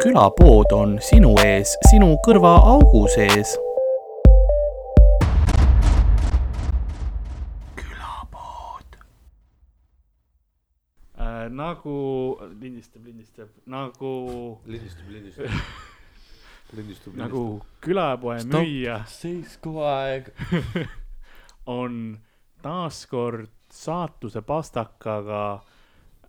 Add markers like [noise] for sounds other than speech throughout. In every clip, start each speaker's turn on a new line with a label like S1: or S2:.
S1: külapood on sinu ees, sinu kõrvaaugu sees
S2: Äh, nagu lindistab , lindistab nagu ,
S3: lindistub , lindistub , lindistub .
S2: nagu külapoe
S3: Stop.
S2: müüja
S3: seisku aeg .
S2: on taaskord saatuse pastakaga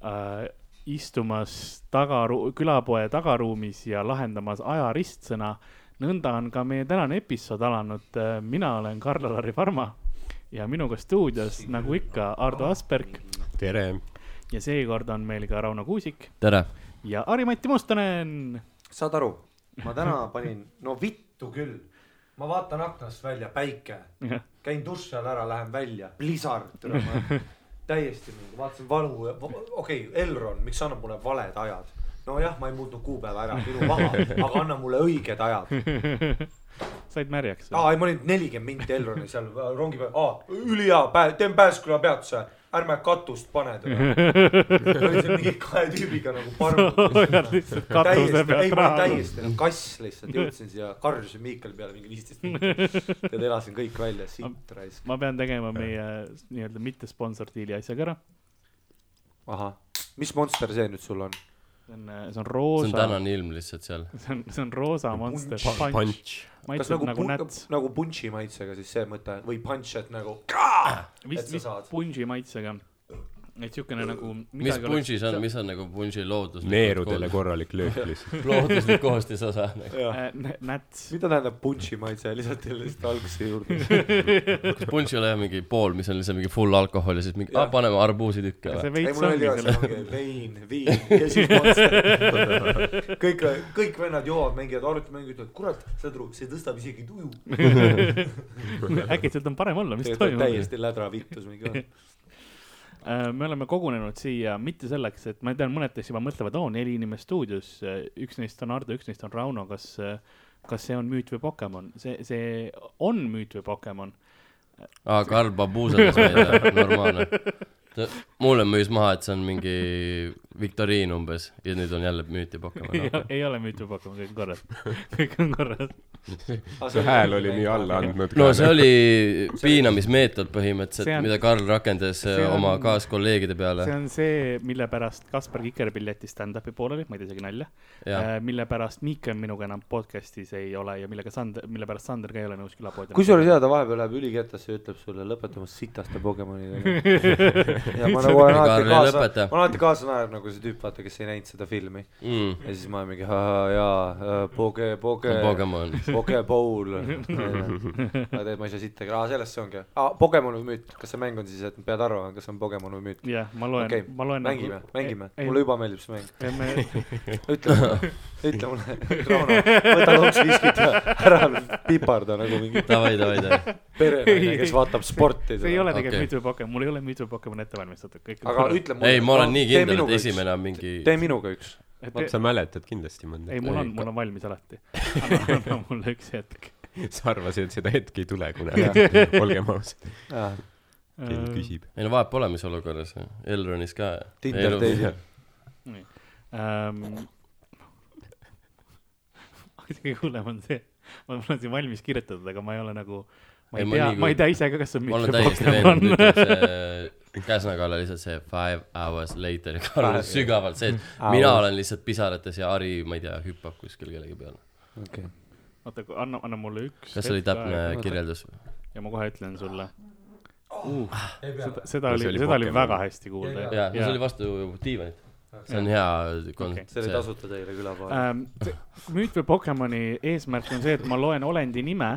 S2: äh, istumas tagaru- , külapoe tagaruumis ja lahendamas aja ristsõna . nõnda on ka meie tänane episood alanud . mina olen Karl-Alari Varma ja minuga stuudios , nagu ikka , Ardo Asperg
S3: tere .
S2: ja seekord on meil ka Rauno Kuusik
S4: tere .
S2: ja Ari-Mati Mustonen
S5: saad aru , ma täna panin , no vittu küll , ma vaatan aknast välja , päike , käin duši all ära , lähen välja , blizzard , täiesti mingi , vaatasin valu , okei okay, , Elron , miks annab mulle valed ajad ? nojah , ma ei muutnud kuupäeva ära , minu maha , aga anna mulle õiged ajad .
S2: said märjaks ?
S5: aa , ei ma olin nelikümmend minti Elroni seal äh, rongi peal , aa , ülihea päev , teen Pääsküla peatuse , ärme katust pane teda . olin seal mingi kahe tüübiga nagu
S2: [laughs] hoiad
S5: parm .
S2: lihtsalt katuse
S5: Täiesti- ei ,
S2: pealt
S5: ma olin
S2: raha .
S5: täiesti nagu kass lihtsalt , jõudsin siia , karjusin Miikali peale mingi viisteist minutit . tead , elasin kõik välja , sitt raisk .
S2: ma pean tegema meie äh, nii-öelda mitte sponsordiili asjaga ära .
S5: ahah , mis monster see nüüd sul on ?
S2: see on , see on
S4: see on
S2: roosa ,
S4: tänane ilm lihtsalt seal .
S2: see on , see on roosa Monster
S5: Punch.
S2: Punch .
S4: Punch .
S5: kas
S2: maitseb
S5: nagu
S2: nagu näts .
S5: nagu punši maitsega siis see mõte või punš , et nagu
S2: mis
S5: et , sa
S2: mis
S5: saad.
S2: punši nagu maitsega ? et siukene nagu .
S4: mis punšis on , mis on nagu punši looduslik ?
S3: neerudele . korralik löök [laughs] lihtsalt .
S4: looduslik koostisosa .
S2: Äh, näts .
S5: mida tähendab punši maitse , lisati lihtsalt alguse juurde .
S4: kas punš ei ole jah mingi pool , mis on lihtsalt mingi full alkohol ja siis mingi , aa paneme arbuusitükke
S2: see
S4: või ?
S2: [laughs]
S5: ei ,
S2: veits
S5: mul oli
S2: ongi
S5: ka
S2: selle .
S5: seal mingi vein , viin ja siis monster . kõik , kõik vennad joovad , mängivad arvutimänge , ütlevad , kurat , saad aru , see tõstab isegi tuju .
S2: äkki sealt on parem olla , mis toimub ?
S5: täiesti lädra vittus
S2: [laughs]
S5: mingi .
S2: Äh, me oleme kogunenud siia mitte selleks , et ma tean , mõned teist juba mõtlevad , oo , neli inimest stuudios , üks neist on Ardo , üks neist on Rauno , kas , kas see on müüt või Pokemon ? see , see on müüt või Pokemon ?
S4: aa , Karl Babusedas meile , normaalne . ta , mulle müüs maha , et see on mingi viktoriin umbes ja nüüd on jälle müüti
S2: [laughs]
S4: noh.
S2: ei
S4: Pokemon .
S2: ei ole müüt või Pokemon , kõik on korras . [laughs] kõik on korras .
S3: see hääl oli nii alla andnud .
S4: no see . oli piinamismeetod
S2: See
S4: põhimõtteliselt
S2: on- ,
S4: mida Karl rakendas eh,
S2: see on-
S4: oma kaaskolleegide peale
S2: see . on see , mille pärast Kaspar Kikerpill jättis stand-up'i pooleli , ma ei tee isegi nalja .
S4: Jah.
S2: mille pärast Miike minuga enam podcast'is ei ole ja millega Sander , mille pärast Sander ka ei ole nõus külapoodi .
S5: kusjuures jaa , ta vahepeal läheb ülikettasse ja ütleb sulle , lõpeta oma sitaste
S4: [laughs]
S5: Pokemonidega . ja ma nagu olen alati
S4: Karl,
S5: kaasa
S4: lõpeta. ,
S5: ma olen alati kaasa naernud nagu see tüüp , vaata , kes ei näinud seda filmi .
S4: mm. .
S5: ja siis ma olen mingi ahah , jaa , Poke , Poke
S4: see on ,
S5: [laughs]
S4: Pokemon . [laughs]
S5: Pokeball . ma tean , ma ei saa sittagi , aa , sellest see ongi . aa , Pokemon või müüt , kas see mäng on siis , et pead arvama , kas see on Pokemon või müüt ?
S2: jah , ma loen
S5: okei ,
S2: okay. , ma loen . nagu-
S5: mängime , mängime , mulle juba meeldib see
S4: [laughs]
S5: mäng . [laughs]
S2: juba .
S5: ütle mulle , ütle mulle , [laughs]
S2: [laughs]
S5: Rauno , võta loks viskit ja ära piparda nagu mingi
S4: Davai , davai , davai .
S5: perenaine ,
S2: [laughs]
S5: kes vaatab sporti .
S2: see ei ole
S4: Okei.
S2: tegelikult müüt või Pokemon , mul ei ole müüt või Pokemon ette valmistatud , kõik on
S5: aga
S2: korras .
S5: ütle mulle .
S4: ei , ma olen nii kindel , et esimene . on mingi
S5: tee minuga üks .
S3: sa mäletad kindlasti mõnda
S2: ei ,? mul on ,
S4: ei,
S2: mul on valmis
S4: [laughs]
S2: alati . anna mulle üks hetk .
S3: [laughs] sa arvasid , et seda hetke ei tule kunagi . [laughs] olgem ausad , keegi
S2: Ehm, Äh,
S3: küsib .
S4: ei no vahet pole , mis olukorras , Elronis ka .
S5: Tinder teisel ..
S2: nii um, . [laughs] kõige hullem on see , ma mul on siin valmis kirjutatud , aga ma ei ole nagu , ma ei
S4: Ei, ma
S2: tea ,
S4: nii kui-
S2: ma ei tea ise ka , kas see on
S4: [laughs] ma olen
S2: müüt
S4: täiesti
S2: või Pokemon .
S4: veendunud , ütleb see Käsna-Kalle lihtsalt see five hours later , Karl on sügavalt sees . mina olen lihtsalt pisarates ja Ari , ma ei tea , hüppab kuskil kellegi peale .
S5: okei .
S2: oota , anna , anna mulle üks .
S4: kas see oli täpne ? kirjeldus ?
S2: ja ma kohe ütlen sulle uh, . seda , seda
S3: No see
S2: oli ,
S3: oli
S2: seda oli
S3: Pokemon.
S2: väga hästi kuulda .
S4: jaa , see oli vastu diivanit . see on hea kon- .
S5: see oli tasuta teile külapoole .
S2: Ähm, see- müüt või Pokemoni eesmärk on see , et ma loen olendi nime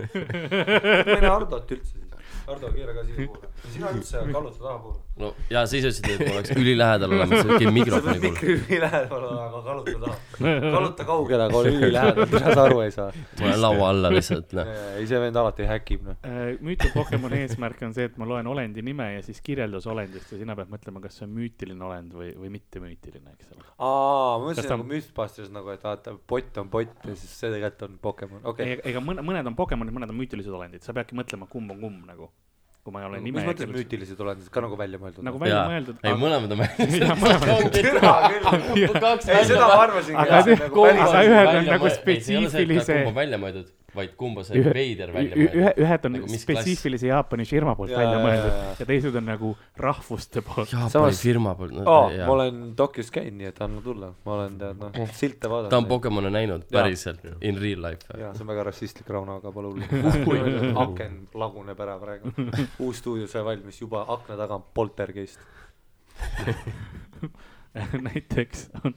S5: mine Hardot üldse siis . Hardo , keera ka siia poole . sina üldse kalluta tahapoole .
S4: no ja siis ütlesid , et ma oleks ülilähedal olemas , mingi
S5: sa pead
S4: mikrofoni kuulda .
S5: mikri ülilähedal olema , aga kalluta taha .
S2: [laughs]
S5: kalluta kaugele , aga ole ülilähedal , mida sa aru ei saa .
S4: ma olen laua alla lihtsalt , noh .
S5: ei , see vend alati häkib , noh .
S2: Äh, müüt või Pokemoni eesmärk on see , et ma loen olendi nime ja siis kirjeldus olendist ja sina pead mõtlema , kas see on müütiline olend või , või mitte müütiline , eks ole .
S5: aa ,
S2: Kas
S5: ma mõtlesin
S2: ta-
S5: nagu Mythbusters nagu , et vaata , pott on pott ja siis selle kätte on Pokemon , okei .
S2: ega mõne , mõned on Pokemonid , mõned on müütilised olendid , sa peadki mõtlema , kumb on kumb nagu . kui ma ei ole
S5: mis
S2: nime
S5: mõttes müütilised oled , ka nagu välja mõeldud
S2: nagu
S5: [laughs] või ?
S2: välja mõeldud .
S4: ei , mõlemad on
S2: Jaa, mõlemad on.
S4: [laughs]
S5: türa küll ,
S2: [laughs]
S5: [laughs]
S4: kaks
S5: ei seda ma arvasingi
S2: aga
S5: jah,
S2: see-
S5: nagu
S2: kumb-
S5: päris-
S2: aga ühed on
S4: Välja
S2: nagu
S4: mõe- ei, see ei ole see, et
S2: spetsiifilise-
S4: kumb on välja mõeldud , vaid kumb on see
S2: Ühe-
S4: veider välja
S2: ühe ,
S4: mõeldud .
S2: ühed on
S4: Nagu mis
S2: spetsiifilise Jaapani firma poolt
S5: Jaa,
S2: välja
S5: jaa, jaa, jaa.
S2: mõeldud ja teised on nagu rahvuste poolt .
S4: Jaapani
S5: Samas-
S4: firma poolt , no
S5: aa , ma
S4: jaa .
S5: olen Tokyos käinud , nii et anna tulla , ma olen tead noh , silte
S4: Eh.
S5: vaadanud .
S4: ta on Pokemone näinud
S5: Jaa.
S4: päriselt , in real life .
S5: jaa , see on väga rassistlik Rauno , aga
S4: [laughs]
S5: pole hullu . aken laguneb ära praegu . uus stuudio sai valmis juba , akna taga on poltergeist .
S2: [laughs] näiteks on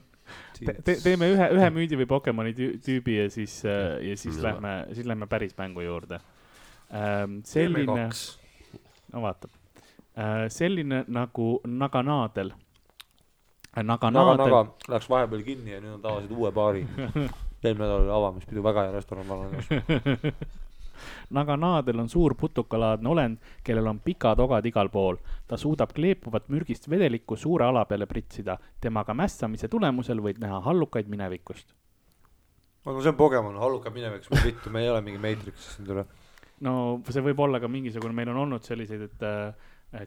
S2: te, , te, teeme ühe , ühe müüdi või Pokemoni tüü- tüübi ja siis , ja siis
S4: Jaa.
S2: lähme , siis lähme päris mängu juurde . selline , no vaata , selline nagu Äh, Naganaadel .
S5: naga ,
S2: Naganaadel
S5: naga , läks vahepeal kinni ja nüüd nad avasid uue baari . eelmine nädal oli avamispidu , väga hea restoran , ma
S4: [laughs]
S5: arvan .
S2: Naganaadel on suur putukalaadne olend , kellel on pikad ogad igal pool . ta suudab kleepuvat mürgist vedelikku suure ala peale pritsida . temaga mässamise tulemusel võid näha hallukaid minevikust .
S5: aga see on Pokemon , allukad minevikus , mis vittu , me ei ole mingi Matrix siin tule .
S2: no see võib olla ka mingisugune , meil on olnud selliseid , et äh,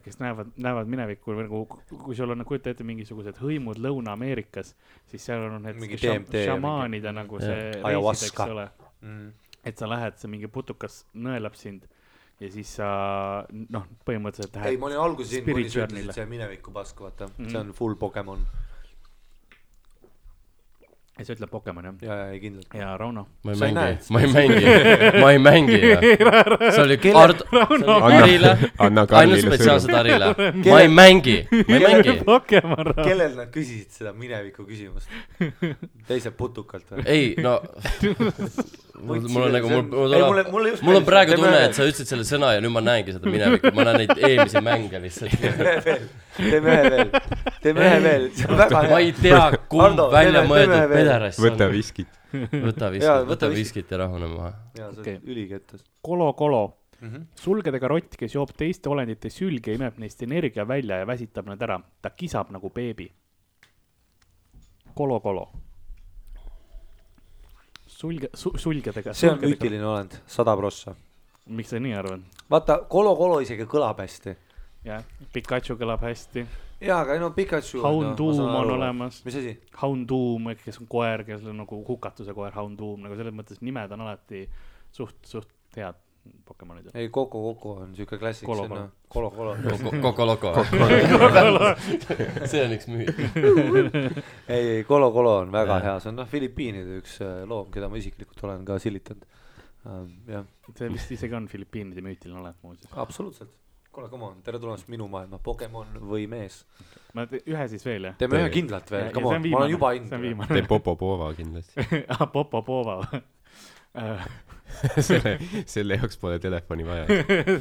S2: kes näevad , näevad minevikku või nagu , kui sul on , kujuta ette , mingisugused hõimud Lõuna-Ameerikas , siis seal on need
S5: Mingi
S2: šam-
S5: DMT ja
S2: šamaanide nagu see reisid ,
S5: Ayahuasca.
S2: eks ole
S5: Mm.
S2: et sa lähed , see mingi putukas nõelab sind ja siis sa noh , põhimõtteliselt
S5: ei ,
S2: lähed
S5: ma olin alguses siin , kui sa
S2: Spirituaalile.
S5: ütlesid , see mineviku pask , vaata ,
S2: Mm.
S5: see on full Pokemon .
S2: ja sa ütled Pokemon jah ?
S5: ja , ja , ja kindlalt .
S2: ja Rauno
S4: ma ei
S5: Sa ei
S4: mängi
S5: näe, ,
S4: ma ei mängi , ma ei mängi .
S5: [laughs]
S4: see oli Art- , Arile ,
S3: anna
S4: ainult
S3: Karlile
S4: spetsiaalselt
S3: sõnum .
S5: [laughs]
S4: Arile . ma ei mängi , ma ei mängi .
S2: Pokemon Rauno .
S5: kellel nad küsisid seda mineviku küsimust ?
S2: [laughs]
S5: teiselt putukalt või ?
S4: ei ,
S5: [laughs]
S4: no mul mul on nagu , mul , mul
S5: Ei, mulle-
S4: tuleb
S5: mulle just ,
S4: mul on
S5: meeldis,
S4: praegu
S5: teeme
S4: tunne ,
S5: ühe.
S4: et sa ütlesid selle sõna ja nüüd ma näengi seda minevikku , ma näen neid eelmisi mänge
S5: [laughs]
S4: lihtsalt . [laughs]
S5: teeme ühe veel , teeme ühe veel , teeme ühe veel , see on väga
S4: ma
S5: hea
S4: ei . tea , kumb
S5: Hardo,
S4: välja
S5: teeme- teeme
S4: mõeldud
S5: veel.
S4: pederass see
S3: võta
S4: on .
S3: viskit .
S4: võta
S5: Jaa,
S4: viskit ,
S5: võta
S4: võta
S5: viskit.
S4: viskit ja rahune
S5: [laughs]
S4: maha .
S5: jaa , sa
S2: Okei.
S5: oled ülikettas .
S2: Kolo Kolo mm
S5: Mhm.
S2: -hmm. . sulgedega rott , kes joob teiste olendite sülge , imeb neist energia välja ja väsitab nad ära . ta kisab nagu beebi . Kolo Kolo . sulge su, , sulgedega .
S5: see on . müütiline olend , sada prossa .
S2: miks sa nii arvad ?
S5: vaata , Kolo Kolo isegi kõlab hästi .
S2: jah , Pikachu kõlab hästi .
S5: jaa , aga ei no Pikachu . noh,
S2: Houndoom on olemas .
S5: mis asi ?
S2: Houndoom , kes on koer , kes on nagu hukatuse koer , Houndoom , nagu selles mõttes nimed on alati suht , suht head Pokemonidel .
S5: ei , Coco Coco on siuke klassik ,
S2: Kolo
S5: see on
S2: Kolo.
S5: noh , Kolo Kolo .
S4: Kokoloko . [laughs] see on üks müüt .
S5: ei , ei Kolo Kolo on väga
S4: Jaa.
S5: hea , see on noh , Filipiinide üks äh, loom , keda ma isiklikult olen ka silitanud . jah ,
S2: see vist isegi on Filipiinide müütiline olend muuseas .
S5: absoluutselt . kuule , come on , tere tulemast minu maailma , Pokemon või mees .
S2: ma te- ühe siis veel jah ?
S5: teeme
S3: Tee.
S5: ühe kindlalt
S2: Ja-
S5: veel ,
S2: ja
S5: come
S2: see on
S5: on , ma olen juba
S2: see on
S5: hind .
S2: viimane
S3: tee Popopova kindlasti .
S2: [laughs] ah, , Popopova või Äh,
S3: selle , selle jaoks pole telefoni vaja .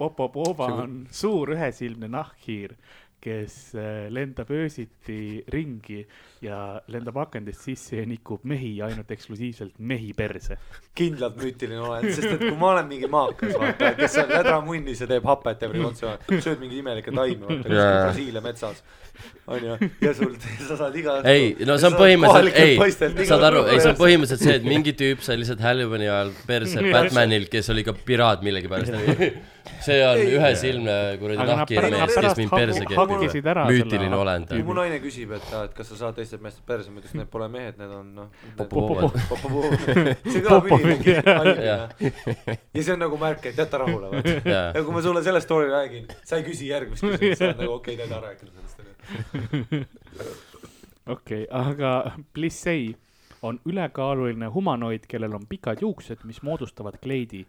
S2: Popopova on suur ühesilmne nahkhiir , kes äh, lendab öösiti ringi ja lendab akendest sisse ja nikub mehi ja ainult eksklusiivselt mehi perse .
S5: kindlalt müütiline olend , sest et kui ma olen mingi maakas , vaata , kes on lädramunnis ja teeb hapet ja otsa , sööd mingeid imelikke taimi , vaata , kuskil
S4: Jaa.
S5: Brasiilia metsas , onju , ja sul , sa saad iga
S4: ei , no see on põhimõtteliselt , ei , saad aru , ei , see on . põhimõtteliselt see , et mingi tüüp sai lihtsalt Halloweeni ajal perse Batmanil , kes oli ka piraat millegipärast .
S5: [laughs]
S4: see on ühesilmne kuradi
S2: Aga nad
S4: nahkhiir
S2: pärast-
S4: mees , kes
S2: pärast
S4: mind
S2: hagu-
S4: perse
S2: hakkisid ära
S4: kehtib .
S2: selle
S4: müütiline olend .
S5: kui mu naine küsib , et , et kas sa saad teistelt meestelt perse , ma ütlen , et need pole mehed , need on noh .
S4: Popovad.
S5: see kõlab ülimalt ja see on nagu märk , et jäta rahule , vaata . ja kui ma sulle selle story räägin , sa ei küsi järgmist küsimust , sa oled nagu okei okay, , tead ära rääkinud sellest , onju .
S2: okei okay, , aga Plissei on ülekaaluline humanoid , kellel on pikad juuksed , mis moodustavad kleidi .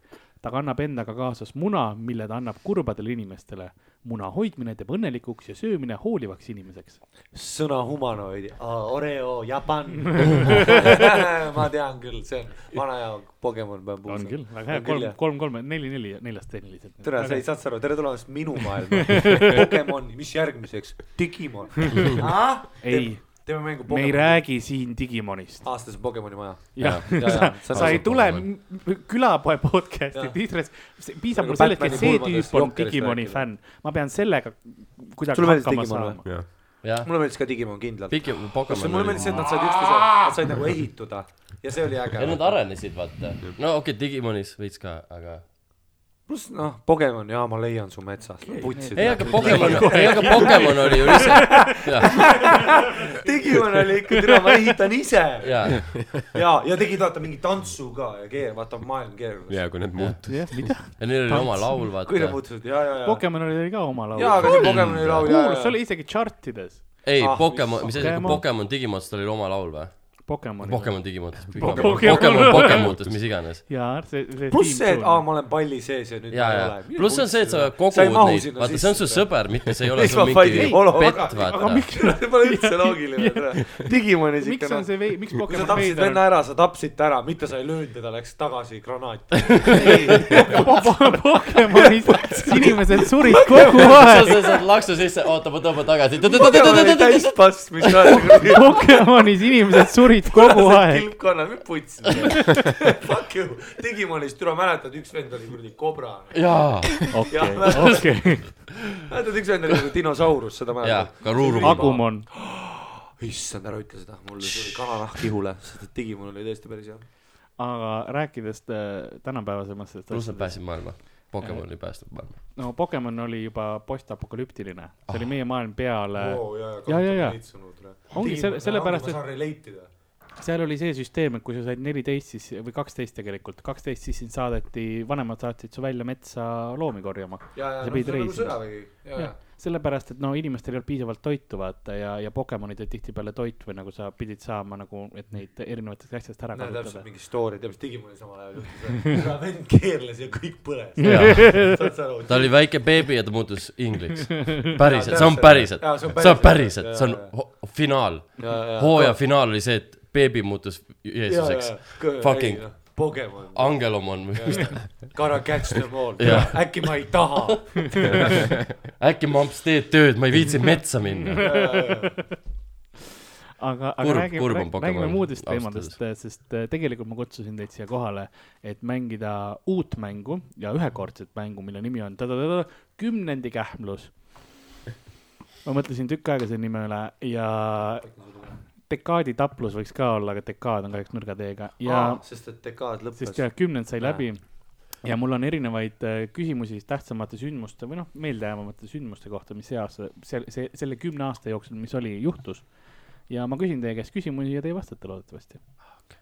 S2: ta kannab endaga kaasas muna , mille ta annab kurbadele inimestele . muna hoidmine teeb õnnelikuks ja söömine hoolivaks inimeseks .
S5: sõna humanoid , Oreo , Jaapan .
S2: [laughs]
S5: [laughs] ma tean küll , see on vana hea Pokemon peab .
S2: on küll , väga hea , kolm ,. kolm , kolm , neli , neli , neljast tehniliselt .
S5: tere , sa ei saa aru , tere tulemast minu
S2: [laughs]
S5: maailma . Pokemon , mis järgmiseks ?
S2: [laughs]
S5: Digimon .
S2: Ei.
S5: teeme mängu
S2: me ei . räägi siin Digimonist .
S5: aastas on Pokemoni maja .
S2: jah ,
S5: jaa,
S2: sa,
S5: see on
S2: sa ei
S5: ausalt
S2: tule
S4: Pokemon.
S2: m- külapoe podcast'i
S5: Jaa.
S2: tiitris , piisab
S5: Nagu
S2: mul sellest , et
S5: Batmani
S2: see
S5: pulmadest,
S2: tüüp on
S5: Jokerist
S2: Digimoni
S5: rääkida.
S2: fänn . ma pean sellega kuidagi
S5: Sulle meeldis
S2: hakkama
S5: Digimon või?
S2: saama .
S4: jah ,
S5: mulle meeldis ka Digimon kindlalt .
S4: pikem
S5: kas see-
S4: Pokemon
S5: mulle
S4: oli
S5: meeldis see , et nad said üksteise , nad said nagu ehituda ja see oli
S4: ja nad
S5: äge .
S4: arenesid , vaata . no okei okay, , Digimonis veits ka , aga
S5: pluss noh , Pokemon , jaa , ma leian su metsast , no putsid .
S4: ei , aga Pokemon , ei , aga Pokemon oli ju [laughs] lihtsalt ,
S5: Digimon oli ikka , tere , ma ehitan ise . ja ,
S4: jaa ,
S5: ja tegid vaata mingi tantsu ka ja keer- , vaata maailm keerles .
S3: ja kui nad muutusid .
S2: jah , mida ?
S4: ja neil oli oma laul ,
S5: kui nad
S4: vaata .
S5: muutusid , ja , ja , ja .
S2: Pokemonil oli ka oma laul .
S5: jaa , aga see Pokemoni laul , ja ,
S2: kuulus , see
S5: ja ,
S2: oli isegi chartides .
S4: ei
S5: Ah, ,
S4: Pokemon , mis asi ,
S2: Pokemon.
S4: Pokemon Digimonstel oli oma laul või ?
S2: Pokemon .
S4: Pokemon Digimonstel ,
S2: Pokemon.
S4: Pokemon , Pokemon Pokemontes , mis iganes .
S2: jaa , see , see .
S5: pluss see , et aa , ma olen palli sees ja nüüd
S4: ja ,
S5: ma ei
S4: ja
S5: ole .
S4: pluss on see , et sa
S5: Sa ei
S4: kogud
S5: mahu
S4: neid ,
S5: sinna
S4: vaata , see on su
S5: sisse.
S4: sõber , mitte see ei ole
S5: miks
S4: su
S5: ma
S4: mingi
S5: failin Ologa
S4: pett , ,
S5: aga
S4: vaata .
S5: miks , [laughs] see pole üldse
S4: [laughs]
S5: loogiline . Digimonis ikka
S2: miks on
S5: noh ,
S2: see vei- , miks
S5: kui sa
S2: Pokemon
S5: tapsid
S2: veider on
S5: venna ? ära , sa tapsid ta ära , mitte sa ei löönud teda , läks tagasi
S4: [laughs]
S5: granaati . [laughs]
S2: Pokemonis inimesed surid kogu
S4: sa
S2: aeg .
S4: sa saad laksu sisse , oota , ma tõmban tagasi .
S5: Pokemon oli täispass , mis ajal
S4: [laughs]
S2: Pokemonis inimesed surid
S5: [laughs]
S2: kogu aeg .
S5: kilpkonnad , mis
S4: [laughs]
S5: putsid . Fuck you , Digimonis türa mäletad , üks vend oli kuradi kobra .
S4: jaa ,
S5: Jah,
S2: okei ,
S5: mäletad-
S2: okei .
S5: mäletad , üks vend oli nagu dinosaurus , seda
S4: jaa
S5: mäletad ?,
S4: ka Ruuruma .
S2: Agumon .
S5: issand , ära ütle seda , mul tuli kananahk ihule , sest et Digimon oli tõesti päris hea .
S2: aga rääkides äh, tänapäevasematest
S4: pluss nad päästsid maailma . Pokemoni päästab maailma .
S2: no Pokemon oli juba postapokalüptiline , see oli meie maailm peale oh. ,
S5: ja
S2: Jaa, jaa, jaa. Ongi selle- sellepärast,
S5: et .
S2: et-
S5: ma saan relate ida .
S2: seal oli see süsteem , et kui sa said neliteist siis või kaksteist tegelikult , kaksteist siis sind saadeti , vanemad saatsid su välja metsa loomi korjama .
S5: ja , ja
S2: Sa
S5: no
S2: pidid
S5: see on nagu
S2: reisima.
S5: sõjavägi , ja , ja .
S2: sellepärast , et no inimestel ei olnud piisavalt toitu vaata ja , ja Pokemonid olid tihtipeale toit või nagu sa pidid saama nagu , et neid erinevatest asjadest ära
S5: näe täpselt
S2: kasutada .
S5: mingi story , tead mis Digimonis omal ajal juhtus , vend keerles ja kõik põles . saad sa aru ?
S4: ta oli väike beebi ja ta muutus [laughs] ingliks . päriselt , see on päriselt , see on päriselt , see on ho- finaal . hooaja finaal oli see , et beebi muutus Jeesuseks . Fucking
S5: noh, Pokemon ,
S4: Angelomon või mis ta ,
S5: [laughs] gotta catch them all
S4: Jaa. ,
S5: äkki ma ei taha .
S4: äkki mamps teed tööd , ma ei viitsi metsa minna .
S2: aga , aga
S4: Kurb-
S2: räägime ,
S4: kurb on
S2: räägime, räägime
S4: Pokemon
S2: muudest
S4: ausalt
S2: teemadest , sest äh, tegelikult ma kutsusin teid siia kohale , et mängida uut mängu ja ühekordset mängu , mille nimi on tadadada, kümnendi kähmlus . ma mõtlesin tükk aega selle nime üle ja dekaadi taplus võiks ka olla , aga dekaad on kahjuks nõrga teega ja
S5: jaa , sest et dekaad lõppes
S2: sest . jah , kümnend sai
S5: Näe.
S2: läbi ja mul on erinevaid äh, küsimusi siis tähtsamate sündmuste või noh , meeldejäävamate sündmuste kohta , mis see aasta , see , see , selle kümne aasta jooksul , mis oli , juhtus . ja ma küsin teie käest küsimusi ja teie vastate loodetavasti .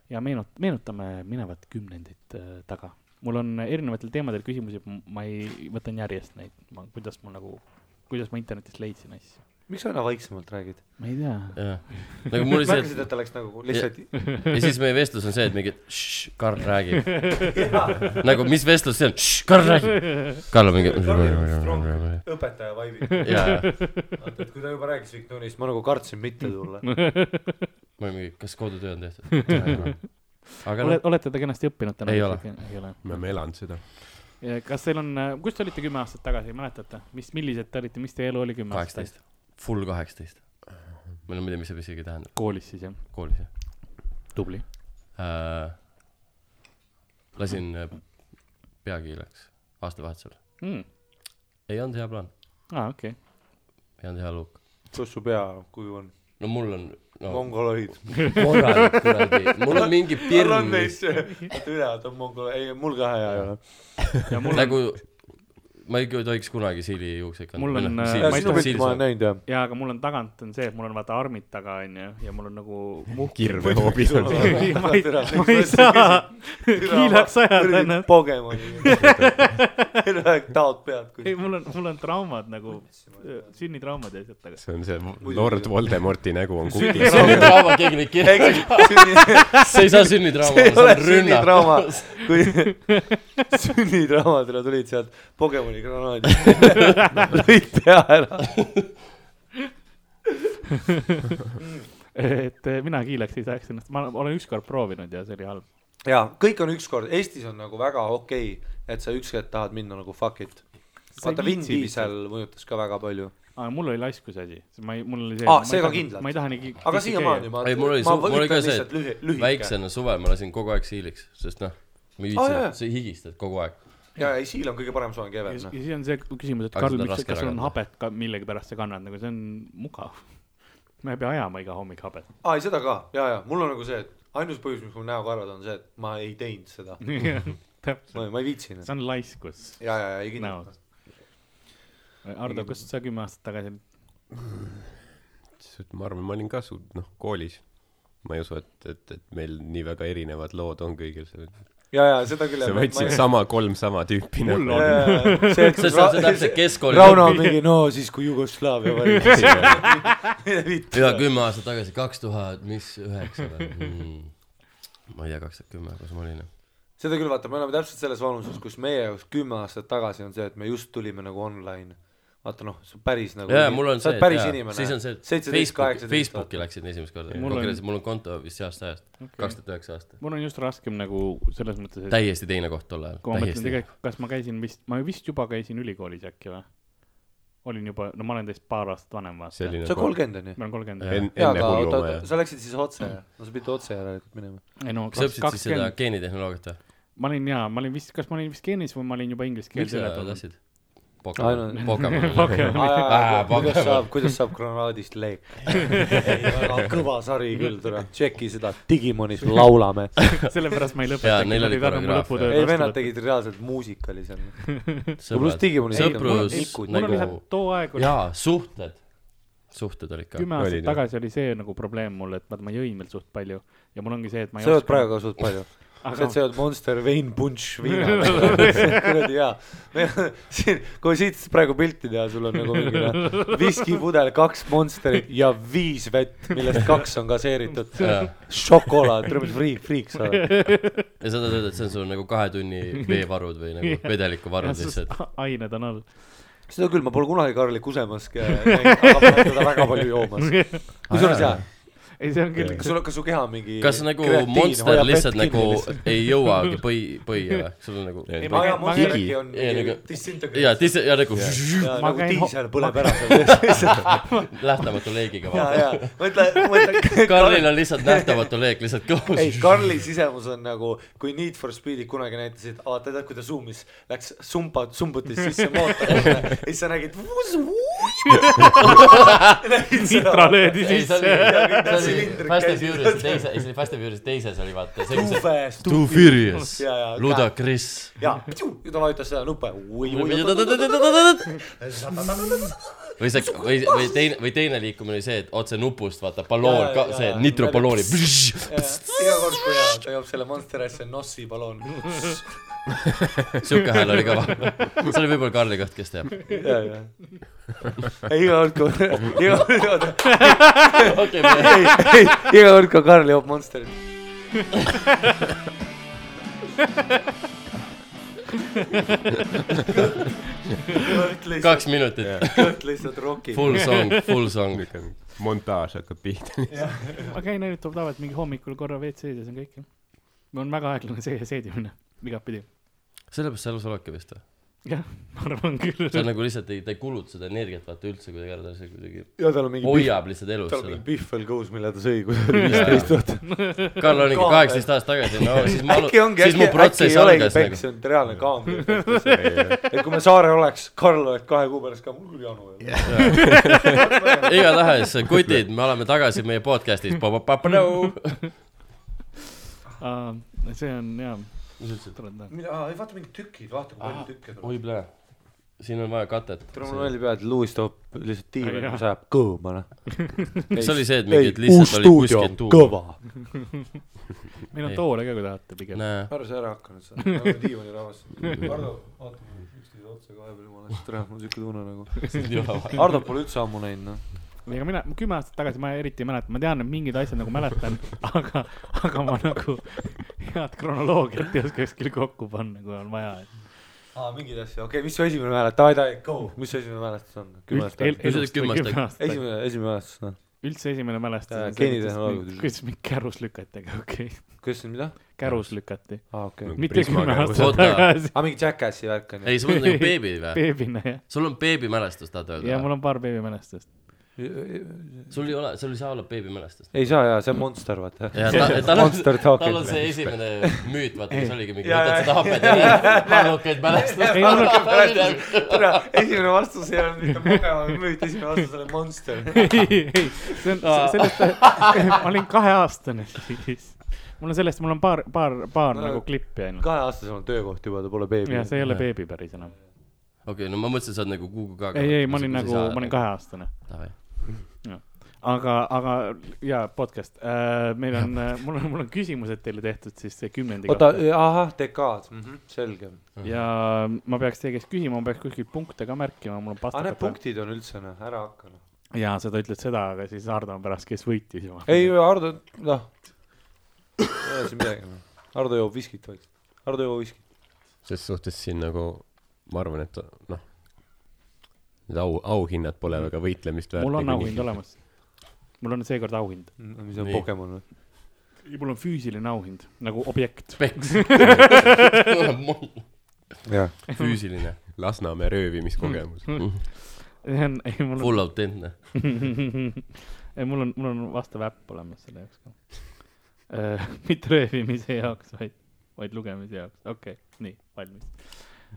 S2: ja meenut- , meenutame minevat kümnendit äh, taga . mul on erinevatel teemadel küsimusi , ma ei , võtan järjest neid , ma , kuidas ma nagu , kuidas ma internetist leidsin asju .
S5: miks sa aina vaiksemalt räägid ?
S2: ma ei tea .
S4: nagu mul oli
S5: märkasid ,
S4: see ,
S5: et ta läks nagu lihtsalt
S4: et ja siis meie vestlus on see , et mingi šš , Karl [laughs] räägib .
S5: [laughs]
S4: nagu , mis vestlus see on , šš , Karl räägib . Karl on mingi .
S5: õpetaja vaibiga ,
S4: ja , ja
S5: vaata , et kui ta juba rääkis Viktoriast , ma nagu kartsin mitte
S2: [laughs]
S5: tulla .
S4: ma olin mingi , kas kodutöö on [laughs] tehtud ? aga noh
S2: olete , olete te kenasti õppinud täna ?
S4: Ei ole. .
S2: ei ole .
S3: me oleme elanud seda .
S2: Ja kas teil on , kus te olite kümme aastat tagasi , mäletate , mis , millised te olite , mis teie elu oli kümme aastat
S4: kaheksateist
S2: tagasi ?,
S4: full kaheksateist . ma ei tea , mis see isegi tähendab ,
S2: koolis siis jah ?
S4: koolis jah
S2: tubli .
S4: äh, . lasin äh, peakiileks aastavahetusel ,
S2: mm. .
S4: ei olnud hea plaan ,
S2: aa ah, , okei okay. .
S4: ei olnud hea look .
S5: kus su pea kuju on ?
S4: no mul on , no
S5: mongoloid .
S4: korralik kuradi , mul on mingi
S5: tal
S4: pirn
S5: on , neist see , vaata ülejäänud on mongol , ei mul ka hea ei ole .
S2: ja mul on ,
S4: nagu ma ei tohiks kunagi siili noh, juukseid kanda .
S2: Mul on, äh,
S5: jaa ,
S2: Ma ei
S5: sinu
S2: tea,
S5: pilti ma olen näinud jah .
S2: jaa , aga mul on tagant on see , et mul on vaata armid taga onju ja mul on nagu muhk .
S3: kirve hoopis on see .
S2: ma [laughs] ei , ma ei saa , kiilaks ajada ennast .
S5: Pokemoni . terve aeg taod pead
S2: ei ,
S5: kuskil .
S2: mul on , mul on traumad nagu , sünnitraumad ja asjad taga .
S3: see on see Lord Voldemorti nägu on kuklis .
S4: sünnitrauma , keegi neid kirja , [laughs] see ei saa sünnitrauma ,
S5: see ei
S4: see
S5: ole
S4: on rünnak .
S5: sünnitrauma , kui sünnitrauma täna tulid sealt Pokemoni
S2: [laughs]
S5: granaadid , lõid pea ära .
S2: et eh, mina kiilaks ei saaks ennast , ma olen ükskord proovinud ja see oli halb .
S5: ja kõik on ükskord , Eestis on nagu väga okei okay, , et sa ükskord tahad minna nagu fuck it .
S2: Sa ei
S5: vaata Vin
S2: viitsi
S5: Diesel mõjutas ka väga palju ,
S2: aga mul oli laiskuse asi , ma ei , mul oli see .
S5: Aa, Ah, see ka kindlalt.
S2: ma ei taha nii .
S5: aga siiamaani . ma .
S4: ei , mul oli , mul oli ka see , et . väiksena suvel ma lasin kogu aeg siiliks , sest noh , ma ei
S5: Aa, jaa.
S4: viitsinud , sa higistad kogu aeg .
S5: ja , ja siil on kõige parem soeng ever ,
S2: ja
S5: noh .
S2: siis on see küsimus , et
S4: Aga
S2: Karl ,
S4: seda on
S2: miks ,
S4: raske
S2: kas sul on
S4: ära
S2: habet ka millegipärast sa kannad , nagu see on mugav . ma ei pea ajama iga hommik
S4: [laughs]
S2: habet .
S5: aa , ei seda ka , ja , ja mul on nagu see , et ainus põhjus , miks mul näokarvad on see , et ma ei teinud seda . ma
S2: täpselt ,
S5: ma ei viitsi enam .
S2: see on laiskus
S5: ja , ja , ja ei
S2: näos
S5: kindlasti ..
S2: Ardo , kas sa kümme aastat tagasi ,
S3: ma arvan , ma olin ka su- , noh , koolis . ma ei usu , et , et , et meil nii väga erinevad lood on kõigil seal .
S5: ja , ja seda küll .
S3: sa võtsid sama , kolm sama tüüpi .
S2: Mul on.
S5: [laughs] see ,
S4: see on
S5: [laughs]
S4: see täpselt keskkooli
S5: Rauno on mingi , no siis kui Jugoslaavia valimisi .
S4: [laughs]
S5: [laughs]
S4: ja kümme aastat tagasi , kaks tuhat , mis üheksa või hmm. ? ma ei tea , kaks tuhat kümme , kus ma olin .
S5: seda küll , vaata , me oleme täpselt selles vanuses , kus meie jaoks kümme aastat tagasi on see , et me just tulime nagu online . vaata noh , sa päris nagu .
S4: jaa , mul on
S5: sa
S4: see ,
S5: oled päris
S4: et jaa ,
S5: inimene .
S4: siis on see , et
S5: seitseteist ,
S4: Facebooki ,
S5: kaheksateist .
S4: Facebooki läksin esimest korda .
S2: Mul on-
S4: konkreetselt mul on konto vist see aasta ajast , kaks tuhat üheksa aasta .
S2: mul on just raskem nagu selles mõttes , et
S4: täiesti teine koht tol ajal ,
S2: kui ma mõtlen
S4: täiesti .
S2: tegelikult , kas ma käisin vist , ma vist juba käisin ülikoolis äkki või ? olin juba , no ma olen teist paar aastat vanem
S3: see
S2: vaata .
S3: oli
S5: sa oled
S3: nagu
S5: kolmkümmend on ju ?
S2: ma olen kolmkümmend .
S3: en- ,
S5: jaa ,
S3: enne
S5: aga oota ,
S3: hullumaja
S5: oota ,. sa läksid siis otse , no sa pidid otse järelikult
S4: [laughs]
S5: minema .
S2: ei no
S4: kas sa õppisid siis seda
S2: kakskümmend ,
S4: geenitehnoloogiat või ?
S2: ma olin jaa , ma olin vist , kas ma olin vist geenis või ma olin juba inglise
S4: miks
S2: keeles
S4: sa
S2: üle tulnud .
S4: tahtsid ? Pokemon ,
S2: [laughs]
S4: Pokemon . [laughs]
S2: okei ,
S5: Aa,
S4: Ah,
S5: kuidas
S4: Pokemon.
S5: saab , kuidas saab granaadist
S4: [laughs]
S5: leek ? kõva sari küll , tule , tšeki seda ,
S4: [laughs]
S5: Digimonis laulame .
S2: [laughs] sellepärast ma ei
S4: Jaa,
S2: lõpetanud ,
S4: neil
S2: ma
S4: oli
S2: olin tahtnud mu
S4: koreograafia.
S2: lõputöö
S5: ei , vennad . tegid reaalselt muusikali seal . pluss Digimoni
S4: sõprus
S5: Nikud.
S2: mul oli seal
S4: nagu ,
S2: too aeg oli ,
S4: jaa , suhted , suhted olid ka .
S2: kümme
S3: Oli,
S2: aastat
S3: jah.
S2: tagasi oli see nagu probleem mul , et vaata ma jõin veel suht palju ja mul ongi see , et ma ei
S5: sa jood praegu ka suht palju . sa jood Monster Vein Punch
S2: [laughs]
S5: viina . kuradi hea . siin , kui siit praegu pilti teha , sul on nagu mingi noh, viskipudel , kaks Monsterit ja viis vett , millest kaks on gaseeritud .
S4: ja
S5: šokolaad , friik , friik sa oled .
S4: sa tahad öelda , et see on sul nagu kahe tunni veevarud või nagu vedelikuvarud lihtsalt .
S2: [laughs] ained on all .
S5: seda küll , ma pole kunagi Karli kusemas käinud , aga ma olen teda väga palju joomas . kusjuures jaa ,
S2: ei , see on küll
S5: kas . sul , kas su keha mingi
S4: kas nagu
S5: kreatiin
S4: Monster
S5: hoiab
S4: lihtsalt
S5: vett kinni
S4: nagu
S5: lihtsalt?
S4: ei [laughs] jõuagi põi , põie või ? sul on nagu
S2: ei,
S5: aa
S2: ma-
S5: jaa ,
S2: ma-
S5: Monstergi on
S4: Ei,
S5: mingi
S4: nagu-
S5: dissintegreer .
S4: jaa , dis- , jaa nagu [laughs]
S5: jaa ,
S2: ma
S5: nagu
S2: käin ho-
S5: diisel põleb ära seal .
S4: lähtamatu leegiga
S5: jaa ,
S4: vaata .
S5: jaa , mõtle , mõtle .
S4: Karlil on lihtsalt nähtamatu leek lihtsalt
S5: ei ,
S4: kõhus .
S5: Karli sisemus on nagu , kui Need for Speedid kunagi näitasid , aa , tead , kui ta suumis , läks sumpa , sumbutis sisse mootorisse ja siis sa nägid .
S2: Nitra löödi
S4: ei , see
S2: sisse .
S4: oli , see oli Fast and Furious teise , ei see oli Fast and Furious teises oli vaata see , kus see
S5: Tuve ,
S4: Too Furious
S5: Jaa, jaa, ,
S4: Ludacris .
S5: ja piu, ja ta vajutas seda nuppe .
S4: või see , või , või teine , või teine liikumine oli see , et otse nupust vaata balloon
S5: Jaa, , jaa,
S4: see
S5: jaa.
S4: nitropallooni .
S5: iga kord , kui jaa, ta joob selle Monster asja Nossi balloon .
S4: [laughs] sihuke hääl oli kõva . see oli võib-olla Karli koht , kes teab .
S5: ei , iga kord , kui , iga kord , oota ,
S4: okei , ma
S5: ei , ei , iga kord , kui Karl joob Monsterit . kõht lihtsalt ,
S4: kaks minutit .
S5: kõht lihtsalt rokib .
S4: Full song , full song .
S3: montaaž hakkab
S5: [laughs]
S3: pihta .
S2: ma käin ainult tavaliselt mingi hommikul korra WC-s ja see on kõik jah . mul on väga aeglane see seedimine igatpidi .
S4: sellepärast sa elus oledki vist või ?
S2: [laughs] jah , ma arvan küll .
S4: sa nagu lihtsalt ei , ta ei kuluta seda energiat vaata üldse kuidagi ära , ta lihtsalt kuidagi
S5: ja tal on mingi pihv ,
S4: hoiab lihtsalt elus
S5: tal on mingi
S4: seda .
S5: pihvel kõhus , mille ta sõi , kui ta oli viisteist
S4: Jaa.
S5: tuhat .
S4: Karl on ikka
S5: Kaam-
S4: kaheksateist aastat tagasi , no siis ma ,
S5: äkki ongi ,
S4: siis mu
S5: äkki , äkki
S4: protsess
S5: ei olegi
S4: algas
S5: peks ,
S4: nagu .
S5: see on reaalne kaamera . et kui me saarel oleks , Karl oleks kahe kuu pärast ka , mul küll janu ei ole .
S4: igatahes , kutid , me oleme tagasi meie podcast'is . mis
S2: see on jaa ,
S4: sa ütlesid ?
S2: tore täna .
S5: mida , ei vaata mingid tükid , vaata kui palju tükke tuleb .
S4: oi plee , siin on vaja katet .
S5: tule mul välja peale , et Lewis toob lihtsalt tiiva ,
S2: Jaa.
S5: mis ajab kõõma , noh .
S4: [laughs] see oli see , et mingid lihtsalt oli kuskil tuul .
S5: kõva .
S2: meil on
S4: Ei.
S2: toole ka , kui tahate pigem .
S4: näe ,
S5: ära sa ära hakka nüüd , sa oled diivani rahvas . Ardo , vaata mul üksteise otsa ka vahepeal , jumala eest , tere , mul siuke tunne nagu .
S4: [laughs] see on juba .
S5: Ardo pole üldse ammu näinud , noh .
S2: ega mina , kümme aastat tagasi ma eriti ei mäleta , ma tean , et mingid asjad nagu mäletan , [laughs] aga , aga ma nagu head kronoloogiat ei oska kuskil kokku panna , kui on vaja .
S5: aa , mingeid asju , okei okay, , mis su esimene mälestus , davai , davai , go , mis su esimene mälestus on ? kümme aastat tagasi .
S4: kümme aastat.
S2: esimene .
S5: esimene , esimene mälestus , noh .
S2: üldse esimene
S5: Jaa,
S2: mälestus .
S5: geenitehnoloogiad.
S2: kuidas mind kärus lükati , aga okei okay. ,
S5: kuidas , mida ?
S2: kärus lükati .
S5: aa , okei okay. .
S2: mitte
S3: Prismaga
S2: kümme aastat
S4: oota.
S2: tagasi ,
S5: aa , mingi Jackassi värk on ju ?
S4: ei , sa mõtled nagu beebi või ?
S2: beebina jah .
S4: sul on beebimälestus , tahad
S2: ja mul
S4: öelda ?
S2: on paar
S5: [laughs]
S2: beebimälestust .
S4: sul ei ole , sul ei saa olla beebimälestust .
S5: ei saa jaa , see on Monster , vaata .
S4: ja
S5: [laughs]
S4: ta , tal on ,
S5: Monster Talking.
S4: tal on see esimene müüt , vaata , mis oligi mingi ,
S5: Jaa,
S4: võtad seda
S5: jaa,
S4: hapet ja näed , hallukaid mälestusi .
S2: ei olnud ,
S5: tere , esimene vastus ei olnud mitte Pokemon müüt , esimene vastus oli Monster .
S2: [laughs] ei , ei , see on , sellest , ma olin kaheaastane siis . mul on sellest , mul on paar , paar , paar no, nagu klippi ainult .
S5: kaheaastasel on töökoht juba , ta pole beebi
S2: jah ,. see ei ole beebi päris enam .
S4: okei , no ma mõtlesin , sa oled nagu Google ka .
S2: ei , ei , ma olin nagu , ma olin . kaheaastane . aga , aga jaa , podcast . meil on , mul on , mul on küsimused teile tehtud siis see kümnendi
S5: oota , äh, ahah , dekaad , selge .
S2: ja ma peaks teie käest küsima , ma peaks kuskilt punkte ka märkima , mul on
S5: aga Ah, need
S2: pastakad .
S5: punktid on üldse noh , ära hakka noh .
S2: jaa , sa ütled seda , aga siis Hardo on pärast , kes võitis juba .
S5: ei , Hardo , noh . ei ole siin midagi noh . Hardo joob viskit vaikselt . Hardo joob viskit .
S3: ses suhtes siin nagu ma arvan , et noh , need au , auhinnad pole väga võitlemist väärt . nagu
S2: mul on auhind . olemas . mul on seekord auhind .
S5: mis on
S4: Nii.
S5: Pokemon noh. või ?
S2: mul on füüsiline auhind nagu objekt .
S4: peks .
S5: jah .
S4: füüsiline ,
S3: Lasnamäe röövimiskogemus .
S2: Mm. see on , ei mul on ,
S4: full autentne .
S2: [laughs] ei mul on , mul on vastav äpp olemas selle jaoks ka . [laughs] mitte röövimise jaoks , vaid , vaid lugemise jaoks , okei okay, , nii , valmis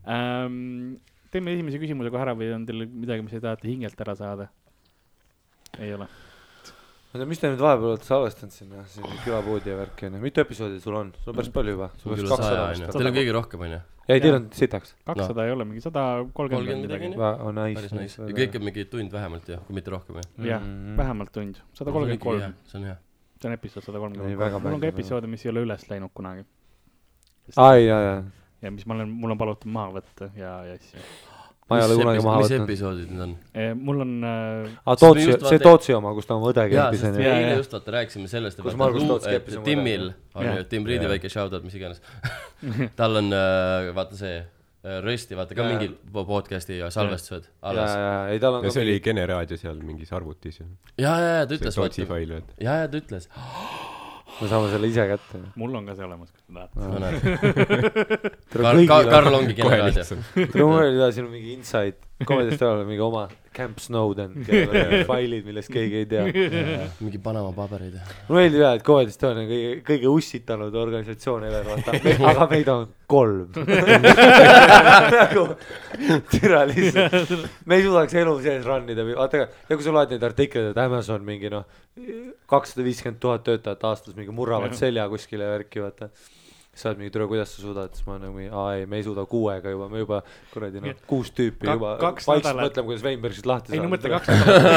S2: ähm, . teeme esimese küsimuse kohe ära või on teil midagi , mis te tahate hingelt ära saada ? ei ole ,
S5: oota , mis te nüüd vahepeal olete salvestanud sinna , siin külapoodi ja värki onju , mitu episoodi sul on , sul on päris palju juba . sul
S4: sul
S5: peaks
S4: üle
S5: kaks
S4: saja onju ,
S5: olema
S4: teil on
S5: vist või ?
S4: kõige rohkem onju .
S5: ei , teil on sitaks .
S2: kakssada no. ei ole , mingi sada kolmkümmend
S4: 30 midagi,
S2: midagi .
S5: on
S4: päris nice . ja
S5: nice .
S4: kõik on mingi tund vähemalt ju , kui mitte rohkem ju .
S2: jah , vähemalt tund , sada kolmkümmend kolm ,
S4: see on hea .
S2: see on episood sada
S5: Ei,
S2: kolmkümmend
S5: väga
S2: kolm . mul on
S5: palju,
S2: ka
S5: väga.
S2: episoode , mis ei ole üles läinud kunagi
S5: aa , ei , jaa , jaa .
S2: ja mis ma olen , mul on palutud maha võtta ja , ja asju .
S5: ma ei ole kunagi maha
S4: mis
S5: võtnud .
S4: episoodid need on ?
S2: mul on äh,
S5: aa ,
S4: Sest me
S5: Tootsi
S4: just ,
S5: see
S4: vaata-
S5: Tootsi oma , kus ta oma õde
S4: jaa ,
S5: käis
S4: sest me
S5: onju .
S2: Jaa,
S4: eile
S2: jaa.
S4: just vaata rääkisime sellest ,
S5: Kus
S4: et
S5: Margus
S4: vaata Lu-
S5: Toots keppis
S4: et
S5: oma
S4: Timmil on
S2: Jah.
S4: ju , Tim Riidi
S5: Jaa.
S4: väike shout-out ,
S2: [laughs]
S4: mis iganes . [laughs] tal on äh, vaata see äh, Rösti , vaata ka
S5: Jaa.
S4: mingi po- podcast'i ja salvestused
S5: jaa ,
S4: alles .
S5: jaa , ei tal on
S3: no
S5: ka
S3: see . oli Kene raadio seal mingis arvutis ju .
S4: ja , ja , ja ta
S3: see
S4: ütles , vaata
S3: Tootsi . fail , et
S4: ja , ja ta ütles .
S5: me saame selle ise kätte .
S2: mul on ka see olemas , kui te [laughs] tahate .
S4: Karl , Karl ongi
S3: kohe
S4: generaadio .
S3: lihtsalt .
S5: [laughs] mul oli ka siin mingi inside , komedist ajal mingi oma Camp Snowden , failid , millest keegi ei tea .
S4: mingi Panama [laughs] paberid .
S5: mulle meeldib jah , et Comedy Estonia on kõige , kõige ussitanud organisatsioon ever , vaata ,
S2: [laughs]
S5: aga meid on kolm . nagu türa lihtsalt , me ei suudaks elu sees run ida , vaata , ja kui sa loed neid artikleid , et Amazon mingi noh , kakssada viiskümmend tuhat töötajat aastas mingi murravad selja kuskile ja värki , vaata . sa oled mingi türa , kuidas sa suudad , siis ma olen nagu , aa ei , me ei suuda kuuega juba , me juba kuradi noh , kuus tüüpi
S2: Ka-
S5: juba ,
S2: kaks
S5: vaikselt
S2: nädalat.
S5: mõtleme , kuidas Weinbergist lahti
S2: ei no mõtle
S5: saada .
S2: kaks
S5: [laughs]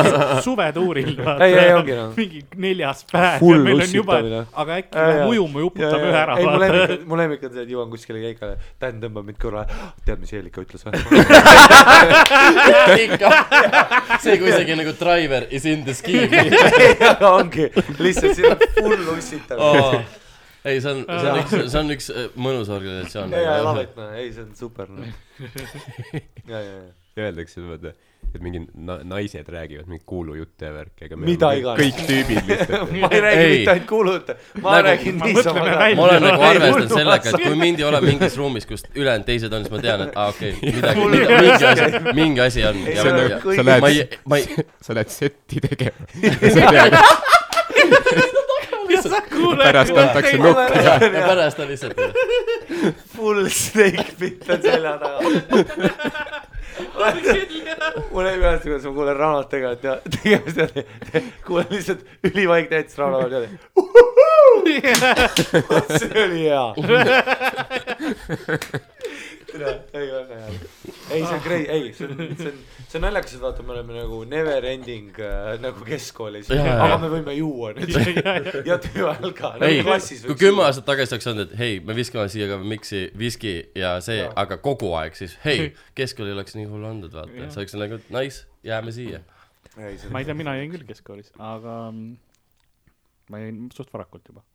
S2: nädalat , suvetuuril .
S5: Ei, ei, ongi noh.
S2: mingi neljas päev ja
S5: Hull
S2: meil on juba
S5: ussitamine. ,
S2: aga äkki
S5: Jaa,
S2: läheb
S5: jaa.
S2: ujuma ,
S5: Jaa,
S2: uputab
S5: jaa,
S2: ühe ära .
S5: ei , mu
S2: vaata .
S5: lemmik , mu lemmik on see , et jõuan kuskile keikale , Dan tõmbab mind korra , tead , mis Helika ütles või ? [laughs]
S4: see , kui isegi nagu driver is in the scheme .
S5: aga ongi , lihtsalt siin on hull ussitav .
S4: Oh. ei , see on , see on üks , see on üks äh, mõnus organisatsioon .
S5: ja , ja lavet noh , ei , see on super noh . ja , ja , ja .
S3: Öeldakse , vaata , et mingi na- , naised räägivad mingeid kuulujutte ja värke , aga
S5: Mida
S3: kõik-
S5: iganes.
S3: kõik tüübid lihtsalt .
S5: ma ei räägi
S4: Ei.
S5: mitte ainult kuulujutte , ma
S4: Nagu-
S5: räägin
S2: ma
S5: niisama
S2: mõtleme
S5: ka [laughs]
S2: välja.
S4: ma olen nagu
S2: Ei,
S4: arvestanud
S5: mul-
S4: sellega , et kui mind ei ole mingis ruumis , kus ülejäänud teised on , siis ma tean , et aa , okei , midagi ,
S5: Mul-
S4: mingi asi , mingi asi on .
S5: Ei,
S3: see
S5: Ja-
S3: on nagu ,
S5: ja-
S3: sa
S4: Äh, ma ei
S3: lähed ,
S4: ma ei ,
S3: [laughs] sa lähed setti tegema . [laughs] ja sa tead , pärast antakse
S5: Ei,
S3: nokk .
S5: ma
S4: ja
S5: räägin,
S3: [laughs]
S5: jah,
S4: pärast on lihtsalt ,
S5: Full snake pit on selja taga . mul ei mäleta , kuidas ma kuulen Ranot tegelikult ja tegemist oli , kuulen lihtsalt ülivaikne hetk , Rano oli jälle . see oli hea . ei , väga hea . ei , see on crazy , ei , see on , see on , see on naljakas , et vaata , me oleme nagu never ending äh, nagu keskkoolis ,
S4: Jaa, jaa.
S5: aga me võime juua nüüd ja nagu töö ajal ka .
S4: ei , kui kümme aastat tagasi oleks olnud , et hei , me viskame siia ka miksi , viski ja see , aga kogu aeg , siis hei , keskkooli oleks nii hull andnud , vaata , see oleks nagu nice , jääme siia .
S5: aastat
S2: ma ei tea , mina jäin küll keskkoolis , aga mm, ma jäin suht varakult juba .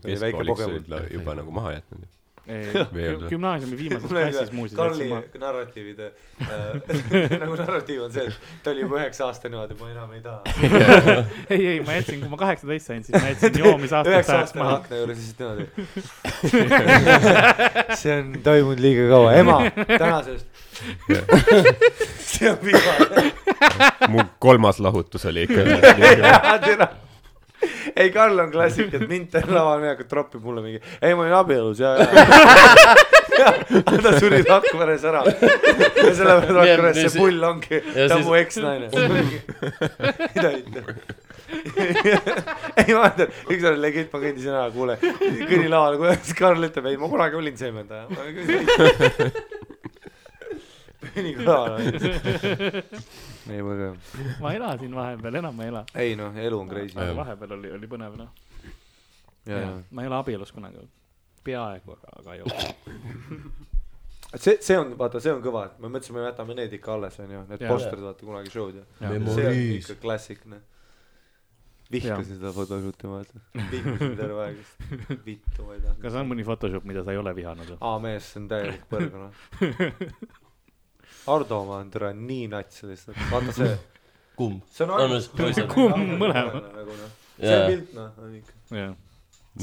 S3: keskkooliks
S5: Pokemon.
S3: olid la- juba nagu maha jätnud .
S5: [laughs]
S3: Veel või?
S2: gümnaasiumi viimases
S5: mul oli
S2: klassis
S5: ka ,
S2: muuseas
S5: Karli
S2: jätsin ma .
S5: narratiivid äh, , [laughs] nagu narratiiv on see , et ta oli juba üheksa aastane , vaata ma enam ei taha .
S2: ei , ei , ma jätsin , kui ma kaheksateist sain , siis ma jätsin joomisaastaks
S5: [laughs] üheksa
S2: ajaks
S5: aastane
S2: maha .
S5: akna juures ja siis tema teeb . see on toimunud liiga kaua , ema , tänasest . [laughs] see on viga ,
S3: mu kolmas lahutus oli [laughs] ikka .
S5: tere ei , Karl on klassik , et mind ta laval midagi troppib mulle mingi , ei ma olin abielus ja , ja . ta suri Rakveres ära . ja sellepärast
S4: Nii,
S5: Rakveres
S4: nii
S5: see
S4: see-
S5: pull ongi ,
S4: ja
S5: ta on
S4: siis-
S5: mu eksnaine . mida ütleb ? ei ma mäletan , ükskord legit ma kõndisin ära , kuule , kõnnilaval , kuule , siis Karl ütleb , ei ma kunagi olin seemendaja . kõnnilaval . ei , väga hea .
S2: ma elasin vahepeal , enam ma ei ela .
S5: ei noh , elu on crazy .
S3: Jah.
S2: vahepeal oli , oli põnev noh .
S5: ja , ja
S2: ma ei ole abielus kunagi olnud . peaaegu , aga , aga ei
S5: [laughs]
S2: ole .
S5: see , see on , vaata , see on kõva , et me mõtlesime , me jätame need ikka alles , onju , need
S2: Jaa.
S5: posterid , vaata kunagi show'd ja .
S2: Jah.
S5: see on
S3: Memoriis.
S5: ikka klassikaline . vihkasin seda photoshoot'i , ma ütlen . vihkasin terve aeg , sest vittu ma ei tahtnud .
S2: kas on mõni Photoshop , mida sa ei ole vihanud ?
S5: aa , mees , see on täielik põrg , noh . Ardo oma on täna nii nats lihtsalt , vaata see .
S4: kumb ?
S5: see on
S4: On vist poisid.
S2: Kumb mõlemad?
S5: nagu noh , see
S4: jaa ,
S5: pilt noh , on ikka .
S2: jah ,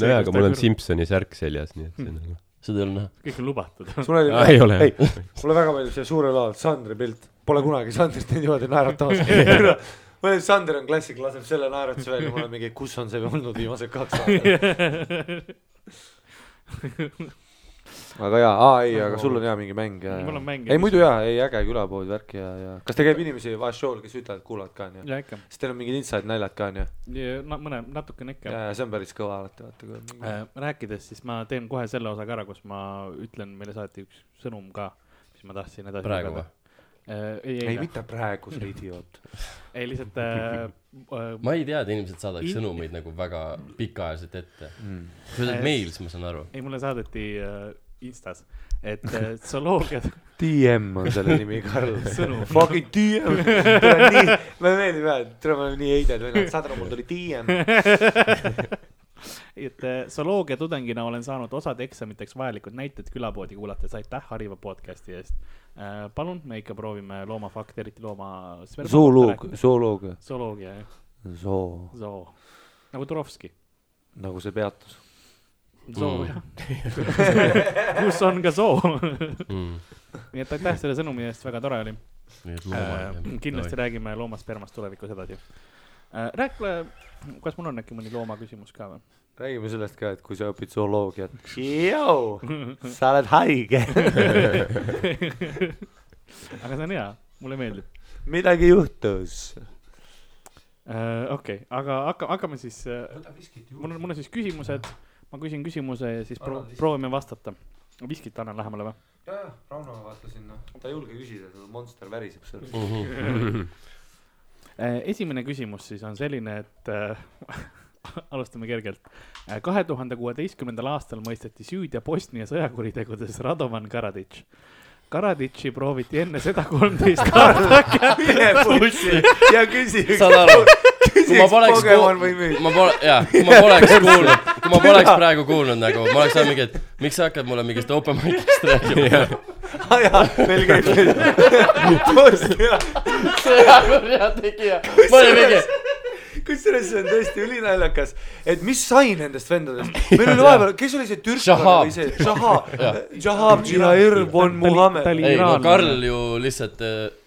S3: nojah , aga mul on
S2: Seepärast-
S3: Simsoni särk seljas ,
S5: Hmm.
S3: nii et see on nagu .
S4: seda ei ole näha .
S2: kõik on lubatud .
S5: sul oli
S3: Aa, ei ole.
S5: ei , mulle väga meeldib see suurel alal Sandri pilt , pole kunagi Sandrit nii niimoodi
S3: [laughs]
S5: naeratamas . ma olen , Sander on klassik , laseb selle naeratuse välja , ma olen mingi , kus on see olnud viimased kaks aastat . aga jaa , aa ei , aga sul on jaa mingi mäng ja ,
S2: Mul on
S5: ja
S2: mäng, . jah.
S5: ei muidu jaa , ei äge külapood , värk ja , ja kas teil käib inimesi vahest show'l , kes ütlevad , et kuulavad ka onju ?
S2: [laughs] ja ikka ,
S5: siis teil on mingid inside naljad ka onju ?
S2: no mõne , natukene ikka
S5: ja , ja see on päris kõva alati , vaata kui on mingi
S2: Äh, rääkides , siis ma teen kohe selle osa ka ära , kus ma ütlen , meile saati üks sõnum ka , mis ma tahtsin edasi .
S4: praegu või ??
S2: ei ,
S5: ei
S2: ei , ei ,
S5: mitte praegu , sa idioot .
S2: ei lihtsalt äh, äh,
S4: ma ei tea , et inimesed saadaks
S2: In-
S4: sõnumeid nagu väga pikaajaliselt ette .
S3: Mm.
S4: sa ütled meil , siis ma saan aru .
S2: ei , mulle saadeti äh, Instas , et
S4: [laughs]
S2: äh, zooloogia [laughs]
S5: DM on selle nimi , Karl .
S2: Sõnum.
S5: Fucking DM . tule nii , me meeldib jah , et tule , me oleme nii heided vennad , saad aru , mul tuli DM .
S2: [laughs] et äh, zooloogia tudengina olen saanud osade eksamiteks vajalikud näited külapoodi kuulates , aitäh hariva podcast'i eest äh, . palun , me ikka proovime loomafakte , eriti looma .
S5: zooloog , zooloog ,
S2: zooloogia , jah ,
S5: zoo ,
S2: zoo , nagu Turovski ,
S5: nagu see peatus .
S2: zoo mm. , jah . kus on ka zoo nii et aitäh selle sõnumi eest , väga tore oli . kindlasti
S4: kindlasti .
S2: räägime loomaspermast tulevikus edasi . rääkige , kas mul on äkki mõni loomaküsimus ka või ?
S5: räägime sellest ka , et kui sa õpid zooloogiat . sa oled haige , [laughs]
S2: aga see on hea , mulle meeldib .
S5: midagi juhtus .
S2: Äh, okei , aga hakka , hakkame siis , mul on , mul on siis küsimused , ma küsin küsimuse ja siis pro-
S5: Anna lihtsalt.
S2: proovime vastata . viskit annan lähemale või ?
S5: jajah , Rauno vaatas sinna , ta ei julge küsida , see monster väriseb seal . [laughs]
S2: Eh, esimene küsimus siis on selline , et äh, [laughs] alustame kergelt . kahe tuhande kuueteistkümnendal aastal mõisteti süüdi Bosnia sõjakuritegudes Radovan Karadžić . Karadžići prooviti enne seda
S5: [laughs]
S2: kolmteist aastat ,
S5: mine [laughs] bussi ja küsi ,
S4: saad aru ? kui ma
S5: küsiks
S4: poleks
S5: Pokemon või [laughs] müük .
S4: ma pole , jaa , kui ma poleks kuulnud , kui ma poleks praegu kuulnud nagu , ma oleks olnud mingi , et miks sa hakkad mulle mingist open mic'ist rääkima .
S5: aa jaa , meil käib [laughs] see .
S4: sõjakurja tegija , ma olin mingi ,
S5: kusjuures see on tõesti ülinaljakas , et mis sai nendest
S4: [laughs]
S5: vendadest , meil oli vahepeal , kes oli see türklane
S4: Shahab.
S5: või see
S4: [laughs]
S5: Shahab , Shahab Džirair von
S2: ta
S5: Muhamed
S2: oli- .
S4: ei no
S2: Iraanlane.
S4: Karl ju lihtsalt ,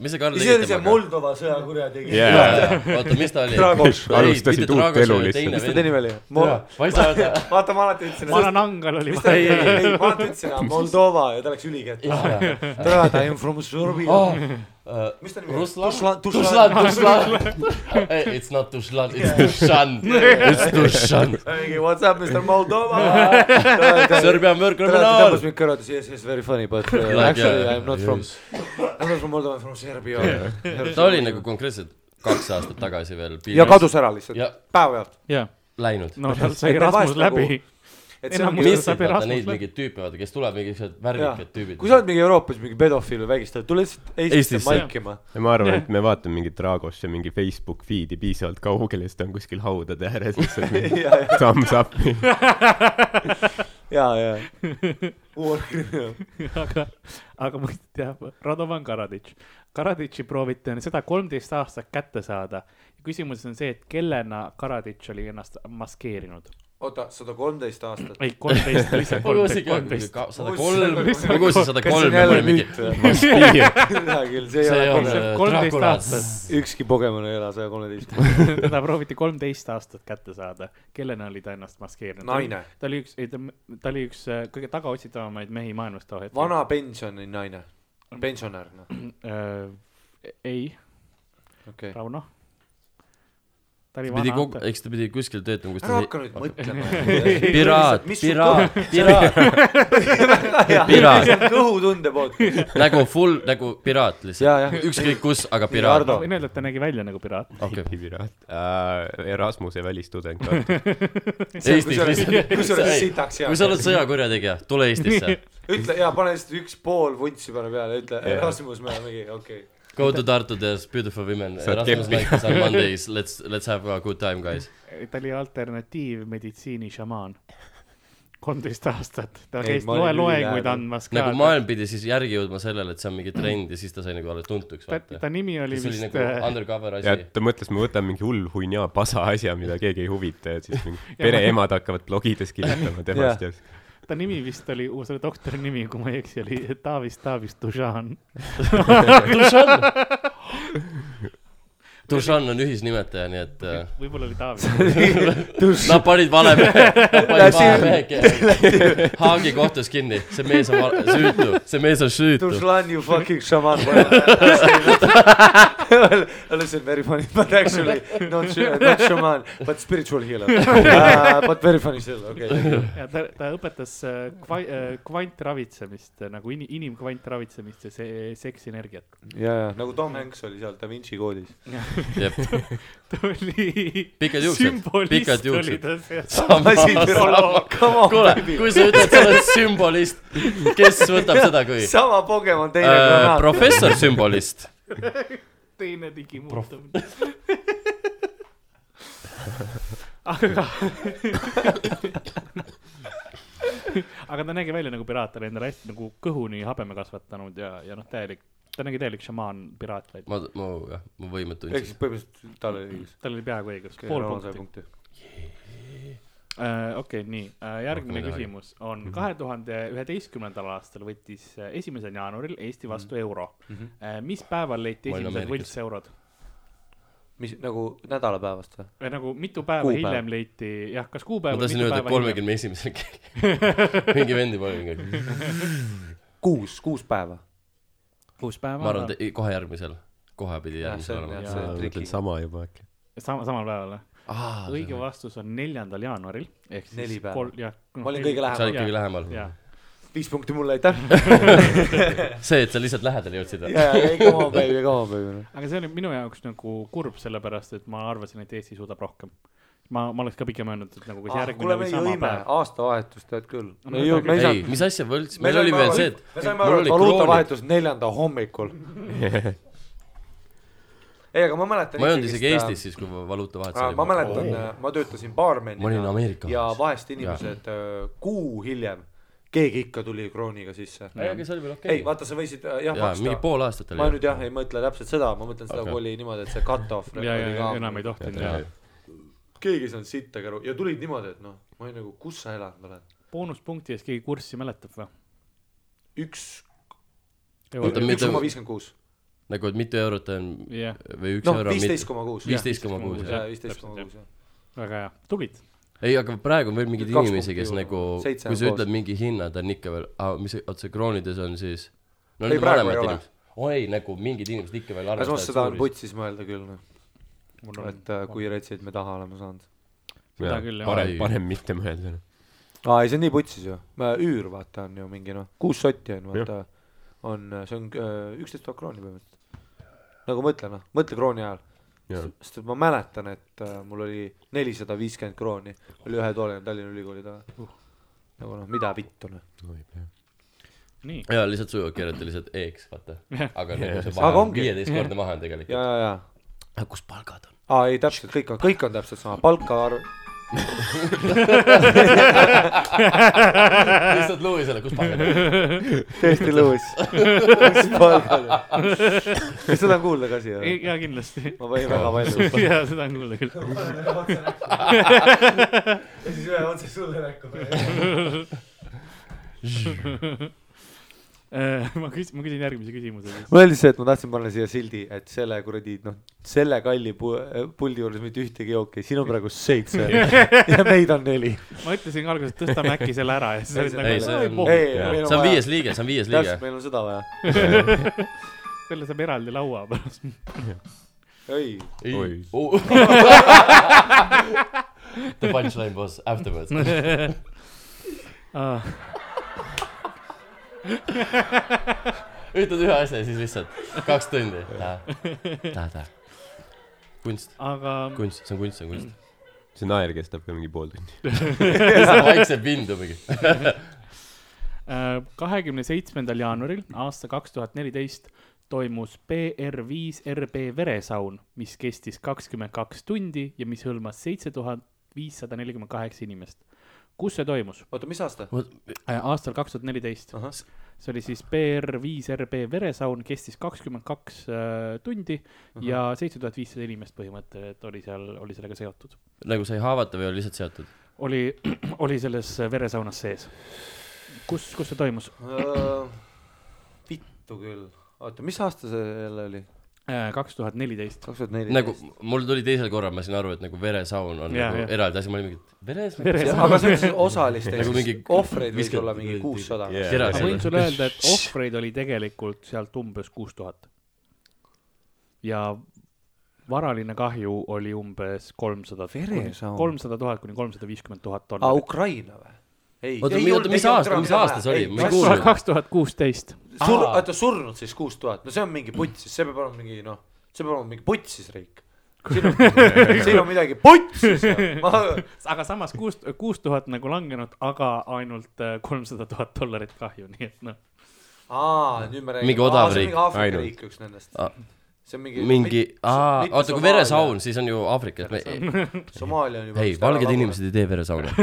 S4: mis see Karl
S5: see
S4: tegi
S5: oli see
S4: temaga ?
S5: Moldova sõjakurjategija
S3: Jaa.
S5: yeah. .
S4: oota , mis ta oli ?
S5: Dragoš.
S3: Alustasid uut elu
S5: mis
S3: lihtsalt.
S5: ta nimi oli ? vaata ,
S4: ma ei saa
S5: [laughs]
S4: öelda ,
S5: ma alati ütlesin , et
S2: Maranangal oli
S4: [laughs]
S5: mis ta
S2: vaja .
S5: nimi oli , ei ma alati ütlesin , et Moldova ja ta läks ülikett . tere , ta on from Serbia .
S4: Ah,
S5: mis ta nimi oli ?
S4: Ruslan?
S5: Ruslan ,
S4: Tušlan ,
S5: Ruslan .
S4: Tušlan . It's not Tušlan , it's Tušan . It's Tušan .
S5: mingi what's up , Mr
S4: [laughs]
S5: Moldova .
S4: Serbia on
S5: tere , ta
S4: võõrkriminaal
S5: tõmbas . mind kõrvades , yes , yes , very funny , but uh,
S4: Like,
S5: actually
S4: yeah,
S5: I am not from
S4: yes. ,
S5: I am not from Moldova , I am from Serbia .
S4: ta oli nagu konkreetselt kaks aastat tagasi veel .
S5: ja . kadus ära lihtsalt ,
S4: ja
S5: päevapealt .
S2: jah ,
S4: läinud .
S2: no tal sai
S5: Et ta nagu.
S2: Rasmus
S5: vahest
S2: läbi .
S5: et see
S2: Enam
S5: ongi ,
S2: ei-
S4: mis
S2: saab
S4: vaata
S2: Erasmus
S4: neid
S2: läbi.
S4: mingeid tüüpe , vaata , kes tuleb mingi siuksed värvikad tüübid .
S5: kui sa oled mingi Euroopas mingi pedofiil või vägistaja , tule lihtsalt Eestisse
S4: Eestisse.
S5: maikima .
S3: ja ma arvan , et me vaatame mingit Dragosse mingi Facebook feed'i piisavalt kaugele , siis ta on kuskil haudade [laughs] ääres lihtsalt mingi
S5: ja , ja ,
S3: thumbs [laughs] up .
S5: ja , ja . uus kriminaal .
S2: [laughs] aga , aga mõisteti jah , Radovan Karadžić . Karadžići prooviti enne seda kolmteist aastat kätte saada . küsimus on see , et kellena Karadžić oli ennast maskeerinud ?
S5: oota , sada kolmteist aastat .
S2: ei , kolmteist , lihtsalt
S4: ma kuulsin
S2: kolmteist ,
S4: ka
S2: kolmteist .
S4: sada kolm , ma kuulsin sada
S5: kas see
S4: kolm ja
S5: on
S4: ma
S5: jälle
S4: olin [laughs] mingi ,
S5: müüt või ? hea küll , see
S4: see
S5: ei
S4: on
S5: ole .
S4: äh,
S2: 13
S4: Dracula .
S2: aastat.
S5: ükski Pokemon ei ela saja kolmeteist .
S2: [laughs] teda prooviti kolmteist aastat kätte saada , kellena oli ta ennast maskeerinud ?
S5: Naine. .
S2: ta oli üks , ei ta , ta oli üks äh, kõige tagaotsitavamaid mehi maailmas too hetk .
S5: vana pensioni naine , pensionär , noh ,
S2: äh, . ei ,
S5: okei okay. .
S2: Rauno . ta oli
S4: ta pidi
S2: vana
S4: kogu ,
S2: kogu... .
S4: eks ta pidi kuskil töötama , kus
S5: ära
S4: ta
S5: hakka nüüd mõtlema .
S4: piraat , piraat , piraat , piraat ,
S5: piraat . kõhutunde poolt .
S4: nagu full , nagu piraat
S5: Jaa,
S4: lihtsalt
S5: jah. ,
S4: ükskõik kus , aga
S5: Piraat.
S4: piraat .
S2: ma võin öelda , et ta nägi välja nagu piraat .
S4: okei ,
S3: piraat äh, , Erasmuse välistudeng ka .
S4: Eestis lihtsalt .
S5: [laughs] kusjuures sitaks
S4: kui sa
S5: hea .
S4: oled sõjakurjategija , tule Eestisse ,
S5: [laughs] ütle ja pane lihtsalt üks pool vuntsi peale peale , ütle Erasmus me oleme mingi , okei . [laughs]
S4: go to Tartu , there's beautiful women ,
S3: Sa oled
S4: Erasmus
S3: keppi.
S4: Nights on Mondays , let's , let's have a good time guys .
S2: ta oli alternatiivmeditsiini šamaan . kolmteist aastat , ta
S5: Ei,
S2: käis
S5: ma olin
S2: loe loenguid
S5: ülihäädel.
S2: andmas ka
S4: nagu . maailm pidi siis järgi jõudma sellele , et see on mingi trend ja siis ta sai nagu alles
S2: Mhm.
S4: tuntuks ,
S2: ta ,
S4: vaata
S2: ta . nimi oli
S4: see oli
S2: vist
S4: nagu
S2: äh,
S4: undercover
S3: ja
S4: asi .
S3: ta mõtles , ma võtan mingi hull hunnia pasa asja , mida keegi ei huvita ja siis mingi pereemad hakkavad blogides kirjutama temast ja
S2: ta nimi vist oli , selle doktori nimi , kui ma ei eksi , oli Tavis Tavis Dužan .
S4: Dušan . Dušan on ühisnimetaja , nii et äh,
S2: võib-olla oli
S4: [laughs]
S2: Taavis .
S4: nad panid vale
S2: [laughs]
S4: mehe , nad panid vale mehe ke- Haagi kohtus kinni , see mees on val- süütu , see mees on süütu .
S5: Tushlan you fucking
S2: [laughs]
S5: shaman . [laughs] Listen very funny but actually not sh- not shaman but spiritual
S2: [laughs]
S5: healer uh, . But very funny still okei okay. .
S2: ja ta , ta õpetas äh, kva- , kvantravitsemist nagu in, inimkvantravitsemist ja see [laughs] seksenergiat .
S5: ja , ja nagu Tom Hanks oli seal Da Vinci [laughs] koodis .
S2: ta oli .
S4: Pikad juuksed, pikad
S2: sümbolist oli
S4: juuksed.
S2: ta seal .
S4: kuule
S5: kuule ,
S4: kui sa ütled , sa oled sümbolist , kes võtab seda kui
S5: sama Pokemon teine
S4: äh,
S5: granaat .
S4: professor sümbolist ?
S2: teine digimuutumine . [laughs] aga aga ta nägi välja nagu piraat , ta oli endale hästi nagu kõhuni habeme kasvatanud ja , ja noh , täielik , ta nägi täielik šamaan piraat välja .
S4: ma , ma , jah , ma võimet
S5: ehk
S4: tundsin
S5: siis . põhimõtteliselt tal oli õigus .
S2: tal oli peaaegu õigus , pool punkti . okei , nii , järgmine
S4: Rohkem ei tahagi.
S2: küsimus on kahe tuhande üheteistkümnendal aastal võttis äh, esimesel jaanuaril Eesti vastu euro . mis päeval leiti
S4: Ma olin
S2: esimesed
S4: Ameerikas.
S2: võltseurod ?
S5: mis nagu nädalapäevast või ?
S2: või nagu mitu päeva
S5: Kuupäev.
S2: Kuupäev. hiljem leiti , jah , kas kuupäev
S4: ma tahtsin öelda kolmekümne
S2: [laughs]
S4: esimesel kell . mingi vendi kolmekümne ,
S5: kuus , kuus päeva .
S2: kuus päeva .
S4: ma arvan , et kohe järgmisel , kohe pidi
S5: Jah, see
S4: järgmisel
S5: on
S4: olema
S5: jah ,
S2: Jaa,
S5: see on
S3: mõtlen
S5: triki .
S3: sama juba äkki .
S2: sama , samal päeval või ?
S4: ah, .
S2: õige vastus on neljandal jaanuaril ehk siis
S5: Neli päeva.
S2: kol- , jah .
S5: ma olin kõige
S4: sa olid
S5: lähemal .
S4: ikkagi lähemal .
S2: jah ,
S5: viis punkti mulle , [laughs] aitäh .
S4: see , et sa lihtsalt lähedale jõudsid .
S5: ja , ja , ei , come on baby , come on baby .
S2: aga see oli minu jaoks nagu kurb , sellepärast et ma arvasin , et Eesti suudab rohkem . ma , ma oleks ka pigem öelnud , et nagu kas
S5: Ah,
S2: järgmine
S5: kuule , me
S2: või sama
S5: jõime
S2: päev .
S5: aastavahetust , tead küll .
S2: No
S5: me ei jõudnud , me ei
S4: ei ,
S5: saanud .
S4: mis asja võlts , meil oli veel see , et
S5: me saime aru , et
S4: kroonid ,
S5: valuutavahetus neljanda
S4: [laughs]
S5: hommikul . ei , aga ma mäletan .
S4: ma ei olnud isegi Eestis . siis , kui valuutavahetus oli .
S5: ma mäletan , ma töötasin baarmenina .
S4: ma olin Ameerikas .
S5: ja vahest inimesed öö, kuu hiljem , keegi ikka tuli krooniga sisse .
S4: ei , aga see oli veel okei
S5: ei ,. vaata , sa võisid äh, jah
S4: jaa , mingi
S5: maksta .
S4: pool aastat
S5: ma
S4: oli
S5: nüüd . jah ei mõtle täpselt seda , ma mõtlen seda
S4: Okei.
S5: okay. , kui oli niimoodi , et see cut-off
S2: ja , ja ,
S5: oli
S2: ja enam
S5: ka .
S2: ei tohtinud ja .
S5: keegi ei saanud sittagi aru ja tulid niimoodi , et noh , ma olin nagu , kus sa elad , ma olen
S2: boonuspunkti ees keegi kurssi mäletab või ?
S5: üks ,
S4: Oota,
S2: jah ,
S4: mi-
S5: üks
S4: mida-
S5: koma viiskümmend kuus .
S4: nagu , et mitu eurot on või üks
S5: noh ,
S4: euro on
S5: viisteist koma kuus .
S4: viisteist koma kuus , jah .
S5: jaa , viisteist koma kuus , jah .
S2: väga hea , tublid .
S4: ei , aga praegu on veel mingeid
S5: Nüüd kaks
S4: inimesi , kes
S5: punkti
S4: nagu ,
S5: juurde.
S4: kui
S5: Seitse on
S4: sa
S5: koos.
S4: ütled mingi hinna , ta on ikka veel , mis , oot see kroonides on siis . no
S5: Ei,
S4: need on
S5: praegu
S4: vanemad
S5: ei ole.
S4: inimesed . oi , nagu mingid inimesed ikka veel
S5: aga samas
S4: arvestavad .
S5: seda on putsis mõelda küll , noh ,
S2: mul on
S5: et äh, kui retsid me taha oleme saanud .
S2: Seda küll, jah.
S3: parem
S4: Ai. ,
S3: parem mitte mõelda . noh.
S5: aa , ei see on nii putsis ju , üür vaata on ju mingi noh , kuus sotti on vaata , on , see on äh, üksteist tuhat krooni põhimõtteliselt . nagu mõtle noh , mõtle krooni ajal , sest et ma mäletan , et äh, mul oli nelisada viiskümmend krooni , oli ühe toolina Tallinna Ülikooli
S4: Uh.
S5: taga . nagu noh , mida vittu noh .
S2: nii ,
S4: jaa , lihtsalt sujuvalt kirjuta lihtsalt E-ks , vaata . aga nagu see
S5: Aga
S4: vahe on
S5: ongi.
S4: viieteistkordne vahe on tegelikult .
S5: ja , ja , ja ,
S4: aga kus palgad on ?
S5: aa ei täpselt kõik on , kõik on täpselt sama , palka [laughs] arv ,
S4: lihtsalt Lewisele , kus palgad on ?
S5: täiesti lõõs . kas seda on kuulda ka siia ?
S2: E, ja
S5: [laughs]
S2: kindlasti .
S5: ma panin väga palju .
S2: ja seda on kuulda küll . [laughs]
S5: ja siis ühe otse sulle näkku .
S2: Äh, ma küsin , ma küsin järgmise küsimuse siis .
S5: mul oli see , et ma tahtsin panna siia sildi , et selle kuradi noh , selle kalli pu- , puldi juures mitte ühtegi jooki , siin on praegu [laughs] seitse ja meid on neli .
S2: ma ütlesin ka alguses , et tõstame äkki selle ära ja siis olid
S4: Ei,
S2: nagu ,
S4: see
S2: ei
S4: on-
S2: pohhu ,
S4: see on viies liige , see on viies liige
S5: täpselt ,. meil on seda vaja .
S2: selle saab eraldi laua pärast .
S5: ei ,
S3: Oi.
S4: Oh. [laughs] The punchline was afterwards .
S2: Ah,
S4: [laughs] ütled ühe asja ja siis lihtsalt kaks tundi . kunst ,
S2: aga
S4: kunst , see on kunst , see on kunst .
S3: see naer kestab ka mingi pool tundi .
S4: vaikselt vindumegi .
S2: äh, kahekümne seitsmendal jaanuaril aasta kaks tuhat neliteist toimus PR5 RB veresaun , mis kestis kakskümmend kaks tundi ja mis hõlmas seitse tuhat viissada nelikümmend kaheksa inimest . kus see toimus ?
S5: oota , mis aasta ?
S2: aastal kaks tuhat neliteist . see oli siis PR5 RB veresaun , kestis kakskümmend kaks äh, tundi ja seitse tuhat viissada inimest põhimõtteliselt oli seal , oli sellega seotud .
S4: nagu sai haavata või oli lihtsalt seotud ?
S2: oli , [clears throat] oli selles veresaunas sees . kus , kus see toimus ?
S5: Äh, vittu küll , oota , mis aasta see jälle oli ?
S2: Äh, kaks tuhat neliteist .
S5: kaks tuhat neli .
S4: nagu mul tuli teisel korral , ma sain aru , et nagu veresaun on
S2: Jaa,
S4: nagu
S2: jaa.
S4: eraldi asi , ma olin mingi , et veres
S2: [laughs] Veres- ?
S5: aga see on siis osaliste
S4: Nagu mingi
S5: ohvreid võis
S4: viiskümmend-
S5: olla mingi kuussada .
S3: Yeah.
S4: keras
S2: ma võin sulle öelda , et ohvreid oli tegelikult sealt umbes kuus tuhat . ja varaline kahju oli umbes kolmsada ,
S5: Veresaun.
S2: kolmsada tuhat kuni kolmsada viiskümmend tuhat
S5: aa ,
S2: dollarit .
S5: Ukraina või ? ei
S4: Oota, mi- oota, mis aasta- mis aasta see oli? Ma ei kuulnud.
S2: kaks tuhat kuusteist .
S5: sur- , oota surnud siis kuus tuhat , no see on mingi putsis , see peab olema mingi noh , see peab olema mingi putsis riik .
S4: [laughs]
S5: siin on , siin on midagi putsis ja ma ,
S2: [laughs] aga samas kuus , kuus tuhat nagu langenud , aga ainult äh, kolmsada tuhat dollarit kahju , nii et noh .
S5: [laughs] aa nüüd me räägime .
S4: Mingi odav riik,
S5: mingi Aafrika
S3: ainult.
S5: riik üks nendest .
S4: Aa.
S5: see on mingi .
S4: mingi , aa , oota , kui veresaun ,. siis on ju Aafrikas . ei ,
S5: Somaalia on juba .
S4: valged . inimesed ei tee
S5: [laughs]
S4: veresauna .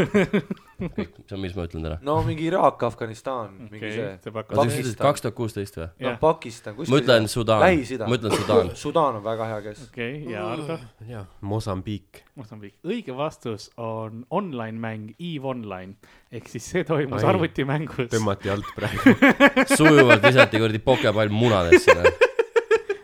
S4: see on , mis ma ütlen täna .
S5: no mingi Iraak , Afganistan , mingi
S2: Okei,
S5: see
S2: see . pakub-
S4: oota , sa ütlesid
S5: Pakistan ,
S4: kaks tuhat kuusteist või ?
S5: noh
S2: jah.
S5: Pakistan , kuskil .
S4: ma ütlen Sudaan ,
S5: Lähis-Ida .
S4: ma ütlen Sudaan .
S5: Sudaan on väga hea keskus .
S2: okei okay, , ja Ardo ,
S3: jaa , Mosambiik .
S2: Mosambiik . õige vastus on online-mäng EVE Online ehk siis see toimus
S3: Ai.
S2: arvutimängus .
S3: tõmmati alt praegu .
S4: sujuvalt visati kuradi pokepall munadesse .
S5: [laughs]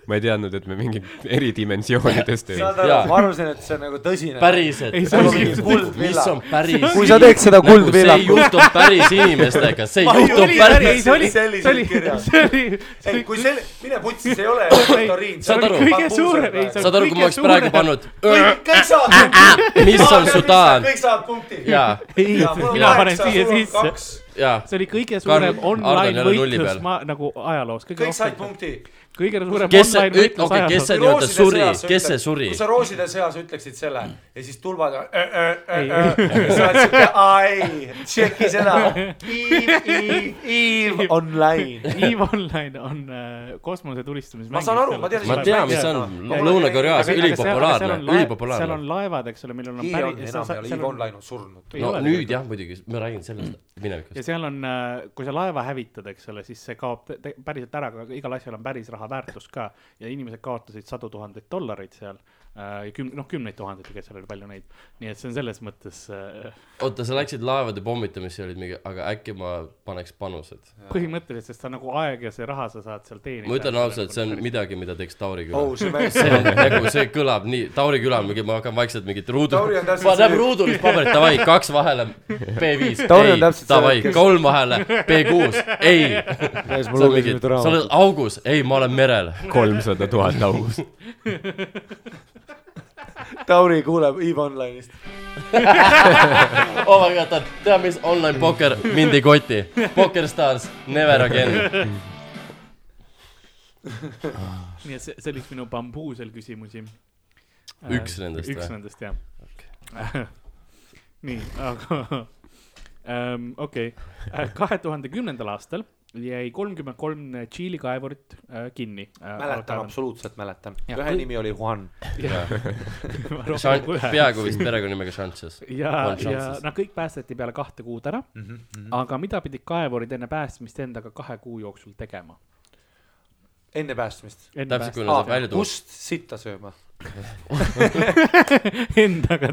S3: ma ei teadnud , et me mingit eridimensioonidest ei
S5: saad aru
S4: Jaa. ,
S5: ma arvasin , et see on nagu tõsine .
S4: päriselt .
S2: Ei, see on mingi
S5: kuldvilla.
S4: mis on päris .
S5: Kui sa teeks
S3: Nagu
S5: seda kuldvilla-
S4: see ei juhtu päris inimestega , see ei
S2: See
S4: juhtu
S2: oli-
S4: päris .
S2: see oli , see oli ,
S5: selliselt
S2: see oli ,
S5: kirjas.
S2: see oli ,
S5: ei , kui selle , mine putsi , see ei ole viktoriin .
S4: saad aru?
S2: kõige suurem- ei, see on-
S4: saad aru , kui ma oleks praegu pannud ,
S5: kõik , kõik
S4: Ah,
S5: saavad punkti .
S4: mis on Sudaan
S5: kõik saavad punkti .
S4: ja ,
S2: ei , mina panen siia sisse .
S4: ja
S2: see oli kõige suurem
S4: Karl- Ardo
S2: online
S4: on jälle nulli
S2: võitlus
S4: peal.
S2: ma nagu ajaloos , kõige
S5: kõik said
S2: rohkem ,
S5: punkti .
S2: kõige suurem
S4: kes see ,
S2: online võitlus
S4: okei , kes
S2: ajaloos .
S4: see Noh, nii-öelda suri , kes see suri
S5: kui ? sa rooside seas ütleksid selle ja siis tulvad . äh, sa oled siuke , ai , tšeki seda . Eve , Eve , Eve online .
S2: EVE Online on äh, kosmose tulistamismäng .
S5: ma saan aru , ma tean .
S4: Ma tean, mis see on.
S2: Noh, aga- aga
S4: Lõuna-Koreas
S2: seal-
S4: ülipopulaarne,
S2: aga seal on lae-
S4: ülipopulaarne.
S2: seal on laevad , eks ole , millel on
S5: Eve on
S2: päris ,
S5: enam , Eve online on surnud .
S4: no nüüd jah , muidugi , ma räägin sellest minevikust
S2: ja . seal on , kui sa laeva hävitad , eks ole , siis see kaob te- te- päriselt ära , aga igal asjal on päris raha väärtus ka ja inimesed kaotasid sadu tuhandeid dollareid seal äh, ja küm- , noh , kümneid tuhandeid , ega seal oli palju neid , nii et see on selles mõttes äh,
S4: oota , sa läksid laevade pommitamisse ja olid mingi , aga äkki ma paneks panused .
S2: põhimõtteliselt , sest sa nagu aeg ja see raha sa saad seal teenida .
S4: ma ütlen
S2: nagu
S4: ausalt , see on . midagi , mida teeks Tauri küla
S5: oh ,
S4: oh, .
S5: [laughs] see mäng .
S4: see on nagu , see kõlab nii , Tauri küla on mingi , ma hakkan vaikselt mingit ruudu
S5: Tauri on , täpselt
S4: paneb
S5: see-
S4: ruudulist paberit , davai , kaks vahele , B5 ,
S5: Tauri on
S4: ei
S5: täpselt , see,
S4: davai ,
S5: kes-
S4: kolm vahele , B6 , ei . sa oled mingi , sa oled augus , ei , ma olen merel .
S3: kolmsada tuhat august .
S5: Tauri kuuleb Eve online'ist .
S4: oh my god , ta teab , mis online pokker mind ei koti . Pokker Stars , never again .
S2: nii et see , see oli üks minu bambuusel küsimusi . Äh,
S4: Üks nendest
S2: üks
S4: või?
S2: nendest jah [laughs] nii , aga ähm, okei okay. , kahe tuhande kümnendal aastal jäi kolmkümmend kolm Tšiili kaevurit äh, kinni äh, .
S5: mäletan ,. absoluutselt mäletan .
S2: Ja
S5: ühe
S2: kui-
S5: nimi oli Juan .
S4: peaaegu vist perekonnanimega Chances .
S2: ja
S4: on ,
S2: ja
S4: chances.
S2: nad kõik päästeti peale kahte kuud ära mm , -hmm. aga mida pidid kaevurid enne päästmist endaga kahe kuu jooksul tegema ?
S5: enne päästmist .
S4: täpselt , kui
S2: [laughs] Endaga
S4: nad välja tulid .
S5: kust sitta sööma ?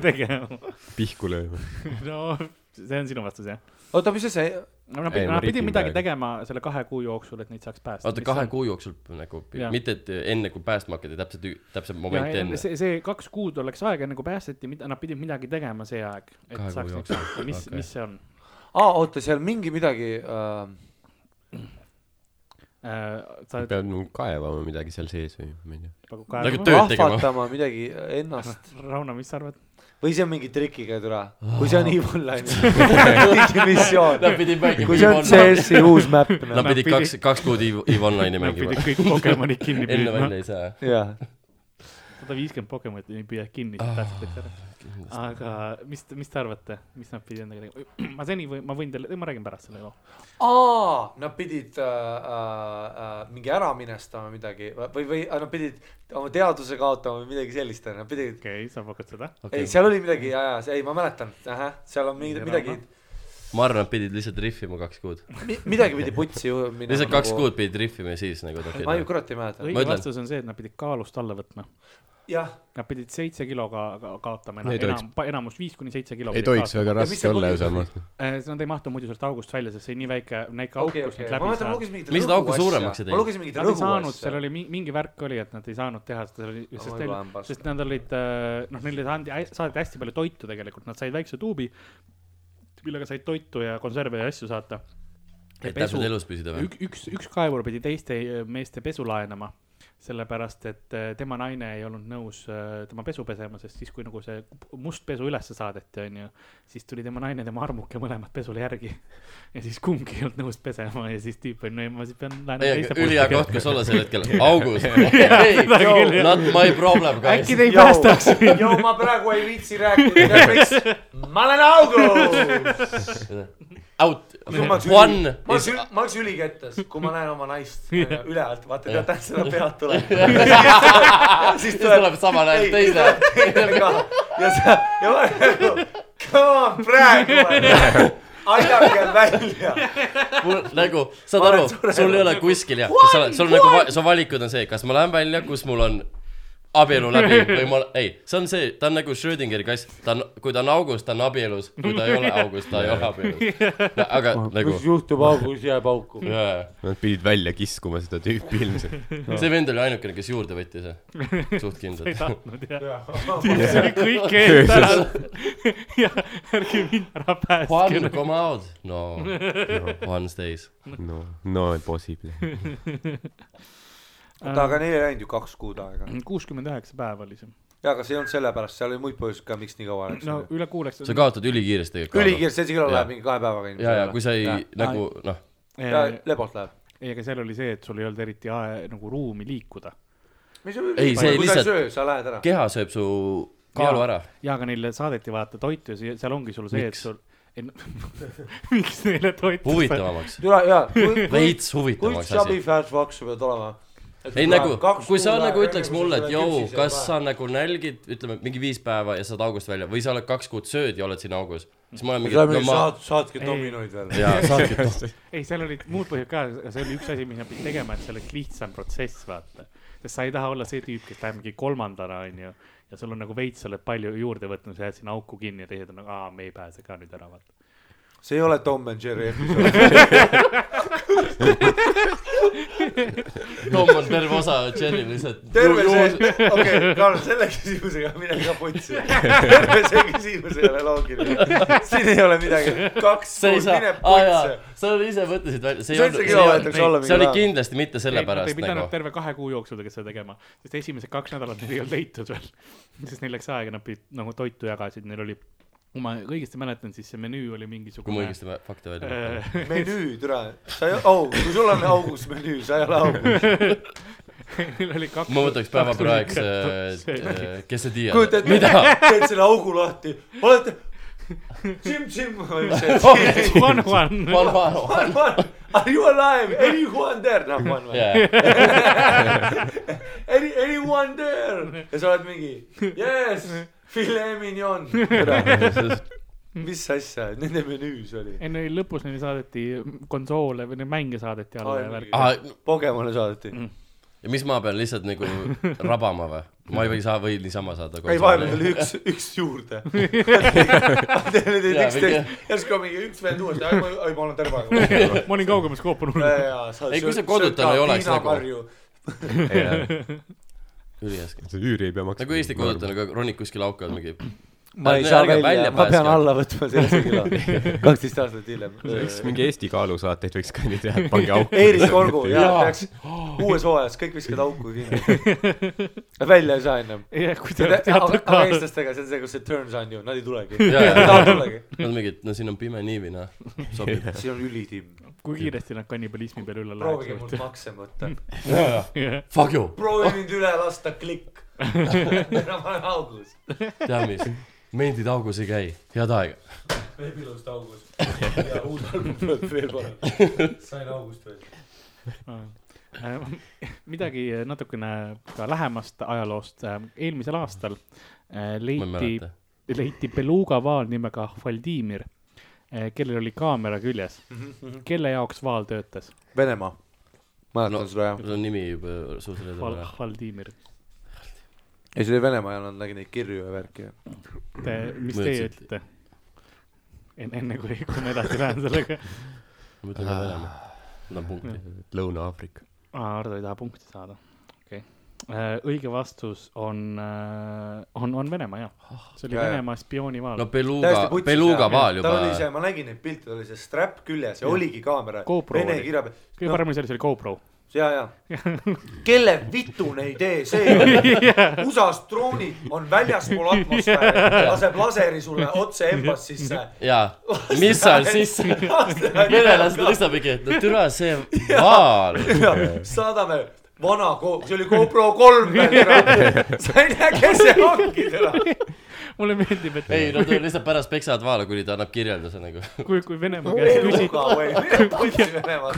S2: tegema ,
S3: pihku lööma .
S2: no see on sinu vastus jah ?
S5: oota , mis see see ,
S2: no nad
S3: Ei,
S2: pidid ,
S3: ma
S2: nad pidid
S3: rikin
S2: midagi
S3: praegu.
S2: tegema selle kahe kuu jooksul , et neid saaks päästa .
S4: oota , kahe kuu jooksul nagu
S2: Jaa. ,
S4: mitte et enne kui päästma hakati , täpselt , täpselt
S2: ja
S4: moment
S2: ei,
S4: enne .
S2: see , see kaks kuud oleks aega , enne kui päästeti , mida nad pidid midagi tegema see aeg , et
S4: Kahe kuu
S2: saaks neid
S4: jooksul.
S2: päästa , mis okay. ,
S4: Okei.
S2: mis see on ?
S5: aa , oota , seal mingi midagi äh, .
S2: sa
S3: peab nagu kaevama midagi seal sees või ma ei tea .
S2: pakub
S4: Nagu
S2: kaevama ?
S4: tööd tegema.
S5: rahvatama midagi ennast
S2: Rauno , mis sa arvad ?
S5: või see on mingi trikiga türa , kui see on Evil Line'i [laughs] mingi missioon ,
S4: Nad pidid mängima .
S5: kui see on CS-i uus mäpp , noh
S4: Nad pidid
S2: Nad
S4: kaks , kaks kuud Eve , Eve Online'i
S2: Nad pidid
S4: mängima .
S2: kõik Pokemonid kinni
S4: [laughs] enne
S2: püüdma
S4: välja . ei saa .
S5: jah ,
S2: sada viiskümmend Pokemoni püüad kinni ,
S4: Ah,
S2: siis tahetakse ära . aga mis , mis te arvate , mis nad pidid endaga tegema ? [clears throat] ma seni või ma võin teile , ma räägin pärast selle loo .
S5: aa , nad pidid äh, äh, äh, mingi ära minestama midagi või , või äh, nad pidid oma teaduse kaotama või midagi sellist , nad pidid ,
S2: okei okay, , sa pakud seda .
S5: ei , seal oli midagi , jaa , jaa , ei , ma mäletan , ahah , seal on mingi midagi ,
S4: ma arvan , nad pidid lihtsalt rihvima kaks kuud .
S5: midagi pidi putsi ju minema .
S4: lihtsalt kaks kuud pidid rihvima ja siis nagu nad
S5: ma ei ,
S4: tegid .
S5: kurat ei mäleta .
S2: õige
S4: ütlen.
S2: vastus on see , et nad pidid kaalust alla võtma .
S5: jah ,
S2: Nad pidid seitse kilo ka, ka kaotama
S3: Ei
S2: enam ,
S3: tohiks.
S2: enam , enamus viis kuni seitse kilo .
S3: ei tohiks väga
S5: Ja mis
S3: raske
S5: see
S3: olla
S5: põhjus
S3: ju seal
S5: oli?
S3: maas .
S2: Nad ei mahtu muidu sellest august välja , sest see on nii väike , väike auk ,
S5: okei ,
S2: kus
S5: okei ,
S2: nad
S5: ma
S2: läbi
S5: mäletan , ma
S2: saavad .
S5: lugesin mingit
S4: Mis seda auku suuremaks ei
S5: ma
S4: teinud?
S5: lugesin mingit
S2: Nad ei saanud , seal
S5: rõhuasja .
S2: oli mi- mingi värk oli , et nad ei saanud teha seda , oli ,
S5: Ah,
S2: sest
S5: võib-olla
S2: neil
S5: on , pask.
S2: sest nad olid , noh , neile andi , saadeti hästi palju toitu tegelikult , nad said väikse tuubi , millega said toitu ja konserve ja asju saata .
S4: et täpselt elus püsida või ?
S2: Ük, üks , üks kaevur pidi teiste äh, meeste pesu laenama , sellepärast et äh, tema naine ei olnud nõus äh, tema pesu pesema , sest siis , kui nagu see must pesu ülesse saadeti , onju , siis tuli tema naine , tema armuke mõlemad pesule järgi . [laughs] ja siis kumbki ei olnud nõus pesema ja siis tüüp on , no ei, ma siis pean laenama
S4: ei ,
S2: teiste
S4: ülihea koht , kus olla sel
S2: [laughs]
S4: hetkel , augus .
S2: küll, jah.
S4: Not my problem , guys
S2: äkki . te ei päästaks mind .
S5: Jou , ma praegu ei viitsi rääkida , miks , ma olen
S2: [laughs]
S5: augus .
S4: Out .
S5: ma oleks
S4: One
S5: ma
S4: is
S5: oleks , ma oleks ülikettas , kui ma näen oma naist
S4: [laughs]
S5: üle alt , vaata , tead , seda pead tuleb . [laughs] siis
S4: siis tuleb sama näol teise .
S5: teine ka [laughs] ja sa , ja ma nagu , come on praegu , aidake välja . [laughs]
S4: mul nagu , saad
S5: Ma olen
S4: aru ,
S5: nagu- surenud.
S4: sul ei ole kuskil jah , sul on , sul on nagu , su valikud on see , kas ma lähen välja , kus mul on abielu läbi
S5: [laughs]
S4: või ma , ei , see on see , ta on nagu Schrödingeri kass , ta on , kui ta on augus , ta on abielus , kui ta ei
S5: [laughs]
S4: ole augus , ta ei ole abielus . aga nagu ,
S5: juhtub augus , jääb
S4: [laughs]
S5: auku .
S3: Nad pidid välja kiskuma seda tüüpi ilmselt .
S4: see vend oli ainukene , kes juurde võttis ,
S5: [laughs]
S4: suht kindlalt .
S2: tahtnud jah , [laughs] see oli kõik eest ära . [laughs] ja ärge mind ära päästke
S4: One , come out ,
S5: [laughs]
S4: no, no. , one stays .
S3: no , no impossible .
S5: oota , aga neil ei läinud ju kaks kuud aega .
S2: kuuskümmend üheksa päeva oli see ,
S5: jaa , aga see ei olnud sellepärast , seal oli muid põhjuseid ka , miks nii kaua läks
S2: no
S5: no, .
S2: üle kuuleks .
S4: sa kaotad ülikiiresti tegelikult .
S5: ülikiirelt , see isegi
S4: Jaa.
S5: läheb mingi kahe päevaga
S4: ja , ja kui sa ei nagu noh ,
S5: ja lebalt läheb .
S2: ei , aga seal oli see , et sul ei olnud eriti ae, nagu ruumi liikuda .
S4: Ei, see
S5: kui sa ei
S4: lihtsalt-
S5: söö , sa lähed ära .
S4: keha sööb su kaalu ära .
S2: ja , aga neile saadeti vaata toitu ja see- seal ongi sul see , et
S4: Miks?
S2: sul , ei no [laughs] miks neile toitu .
S4: huvitavamaks ,
S5: türa , jaa .
S4: veits
S5: kui
S4: huvitavamaks asi
S5: sabi . fast vaksu pead olema .
S4: ei nagu , kui sa nagu ütleks mulle , et jõu , kas sa nagu nälgid , ütleme mingi viis päeva ja saad august välja või sa oled kaks kuud sööd ja oled siin augus , siis ma olen mingi ,
S5: saad
S4: no , ma ,
S5: saad , saadki
S2: Ei.
S5: dominoid veel . [laughs]
S4: jaa , saadki tohtu .
S2: ei , seal olid muud põhjused ka , aga see oli üks asi , mis nad pidid tegema , et see oleks lihtsam protsess , vaata . sest sa ei taha olla see tüüp , kes läheb mingi kolmandana , onju , ja sul on nagu veits , sa oled palju juurde võtnud , sa jääd sinna auku kinni ja teised on nagu , aa , me ei pääse ka nüüd ära , vaata .
S5: see ei ole Tom and Jerry episood .
S4: Tom on terve osa Jenny lihtsalt .
S5: [laughs] terve see , okei , Karl , selle küsimusega mine ka
S4: [laughs]
S5: putsi . terve see küsimus ei ole loogiline . siin ei ole midagi , kaks
S4: sa ei
S5: kuud ,
S4: saa
S5: mine ,
S4: aa jaa
S5: putsi .,
S4: sa ise mõtlesid välja , see ei
S5: Seitse
S4: olnud ,
S5: kilo
S4: see
S5: võetakse
S4: ei
S5: alla
S4: olnud ,
S5: mingi
S4: see oli
S5: päev.
S4: kindlasti mitte
S2: ei
S4: sellepärast
S2: pidanud
S4: nagu
S2: nagu... . terve kahe kuu jooksul tegelikult seda tegema , sest esimesed kaks nädalat neil ei olnud leitud veel . sest neil läks aega , nad pidid nagu toitu jagasid , neil oli , kui ma õigesti mäletan , siis see menüü oli mingisugune .
S4: kui ma õigesti mä- fakte välja mõtlen .
S2: äh,
S5: menüü , türa , sa ei , au , kui sul on augus menüü , sa ei ole augus .
S2: neil oli kaks .
S4: ma võtaks äh, päevapraeks ,
S2: [laughs]
S4: kes see
S5: kujuta
S4: Tiia ,
S5: ette , teed selle augu lahti , olete tšim-tšim või mis see on .
S4: [laughs]
S2: One one .
S4: Juan Vano . [laughs]
S5: Juan , Juan , are you alive ? Anyone there ? noh , Juan või ?
S4: [laughs]
S5: Any , anyone there ? ja sa oled mingi yes , filee
S4: [laughs]
S5: mignon . mis asja , nende menüüs oli ?
S4: Mm.
S2: ei neil lõpus neile saadeti konsoole või neid mänge saadeti alla
S5: Ai,
S2: ja värk . [laughs]
S4: aa ,
S5: Pokemone saadeti .
S4: Mm. ja mis ma pean lihtsalt nagu rabama või ? ma ei või saa , või niisama saada .
S5: ei , vahepeal tuli üks , üks
S4: [laughs]
S5: juurde .
S4: Jaa,
S5: järsku on mingi üks vend uuesti , ai ma , ai ma olen
S4: [laughs]
S5: terve aeg .
S2: ma olin kaugemas koopanurgas .
S4: Ei, kui sa kodutana ei oleks nagu-
S5: nagu .
S4: üliäske .
S3: üüri ei pea maksma . Nagu
S4: nagu Eesti kodutuna , kui ronid kuskil auka , mingi
S5: ma ei
S4: Ärge-
S5: saa
S4: ärge
S5: välja
S4: välja ,
S5: ma pean
S4: pääske.
S5: alla võtma seitse
S4: [laughs]
S5: kilo , [laughs] kaksteist aastat hiljem .
S3: võiks mingi Eesti kaalusaateid võiks kandideerida ,
S5: [laughs]
S3: pange auku . [laughs]
S5: Eerik Orgu , jaa , peaks uues hooajas kõik viskad auku kinni . välja ei saa ennem .
S2: jah , kui te teate
S5: aga
S2: ka
S5: aga . eestlastega , see on see , kus see turns on ju , nad ei tulegi .
S4: Jaa, jaa.
S5: ei taha tulegi .
S4: Nad mingid , no siin on pime niivi , noh , sobib .
S5: siin on ülitimm .
S2: kui kiiresti nad kannibalismi peale üle
S5: proovige mult
S2: läheks .
S5: makse võtta .
S2: [laughs]
S4: Fuck you ,
S5: proovi mind üle lasta , klikk . enam olen augus ,
S4: tea mis , mendid augus ei käi , head aega .
S5: veebilust augus . [laughs] ja uus album tuleb veel parem . sain august veel .
S2: Äh, midagi natukene ka lähemast ajaloost . eelmisel aastal äh,
S4: ma ei
S2: leiti ,
S4: mäleta .
S2: leiti beluuga vaal nimega Hvaldimir , kellel oli kaamera küljes .
S5: Mhm,
S2: kelle jaoks vaal töötas ?
S5: Venemaa . mäletan
S4: No.
S5: seda jah .
S4: see on nimi juba suhteliselt edasi .
S2: Hvaldimir .
S5: ei , see oli Venemaa ja nad nägid neid kirju ja värki .
S2: Te , mis
S4: Ma
S2: teie
S4: ütlesin, et-
S2: ütlete ? enne , enne kui , kui ma edasi lähen sellega .
S4: ma ütlen ka Venemaa . võtan punkti .
S3: Lõuna-Aafrika .
S2: aa , Ardo ei taha punkti saada , okei okay. . õige vastus on , on , on Venemaa jah , see oli
S5: Jaa, jaa.
S2: Venemaa spioonivaal
S4: no
S2: no, .
S4: Beluga , Beluga vaal juba
S5: tal oli . see , ma nägin neid pilte , tal oli see strap küljes ja oligi kaamera .
S2: GoPro
S5: Vene
S2: oli.
S5: kirja peal .
S2: kõige no. parem oli see , see oli GoPro .
S5: ja ,
S2: [laughs]
S5: ja kelle vitune idee see on ? USA-s droonid on väljaspool
S2: [laughs]
S5: atmosfääri , laseb laseri sulle otse embas sisse .
S4: jaa ,
S5: [laughs]
S4: mis seal siis ,? venelased lihtsalt mingi , no türa see vaal .
S5: saadame vana , see oli GoPro kolm
S2: [laughs]
S5: veel ära , sa ei tea , kes see ongi täna .
S2: mulle meeldib , et
S4: ei , nad lihtsalt pärast peksavad vaala , kuni ta annab kirjelduse nagu .
S2: kui , kui Venemaa käest küsiti ,
S5: eluga või ,
S2: [laughs]
S5: mine putsi Venemaale .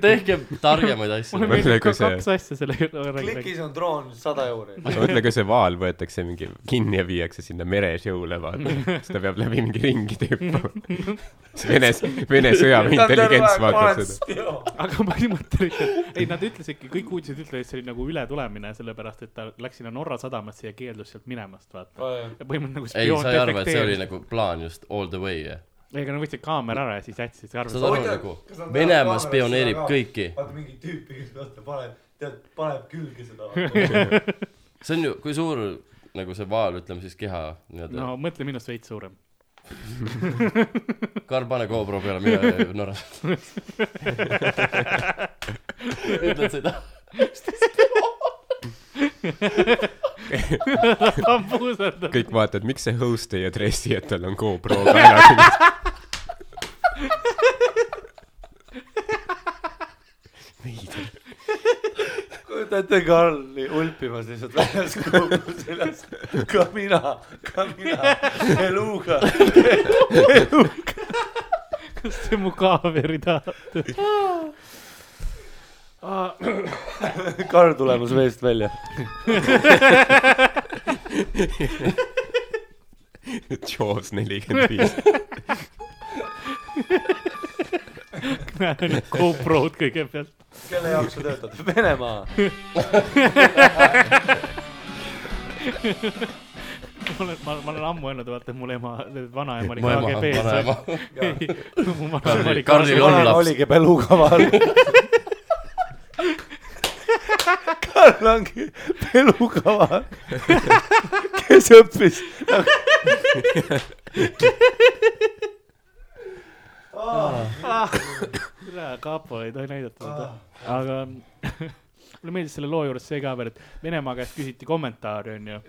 S4: tehke targemaid asju
S2: mulle
S4: no, .
S3: mõtlen,
S2: meeldib ka
S3: kui see-
S2: kaks asja selle juures .
S5: klikis on droon sada euri .
S3: ma mõtlen , kui see vaal võetakse mingi kinni ja viiakse sinna meresõule , vaata . siis ta peab läbi mingi ringi tüüpama .
S5: [laughs]
S3: Vene , Vene sõjaväe intelligents vaatab seda ..
S2: aga põhimõtteliselt , ei nad ütlesidki , kõik uudised ütlevad , et see oli nagu ületulemine , sellepärast et ta läks sinna Norra sadamasse ja keeldus sealt minemast , vaata . ja põhimõtteliselt nagu
S4: ei ,
S2: spioon
S4: sa ei arva , et see oli
S2: detekteeris .
S4: nagu plaan just all the way , jah ?
S2: ega nad võtsid kaamera ära ja siis jätsid ,
S4: saad
S2: arvasid ,
S4: aru nagu , Venemaa spioneerib kõiki .
S5: vaata mingi tüüpi , kes vaata paneb , tead , paneb külge seda .
S4: see on ju , kui suur nagu see vaal , ütleme siis keha nii-öelda
S2: no
S4: no. .
S2: mõtle minust veits suurem . [laughs]
S4: Karl , pane GoPro peale , mine Norra . ütled seda ?
S2: bambuuserdab .
S3: kõik vaatavad , miks see host ei adressi , et tal on GoPro kaelas .
S5: [laughs] kujuta ette Karli ulpimas lihtsalt väljas kuhugi seljas . ka mina , ka mina , eluga .
S2: kas te mu kaaveri tahate ?
S5: Karl tulemas veest välja .
S3: [laughs] Jaws nelikümmend viis .
S2: näen GoPro-d kõigepealt .
S5: kelle jaoks sa töötad ? Venemaa .
S2: ma olen , ma , ma olen ammu öelnud , vaata , et mul ema , vanaema oli
S4: mu ema ,
S2: KGB-s .
S4: vanaema .
S2: [laughs] mu vanaema oli KGB-s .
S4: Karli- Karlil on laps.
S5: oligi Beluga [laughs] vaal . Karl ongi Beluga
S3: [laughs]
S5: vaal , kes õppis .
S2: kapo ei tohi näidata seda . aga [laughs] mulle meeldis selle loo juures see ka veel , et Venemaa käest küsiti kommentaari , onju .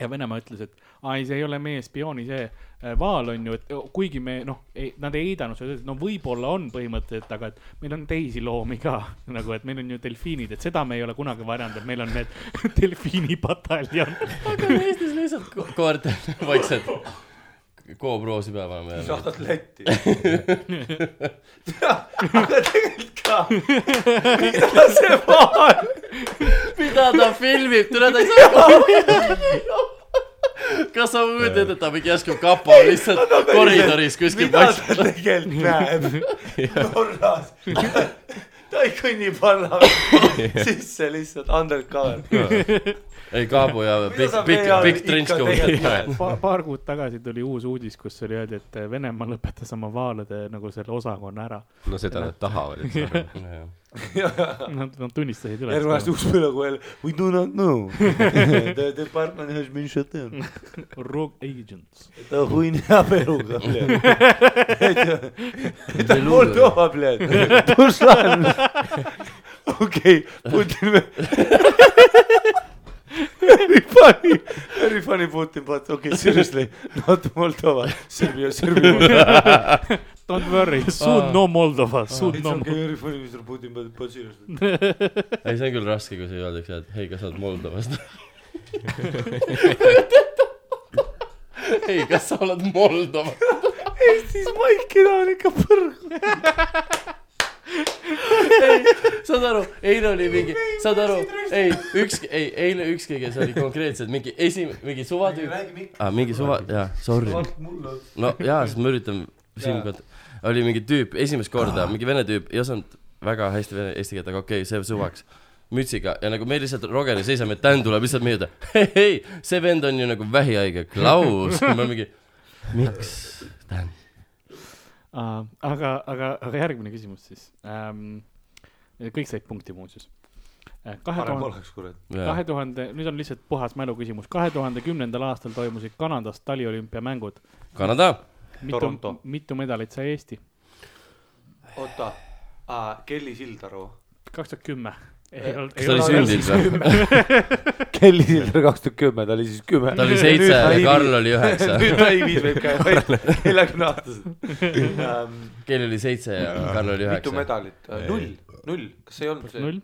S2: ja Venemaa ütles , et aa ei , see ei ole meie spiooni see äh, vaal on ju , et kuigi me noh , nad ei eidanud seda , no võib-olla on põhimõtteliselt , aga et meil on teisi loomi ka [laughs] nagu , et meil on ju delfiinid , et seda me ei ole kunagi varjanud , et meil on need [laughs] delfiinipataljon .
S4: hakkame Eestis lihtsalt ko- koertele vaikselt GoPro-si peale panema jälle .
S5: saadad letti . aga tegelikult ka , mida see vaal ,
S4: mida ta filmib , tule
S5: [laughs]
S4: ta ei saa aru . kas sa kujutad , et ta mingi järsku kapo lihtsalt koridoris kuskil
S5: mida
S4: vaikselt
S5: ta tegelikult näeb Norras ? ta ei kõnni parlamenti sisse lihtsalt undercover .
S4: ei , Kaabu ja
S5: Mida
S4: Big
S5: sa ,
S4: Big
S5: meie ,
S4: Big
S5: ajal
S4: Trench
S5: ikka
S4: Coat .
S2: pa, . paar kuud tagasi tuli uus uudis , kus oli öeldi , et Venemaa lõpetas oma vaalade nagu selle osakonna ära .
S3: no seda nad tahavad , et sa arvad .
S2: Nad , nad tunnistasid
S5: järgmine
S2: üles
S5: aasta . uus põlvkond , we do not know . The department has been shut down .
S2: Rogue Agents .
S5: ta хуйня peruga , bled . ta on Moldova , bled . Ruslan . okei , Putin . Very funny , very funny Putin , but okei okay, , seriously , not Moldova , Serbia , Serbia .
S2: Don't worry , soon no Moldova , soon
S5: Ah. It's
S2: no
S5: okay , very funny Mr Putin , but , but seriously .
S4: ei , see on küll raske , kui sa öeldakse , et hei , kas sa oled [laughs] Moldovast ? ei , kas sa oled Moldova ?
S5: Eestis maikina on ikka põrgu .
S4: saad aru , eile oli mingi , saad aru , ei , ükski , ei , eile ükski , kes oli konkreetselt mingi esimene , mingi suvatüüp . aa , Ah, mingi suva , jaa , sorry .
S5: mulle .
S4: no jaa , siis ma üritan siin kont- , oli mingi tüüp , esimest korda mingi vene tüüp , ei osanud väga hästi vene , eesti keelt , aga okei okay, , see suvaks . mütsiga ja nagu me lihtsalt Rogeri seisame , Dan tuleb lihtsalt meie juurde , [laughs] hei , hei , see vend on ju nagu vähihaige , Klaus . ma mingi , miks , Dan ?
S2: Uh, aga , aga , aga järgmine küsimus siis um, . kõik said punkti muuseas . kahe
S5: parem
S2: tuhande ,
S5: oleks , kurat .
S2: kahe tuhande , nüüd on lihtsalt puhas mälu küsimus . kahe tuhande kümnendal aastal toimusid Kanadas taliolümpiamängud .
S4: Kanada ,
S2: mitu
S5: Toronto. ,
S2: mitu medalit sai Eesti ?
S5: oota , Kelly Sildaru
S2: kaks tuhat kümme .
S5: Eh,
S2: ei olnud ,
S4: kas ta oli sündinud või ?
S5: Kelly Silver kaks tuhat kümme , ta oli siis kümme .
S4: ta oli seitse ja Karl oli üheksa .
S5: [laughs] nüüd ta ei viis võib käia , [laughs] neljakümne aastaselt .
S4: Kelly oli seitse ja Karl oli
S5: Ehm, mitu
S4: üheksa .
S5: medalit ? null , null , kas ei olnud see ?
S2: null .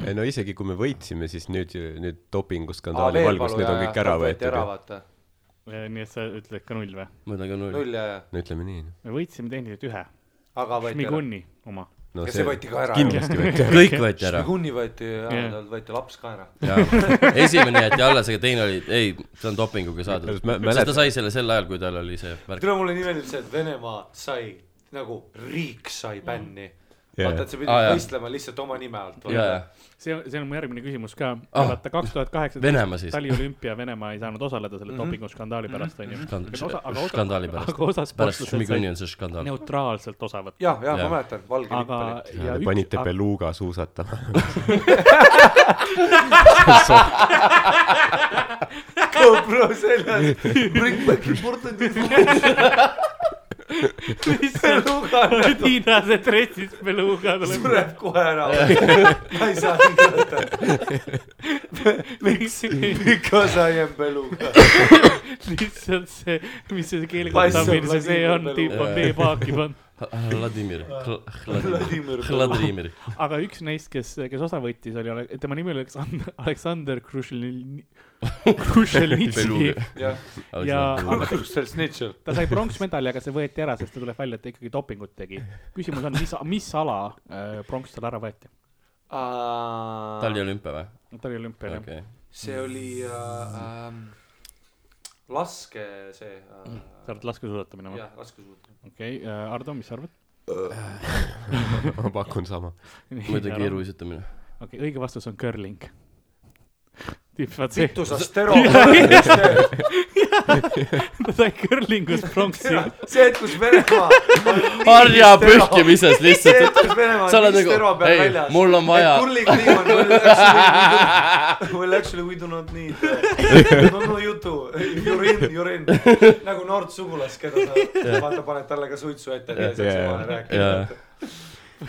S3: ei no isegi kui me võitsime , siis nüüd , nüüd dopinguskandaali valgus , need on kõik ära võetud
S5: ära
S3: ju .
S5: vaata ,
S2: Äh, nii et sa ütled ka null või ?
S4: ma ütlen ka null .
S5: null ja , ja ,
S3: no ütleme nii . noh.
S2: me võitsime tehniliselt ühe .
S5: aga võeti ära .
S2: Šmiguni oma .
S3: no
S5: ja see võeti ka ära .
S3: kindlasti võeti ära .
S4: kõik võeti ära .
S5: Šmiguni võeti ära
S2: Jah. ,
S5: tal võeti laps ka ära .
S4: jaa , esimene jäeti alles , aga teine oli , ei , see on dopinguga saadud .
S3: Mä-
S4: sest
S3: mäletan-
S4: ta sai selle sel ajal , kui tal oli see värk .
S5: tule , mulle nii meeldib see , et Venemaa sai nagu riik sai
S2: Mm.
S5: bänni .
S3: Jah.
S5: vaata , et sa
S4: Aa,
S5: pidid
S4: jah.
S5: võistlema lihtsalt oma nime alt .
S4: jaa , jaa .
S2: see on , see on mu järgmine küsimus ka
S4: Ah,
S2: ah, . vaata , kaks tuhat
S4: Venemaa siis.
S2: kaheksateist taliolümpia Venemaa ei saanud osaleda selle dopinguskandaali pärast , onju .
S4: skandaali pärast .
S2: aga osa
S4: pärast
S2: sportlased
S4: Šmiguni
S2: said
S4: on see skandaal .
S2: neutraalselt osa võtta .
S5: jah ,
S4: Jah.
S5: jah , ma mäletan , valge lipp
S2: aga
S5: oli .
S2: ja
S3: Te
S2: üks- [laughs]
S3: panite
S2: aga-
S3: Beluga suusatama . [laughs]
S5: [laughs] GoPro seljas , bring back important
S3: [laughs]
S5: information . Lugan
S2: Tiinase dressis Beluga tuleb .
S5: sureb kohe ära .
S4: [laughs]
S5: ma ei saa hingata ,
S2: miks ?
S5: because I am Beluga .
S2: [laughs] lihtsalt see , mis see keele
S5: Paistab
S2: kontamine see
S5: Vladimir
S2: on , tüüp on
S4: Beluga.
S2: veepaaki pannud .
S4: Vladimir ,
S5: Vladimir
S4: Vladimir .
S2: aga üks neist , kes , kes osa võttis , oli , tema nimi oli Aleksander , Aleksander Krušelin- , Krušelnitski
S4: Beluga.
S5: jah ,
S2: ja aga
S5: Krustel Snitšel .
S2: ta sai pronksmedali , aga see võeti ära , sest ta tuleb välja , et ta ikkagi dopingut tegi . küsimus on , mis , mis ala äh, pronks tal ära võeti ?
S4: taliolümpia või ?
S2: ta oli olümpial okay. ,
S4: okei .
S5: see oli äh, ähm, laske see äh,
S2: jah . sa oled laskesuusatamine või ?
S5: jah , laskesuusatamine .
S2: okei okay. , Ardo , mis sa arvad ?
S3: ma pakun sama .
S4: muidugi . iruisutamine .
S2: okei , õige vastus on curling . [laughs] tüüp , vaat see ,
S5: mitu sa
S4: [laughs]
S5: steroidi teed ?
S2: [laughs] ta sai curlingus pronksi .
S5: see , et kus Venemaa .
S4: harja pühkimises
S5: [laughs]
S4: lihtsalt . sa oled nagu , ei , mul on vaja .
S5: Curling team on well actually we do, well actually we do not need uh, no no you too you are in you are in nagu noort sugulast keda sa vaata paned talle ka suitsu ette ja siis
S3: Yeah.
S5: vahele rääkida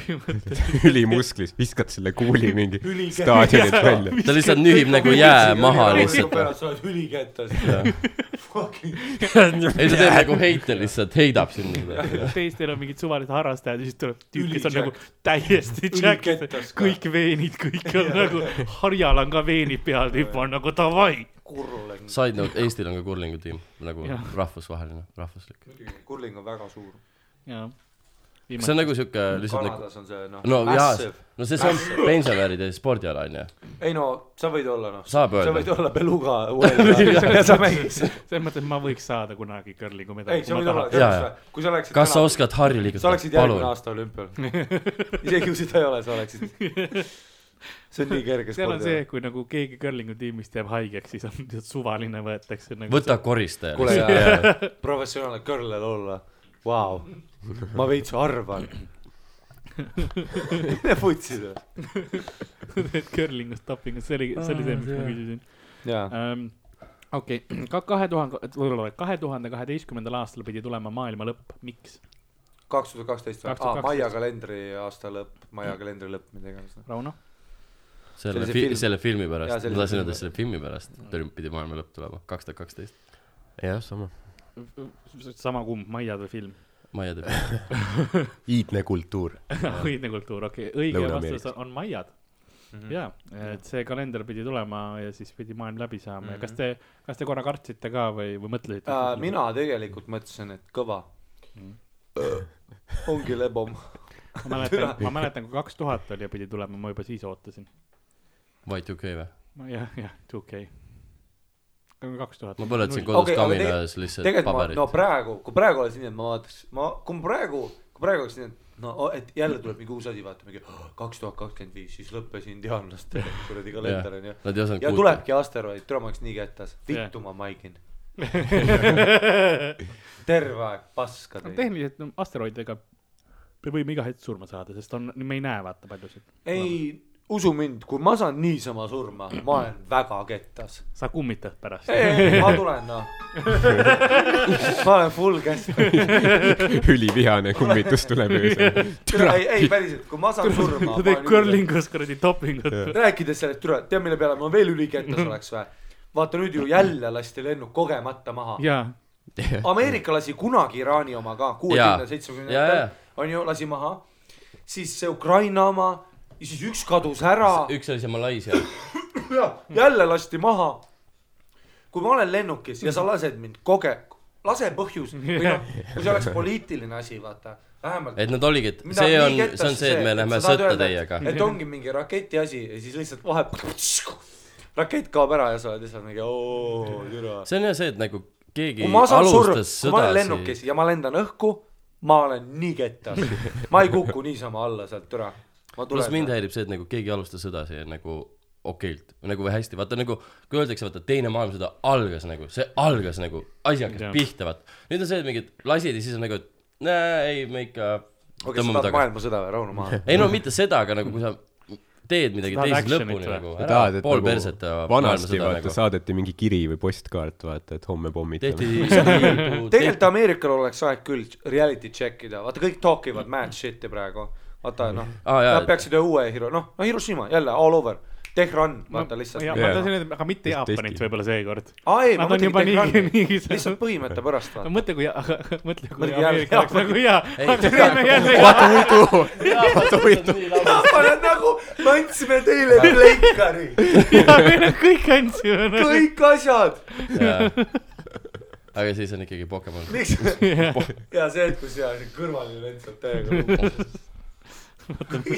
S3: ülimusklis , viskad selle kuuli mingi
S5: Ülikäe-
S3: staadionilt välja .
S4: ta lihtsalt nühib nagu jää maha
S5: [laughs]
S4: lihtsalt .
S5: pärast sa oled üli kätte fucking
S4: ei , ta teeb nagu heite lihtsalt , heidab sind . nagu.
S2: teistel on mingid suvalised harrastajad ja siis tuleb tüüp , kes on
S5: Üli-jack.
S2: nagu täiesti jack
S5: Ülikettas , ka.
S2: kõik veenid , kõik
S5: [laughs]
S2: on nagu , harjal on ka veenid peal , tüüp on nagu davai .
S5: kurling
S4: Side note , Eestil on ka kurlingu tiim nagu
S2: Jah.
S4: rahvusvaheline , rahvuslik .
S5: kurling on väga suur
S2: see
S4: kas see on nagu siuke lihtsalt nagu ,
S5: Kanadas on see noh
S4: no jaa
S5: massive. ,
S4: no see , see on pensionäride spordiala onju .
S5: ei no sa võid olla noh sa
S4: Saab
S5: võid
S4: öelda .
S5: olla beluga
S4: [laughs]
S5: uuel ja sa mängid
S2: selles mõttes , et ma võiks saada kunagi curlingu medali .
S5: ei sa võid olla
S4: Jaa, jaa.
S5: tead kui sa läksid
S4: kas sa
S5: täna-
S4: oskad harju
S5: sa
S4: liigutada
S5: [laughs] oleksid , järgmine
S4: palun ?
S5: aasta olümpial . isegi kui seda ei ole , sa oleksid . see on nii kerge
S2: seal on
S5: spordi
S2: see , kui nagu keegi curling'u tiimist jääb haigeks , siis on lihtsalt suvaline võetakse nagu .
S4: võta koristaja .
S5: kuule jaa , professionaalne kõrlel olla , vau , ma veits [laughs] arvan . mine putsi seda .
S2: et curling was tapping , see oli , see oli see , miks ma küsisin .
S5: jaa ,
S2: okei , ka kahe tuhande , kahe tuhande kaheteistkümnendal aastal pidi tulema maailma lõpp , miks ?
S5: kaks tuhat kaksteist või ? aa ,
S2: 2012.
S5: Maia kalendri aasta lõpp , Maia kalendri lõpp , mida iganes .
S2: Rauno ?
S4: selle
S5: see
S4: fi-
S5: film. ,
S4: selle filmi pärast
S5: Jaa, , selle
S4: ma tahtsin
S5: filmi
S4: öelda selle filmi pärast , pidi maailma lõpp tulema , kaks tuhat kaksteist .
S3: jah , sama .
S2: sama kumb , Maiad või film ?
S4: ma ei tea ,
S3: iidne kultuur . [laughs]
S2: [laughs] õidne kultuur , okei okay. , õige
S3: Lõuna-Ameerikas.
S2: vastus on Maiad mm . -hmm. ja , et see kalender pidi tulema ja siis pidi maailm läbi saama mm -hmm. ja kas te , kas te korra kartsite ka või , või mõtlesite ?
S5: Äh, mina tegelikult mõtlesin , et kõva . Mm. ongi lebom .
S2: ma mäletan , ma mäletan , kui kaks tuhat oli ja pidi tulema , ma juba siis ootasin .
S4: Y2K või ?
S2: jah , jah , okei . kaks tuhat .
S4: ma põletasin
S5: Okei,
S4: kodus
S5: aga
S4: kamina ees lihtsalt
S5: tegelikult ma ,
S4: paberit
S5: no . praegu , kui praegu oleks nii , et ma vaataks , ma , kui ma praegu , kui praegu oleks nii , et no o- et jälle tuleb mingi uus asi , vaata mingi kaks tuhat kakskümmend viis , siis lõppes indiaanlaste
S4: [laughs]
S5: kuradi kalender onju .
S4: Nad ei osanud
S5: ja
S4: kuulda .
S5: tulebki asteroid , tule ma oleks nii kettas , vittu ma
S4: [laughs]
S5: maigin
S2: praegu .
S5: terve aeg paska
S2: no
S5: teid .
S2: tehniliselt no, asteroididega me võime iga hetk surma saada , sest on , me ei näe vaata paljusid .
S5: ei , usu mind , kui ma saan niisama surma , ma olen väga kettas .
S2: sa kummitad pärast . [laughs]
S5: ei , ma tulen
S4: [laughs]
S5: noh . ma olen full keskel .
S3: ülivihane kummitus tuleb öösel .
S5: ei , ei päriselt , kui ma saan
S4: [laughs]
S5: surma .
S2: sa teed curlingus kuradi dopingut .
S5: rääkides sellest , türa , tead mille peale ma veel ülikettas oleks
S4: Mhm.
S5: või ? vaata nüüd ju jälle lasti lennuk kogemata maha .
S2: jaa ,
S5: Ameerika lasi kunagi Iraani oma ka ,
S4: Jaa.
S5: kuuekümne ,
S4: Jaa, jaa.
S5: seitsmekümnendatel , on ju , lasi maha . siis see Ukraina oma ja siis üks kadus ära ,
S4: üks oli see Malaisia ,
S5: jälle lasti maha . kui ma olen lennukis ja sa lased mind koge- , lase põhjus või noh , kui see oleks poliitiline asi , vaata , vähemalt .
S4: et nad oligi , et see on , see on see , et me lähme sõtta teiega .
S5: et ongi mingi raketi asi ja siis lihtsalt vahepeal rakett kaob ära ja sa oled lihtsalt mingi oo , türa .
S4: see on jah see , et nagu keegi
S5: kui ma saan surma ,
S4: alustas
S5: kui ma olen
S4: sõda ,
S5: lennukis
S4: siis
S5: ja ma lendan õhku , ma olen nii kettas , ma ei kuku niisama alla sealt , türa . ma
S4: pluss mind
S5: tulen .
S4: häirib see , et nagu keegi alustas sõda siia nagu okeilt või nagu või hästi , vaata nagu kui öeldakse , vaata teine maailmasõda algas nagu , see algas nagu , asi hakkas
S2: Jah.
S4: pihta , vaata . nüüd on see , et mingid lasid ja siis on nagu , et näe , ei me ikka
S5: okei , sa
S4: tõmbame
S5: tahad
S4: tagasi .
S5: maailmasõda või , Rauno
S4: [laughs]
S5: maha ?
S4: ei no mitte seda , aga nagu kui sa teed midagi
S2: Sa tahad
S4: teisest
S2: actionit
S4: lõpuni
S2: või?
S4: nagu ,
S3: sa tahad ,
S4: ära
S3: et
S4: pool
S3: nagu
S4: perset ja
S3: vanasti
S4: maailmasõda
S3: vaata nagu.
S4: nagu .
S3: saadeti mingi kiri või postkaart , vaata , et homme
S4: tehti
S3: [laughs] pommitame .
S4: liidu ,
S5: tegelikult Ameerikal oleks aeg küll reality check ida , vaata kõik talk ivad mad shit'i praegu . vaata noh
S4: Aa, Ah, jaa,
S5: nad
S4: et-
S5: peaksid ühe uue hiro- , noh , no Hiroshima jälle all over , Tehran , vaata lihtsalt .
S2: ja
S3: Jaa.
S2: ma tahtsin öelda , aga mitte
S3: Just
S2: Jaapanit
S3: testi.
S2: võib-olla seekord .
S5: aa ei , ma
S2: Nad on juba
S5: mõtlengi
S2: niigi , [laughs]
S5: Tehrani ,
S2: niigi
S5: lihtsalt . põhimõtte pärast vaata .
S2: mõtle , kui , [laughs] mõtle , kui
S5: Mõtle, kui
S2: Ameerika oleks
S5: Jaapani-
S2: nagu [laughs] jaa ,
S4: Ei,
S2: aga
S4: tea-
S2: teeme jälle
S3: vaata Uidu , vaata Uidu .
S5: Jaapan on nagu , me andsime teile pleikari ,
S2: jaa , meil on kõik [laughs] andsime .
S5: kõik asjad .
S4: aga siis on ikkagi Pokemon .
S5: miks ?
S2: [laughs]
S5: ja see hetk , kus jaa , see kõrvaline lend saab täiega
S2: [laughs]
S5: lugu .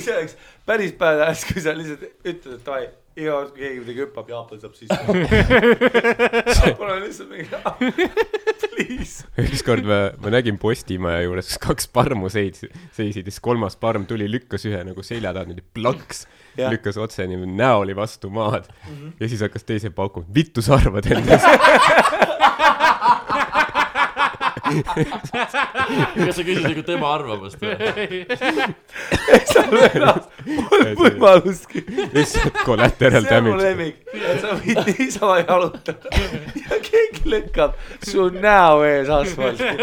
S5: see oleks päris badass , kui sa lihtsalt ütled , et davai , iga kord , kui keegi midagi hüppab , Jaapan saab
S2: [laughs]
S5: sisse . Jaapan on lihtsalt mingi , [laughs] please .
S3: ükskord ma , ma nägin Postimaja juures , kus kaks parmu seis- , seisid ja siis kolmas parm tuli , lükkas ühe nagu selja taha niimoodi plaks ,
S5: Jah. Mhm.
S3: lükkas otse niimoodi , näo oli vastu maad mm . -hmm. ja siis hakkas teise paukuma , vittu sa arvad endast ? [laughs]
S4: kas sa küsisid nagu tema arvamust või ?
S5: võimaluski .
S3: lihtsalt collateral
S5: see on mu
S3: damage .
S5: lemmik , et sa võid niisama jalutada ja keegi lükkab su näo ees asfalti .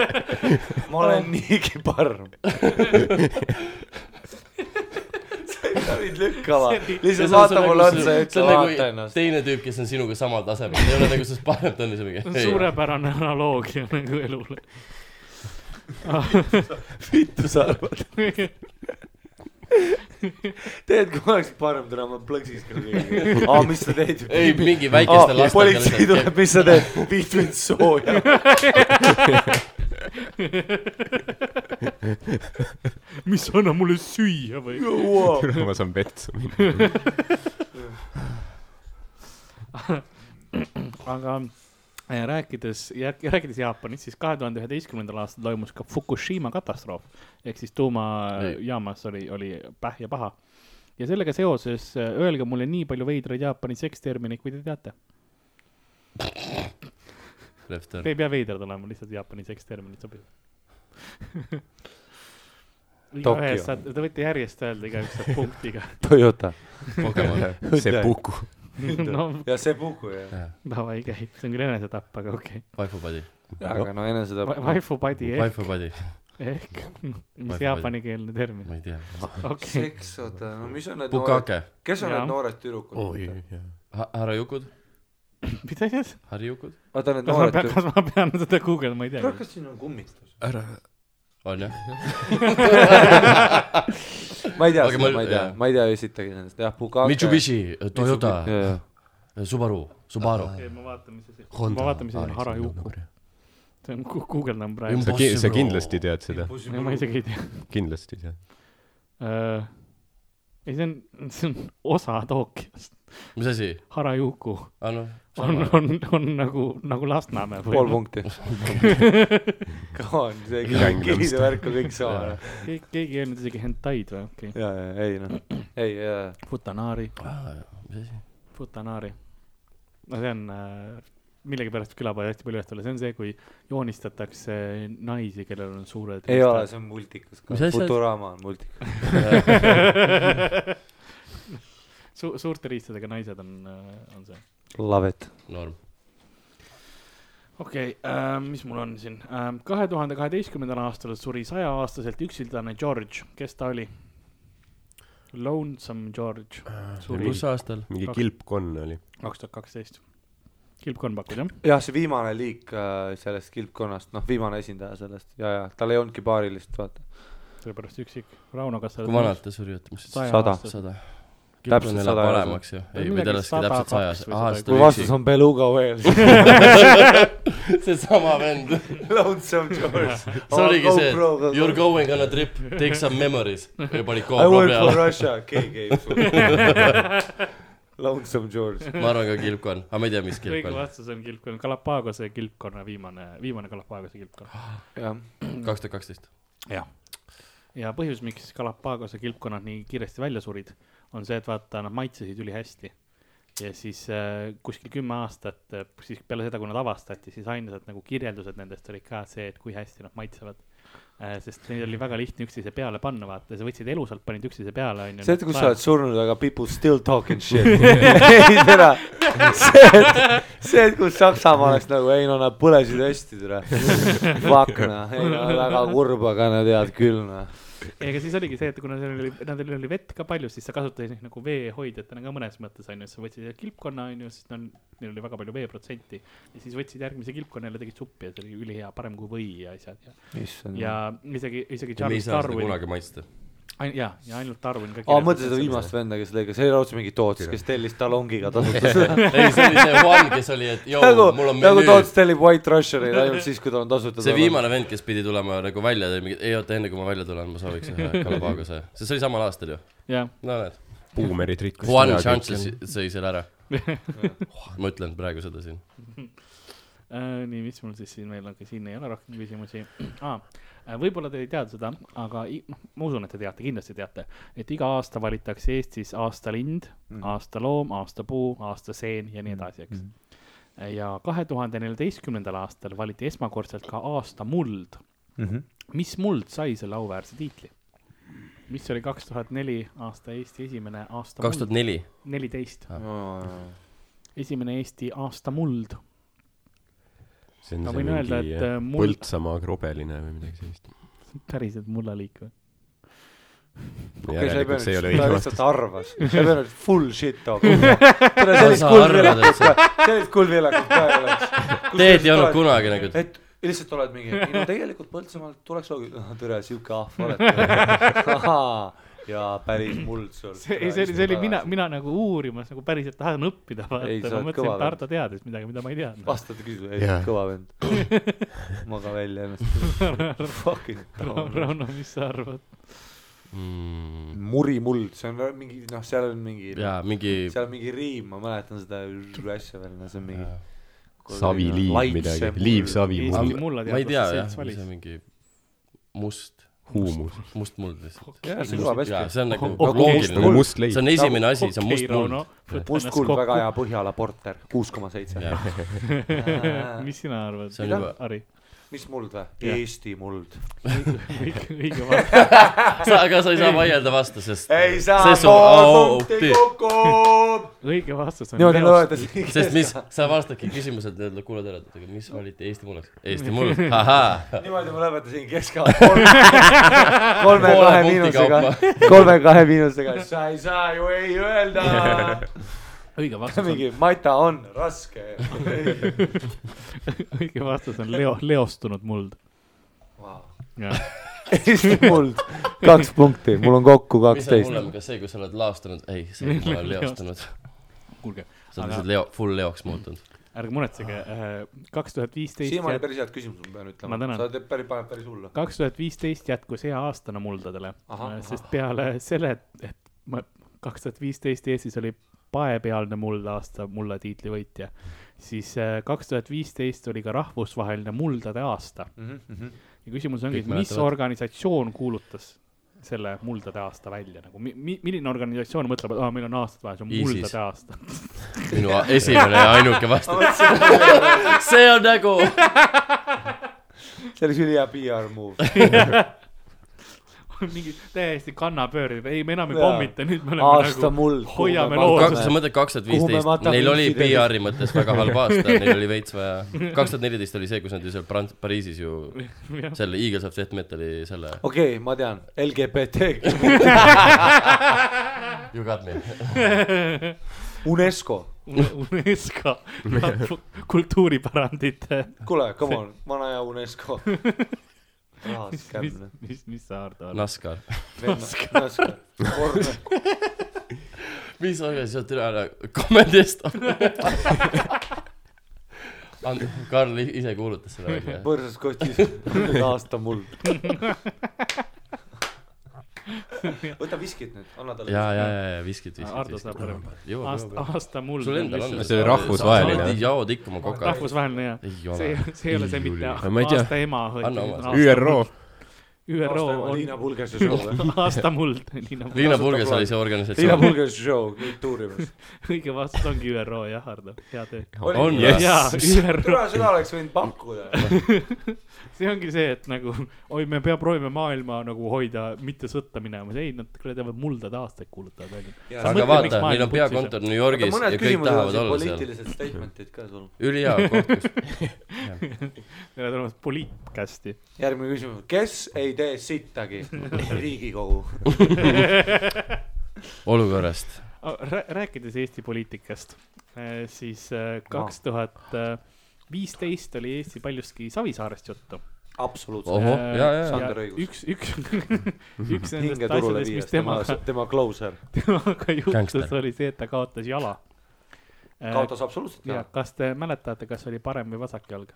S5: ma olen niigi parm . sa ei pea mind lükkama , lihtsalt
S4: nagu
S5: vaata mulle otsa ja ütle vaata ennast .
S4: teine tüüp , kes on sinuga samal tasemel , ei ole nagu sinust parem , ta on lihtsalt mingi .
S2: suurepärane analoogia nagu elule .
S5: vittu sa arvad ? tead , kui ma oleks parm täna , ma plõksiks ka kõigile . aa , mis sa teed ?
S4: ei , mingi väikeste
S5: politsei
S4: lastega .
S5: tuleb , mis sa teed ? viid mind sooja .
S2: mis , anna mulle süüa või ?
S5: Wow.
S3: [laughs] ma saan vetsu minna .
S2: aga äh, rääkides , rääkides Jaapanist , siis kahe tuhande üheteistkümnendal aastal toimus ka Fukushima katastroof ehk siis tuumajaamas oli , oli pähja paha . ja sellega seoses äh, öelge mulle nii palju veidraid Jaapani sekstermineid , kui te teate .
S4: Lefter
S2: Te . ei pea veidrad olema , lihtsalt Jaapani seksterminid sobivad .
S5: Tokyo.
S2: igaühes saad , te võite järjest öelda , igaüks saab punktiga . [laughs]
S5: Toyota .
S4: Pokemon .
S5: [laughs]
S3: see puku .
S2: no
S5: ja see puhku jah .
S2: davai , käib , see on küll enesetapp , aga okei
S4: Waifu padi .
S5: aga no enesetapp
S2: okay. . Waifu padi ehk ,
S4: Waifu padi .
S2: ehk , [laughs] mis
S4: padi.
S2: jaapanikeelne termin ,
S4: ma ei tea .
S2: okei okay. .
S5: seks , oota , no mis on need noored ,
S4: Bukake .
S5: kes on
S2: Jaa.
S5: need noored tüdrukud ?
S4: Harajukud .
S2: mis asjas ?
S4: Harijukud .
S5: oota , need
S2: kas ma
S5: noored
S2: pean , kas
S5: tüdrukud .
S2: ma pean seda guugeldama , ei
S6: kurat ,
S2: tea .
S6: kas siin on kummitus ?
S4: on jah ?
S5: ma ei tea
S4: Okei,
S5: seda ,
S4: ma-
S5: ma ei tea
S4: jaa. ,
S5: ma ei tea esitagi nendest , jah , Bukake .
S4: Mitsubishi , Toyota ,
S5: jaa ,
S4: Subaru , Subaru .
S5: Ah,
S2: okei , ma vaatan , mis asi , ma vaatan , mis asi on
S5: nagu.
S2: harajuku , see on , guugeldan praegu ,
S3: sa ki- , sa kindlasti tead seda ,
S2: ma isegi ei tea .
S3: kindlasti tead .
S2: ei , see on , see on osa Tokyost ,
S4: mis asi ?
S2: Harajuku
S4: aa noh ,
S2: on , on , on nagu , nagu Lasnamäe
S5: pool
S2: või
S5: punkti .
S2: [laughs]
S5: Come on , see
S3: Gangnam
S5: kihise värk on kõik sama .
S2: keegi , keegi ei öelnud isegi hentaid või , okei okay. ,
S5: ja , ja ei
S4: [clears throat]
S5: noh , ei , jaa ,
S2: Futanaari ,
S4: Ah, mis asi ?
S2: Futanaari . no see on äh, millegipärast külapoe hästi palju üles tulla , see on see , kui joonistatakse naisi , kellel on suured
S5: ei ole , see on multikas ka
S4: Mis , asjad?
S5: Futurama on multikas .
S2: [laughs] Su- , suurte riistadega naised on , on see .
S5: Love it .
S4: norm .
S2: okei okay, , mis mul on siin , kahe tuhande kaheteistkümnendal aastal suri saja-aastaselt üksildane George , kes ta oli ? Lonesome George , suri
S4: kus aastal ?
S3: mingi
S2: Kaks-
S3: kilpkonn oli .
S2: kaks tuhat kaksteist . kilpkonn pakud jah ?
S5: jah , see viimane liik äh, sellest kilpkonnast , noh , viimane esindaja sellest ja , ja tal ei olnudki paarilist , vaata .
S2: seepärast üksik . Rauno , kas sa
S4: kui vanalt ta suri , oota , mis see
S5: Sada.
S2: aastat ?
S4: sada .
S5: Täpselt
S4: täpselt
S5: sada
S4: sada
S5: ei ole
S4: paremaks ju , ei või
S2: midagi
S4: ta laski
S2: sada
S4: täpselt
S2: kaks
S4: sajas ,
S2: või
S4: aa ,
S2: sada
S4: siis
S5: kui
S4: ta
S5: vastus on Beluga whale , [laughs]
S4: oli üksi , [laughs] seesama vend .
S5: Lonesome George .
S4: [laughs] see
S5: Oh,
S4: oligi see , you are going on a trip , take some memories ja pani
S5: I
S4: GoPro
S5: work for
S4: peale ,
S5: Russia , keegi ei usu .
S4: [laughs]
S5: Lonesome George .
S4: ma arvan ka kilpkonn , aga ma ei tea , mis
S2: õige
S4: kilpkonn ,
S2: vastus on kilpkonn , Galapagose kilpkonna viimane , viimane Galapagose kilpkonn .
S5: jah ,
S4: kaks tuhat kaksteist .
S2: jah . ja põhjus , miks Galapagose kilpkonnad nii kiiresti välja surid , on see , et vaata , nad maitsesid ülihästi . ja siis äh, kuskil kümme aastat äh, , siis peale seda , kui nad avastati , siis ainsad nagu kirjeldused nendest olid ka see , et kui hästi nad maitsevad äh, sest neil oli väga lihtne üksteise peale panna , vaata , sa võtsid elusalt , panid üksteise peale , onju .
S5: see , et kui sa oled surnud , aga people still talking [laughs] shit . ei tere , see , et , see , et kui Saksamaa oleks nagu , ei no nad põlesid hästi tere . Fuck noh , ei no väga kurb , aga no tead küll noh .
S2: ega siis oligi see , et kuna seal oli , nendel oli vett ka palju , siis sa kasutasid neid nagu veehoidjatena ka mõnes mõttes onju , sa võtsid sealt kilpkonna onju , siis no neil oli väga palju veeprotsenti . ja siis võtsid järgmise kilpkonna jälle tegid suppi ja see oli ülihea , parem kui või ja asjad ja ,
S5: issand .
S2: ja isegi , isegi
S4: Mhm. me ei
S2: Charles
S4: saa seda
S2: Darwin ,
S4: kunagi maitsta .
S2: ja , ja ainult Darwin ka .
S5: aa , mõtle seda viimast venda , kes lõigas , see oli raudselt mingi Toots , kes tellis talongiga tasuta [laughs] seda .
S4: ei , see oli see Juan , kes oli , et joo
S5: nagu ,
S4: mul on
S5: nagu
S4: menüü
S5: Toots tellib White Russianeid ainult siis , kui tal on tasuta
S4: see . viimane vend , kes pidi tulema nagu välja , ta oli mingi , ei oota , enne kui ma välja tulen , ma sooviks ühe
S2: [laughs]
S4: Galapagose , sest see oli samal aastal ju .
S2: jah ,
S4: no näed ,
S3: buumerid rikkusid .
S4: Juan Chances sõi
S2: [laughs]
S4: selle ära . ma ütlen praegu seda siin .
S2: Äh, nii , mis mul siis siin veel on , siin ei ole rohkem küsimusi . [clears throat] aa , võib-olla te ei teadnud seda , aga i- noh , ma usun , et te teate , kindlasti teate , et iga aasta valitakse Eestis aastalind mm. , aastaloom , aastapuu , aastaseen ja nii edasi , eks mm. . ja kahe tuhande neljateistkümnendal aastal valiti esmakordselt ka aasta muld mm .
S5: Mhm.
S2: mis muld sai selle auväärse tiitli ? mis oli kaks tuhat neli aasta Eesti esimene aasta
S4: kaks tuhat
S2: muld ,
S4: neli ,
S2: neliteist , esimene Eesti aasta muld
S3: see on
S2: Ma
S3: see
S2: võin
S3: mingi
S2: öelda, et,
S3: jah,
S2: äh, mul-
S3: Põltsamaa krobeline või midagi sellist .
S2: päriselt mullaliik või ?
S5: okei , sa ei
S3: järelikult see ei
S5: pea nüüd , ta
S3: ole õige vastus .
S5: lihtsalt arvas , sa ei pea nüüd full shit
S3: [laughs]
S5: talkima . tere ,
S4: Ma
S5: sellist
S4: saan
S5: kuldviljakut
S4: arvata,
S5: ka , sellist kuldviljakut ka ei oleks .
S4: Teed ei olnud kunagi nagu ,
S5: et lihtsalt oled mingi , ei no tegelikult Põltsamaalt tuleks loogiline , tere , sihuke ahv oled . ahaa , jaa , päris muld sul .
S2: see , [laughs] ei , see oli , see oli mina ,. mina nagu uurimas nagu päriselt tahan õppida , vaata
S5: Ei, , sa
S2: ma
S5: oled
S2: mõtlesin ,
S5: kõva
S2: et Ardo teadis midagi , mida ma ei [laughs] teadnud .
S5: vastad küsimusele , ei
S3: Jaa. ,
S5: kõva vend . maga välja
S2: [laughs]
S5: ennast . Fucking down .
S2: Noh, Rauno , mis sa arvad ?
S4: mm,
S5: muri muld , see on vä- mingi , noh , seal on mingi ,
S4: jaa , mingi
S5: seal on mingi riim , ma mäletan seda asja veel , no see on mingi .
S3: saviliiv midagi , liivsavi
S2: Eesti
S3: muld .
S2: mulla
S4: ma ei tea
S2: teadlaste
S4: jah ,
S2: selts
S4: mis
S2: valis
S4: on . mingi must
S3: huumus .
S4: must muld lihtsalt .
S5: Jah, see kõlab hästi.
S4: see on nagu
S2: Okei,
S4: loogiline
S3: must . must
S4: see
S3: leib .
S4: on esimene asi , see on must muld .
S5: must kuld , väga . hea Põhjala porter , kuus koma seitse .
S2: [laughs] mis sina arvad
S4: See on juba- ,
S2: Harri ?
S5: mis muld või ?
S2: Jah.
S5: Eesti muld .
S2: õige , õige
S4: [laughs]
S2: vastus .
S4: sa , aga sa ei saa vaielda vastu , sest .
S5: ei saa ,
S4: sest
S5: pool
S4: sul ,
S5: punkti kokku .
S2: õige vastus on
S5: [laughs] niimoodi
S2: Leos .
S5: loedes .
S4: sest mis , sa vastadki küsimusele , et nad kuulavad ära , et aga mis valiti Eesti mullaks . Eesti
S2: [laughs]
S4: mull , ahaa .
S5: [laughs] niimoodi ma lõpetasin keskala
S4: [laughs]
S5: kolme , kolme
S4: Poole
S5: kahe
S4: punkti
S5: miinusega
S4: kaupa. ,
S5: [laughs] kolme kahe miinusega , sa ei saa ju ei öelda . [laughs]
S2: õige vastus on ,
S5: mingi Mata on
S2: [laughs]
S5: raske .
S2: õige vastus on Leo , leostunud muld .
S5: Eesti muld , kaks punkti , mul on kokku
S4: mis on
S5: kaksteist .
S4: hullem , kas see , kui sa oled laastunud ? ei , see , kui
S2: [laughs]
S4: ma olen leostunud .
S2: kuulge ,
S4: sa oled
S2: Aga-
S4: lihtsalt leo , full leoks muutunud .
S2: ärge muretsege , kaks tuhat viisteist
S5: siiamaani päris head küsimused , ma pean
S2: Ma
S5: ütlema
S2: tänan. .
S5: sa teed päris , paned päris hullu .
S2: kaks tuhat viisteist jätkus hea aastana muldadele äh,
S5: Ahah, ,
S2: sest peale selle , et , et ma kaks tuhat viisteist Eestis oli paepealne muldaasta mulla tiitli võitja , siis äh, kaks tuhat viisteist oli ka rahvusvaheline muldade aasta .
S5: Mhm,
S2: ja küsimus ongi ,
S4: Kõik
S2: et mis
S4: mäletavad.
S2: organisatsioon kuulutas selle muldade aasta välja nagu , mi- , mi- , milline organisatsioon mõtleb , et aa , meil on aastad vahel , see on
S4: ISIS.
S2: muldade aasta . [laughs]
S4: minu a- esimene ja ainuke
S5: [laughs]
S4: vastus . see on nagu ,
S5: [laughs] see oli ülihea PR move .
S2: mingi täiesti kannapöörid , ei , me enam ei
S5: Jaa.
S2: pommita , nüüd me oleme
S5: aasta
S2: nagu
S5: muld .
S2: hoiame
S4: kaks ,
S2: looduses.
S4: sa mõtled kaks tuhat
S5: Kuhu me
S4: viisteist ,
S5: matame
S4: neil oli
S5: üksi teised?
S4: PR-i mõttes väga
S2: [laughs]
S4: halb aasta , neil oli veits vaja . kaks tuhat neliteist oli see , kus nad ju seal Prants- , Pariisis ju selle Eagles of Death Metali selle .
S2: Oh.
S5: okei , ma tean , LGBT ,
S4: You got me .
S5: UNESCO ,
S2: UNESCO kultuuripärandite ,
S5: kuule , come on , vana hea UNESCO . rahas
S2: mis
S5: kämine ,.
S2: mis , mis sa Ardo arvad ?
S4: NASCAR .
S5: UNESCO ,
S4: mis organisatsioon üle ära , komedist . Karl i- ise kuulutas seda
S2: [laughs]
S4: välja .
S5: põrsas kotis , aasta muld . võta viskit nüüd , anna talle .
S4: ja , ja , ja , ja viskid ,
S2: Ardo
S4: viskid
S2: saab . parem . aasta ,
S4: jõuab ,
S2: aasta muld .
S4: sul endal on .
S3: See oli rahvusvaheline, jah?
S4: jaod ikka oma koka .
S2: rahvusvaheline jah .
S4: ei ole
S2: see ., see ei ole see mitte
S3: Ei, ma ei tea.
S2: aasta ema , vaid
S4: Anna oma.
S3: ÜRO .
S2: ÜRO
S5: Liina
S2: on
S5: Pulgese show või ?
S2: [laughs] aasta muld , Liina .
S4: Liina Pulges oli see
S5: Liina
S4: organisatsioon .
S5: Pulgese show , kõik tuurimas .
S2: õige vastus ongi ÜRO jah , Ardo , hea
S4: [laughs]
S2: töö .
S4: on
S3: Yes.
S4: või ?
S2: jaa , ÜRO ,
S5: türa , seda oleks võinud pakkuda .
S2: see ongi see , et nagu oi , me pea proovime maailma nagu hoida , mitte sõtta minemas , ei nad kuradi teevad muldade aastaid kuulutavad välja .
S4: aga vaata , neil on peakontor New Yorgis ja
S5: mõned
S4: kõik
S5: küsimused on
S4: tahavad
S5: siin
S4: olla seal .
S5: poliitilised statement'id ka sul .
S4: ülihea koht ,
S5: [laughs]
S4: kus
S2: Neil on olemas poliitkästi .
S5: järgmine küsimus , kes ei tee sittagi ? riigikogu .
S4: olukorrast .
S2: Rää- Oh, rääkides Eesti poliitikast , siis eh, kaks tuhat viisteist oli Eesti paljuski Savisaarest juttu .
S5: absoluutselt .
S4: ohoh , ja , ja ,
S5: Sander õigus.
S2: üks , üks , üks nendest
S5: hinge turule
S2: asjadest , mis
S5: viies ,
S2: tema
S5: tema ,, tema closer .
S2: [laughs] temaga juhtus ,
S4: Gangster.
S2: oli see , et ta kaotas jala . Äh,
S5: kaotas absoluutselt
S2: ja
S5: jala .
S2: kas te mäletate , kas oli parem või vasak jalg ?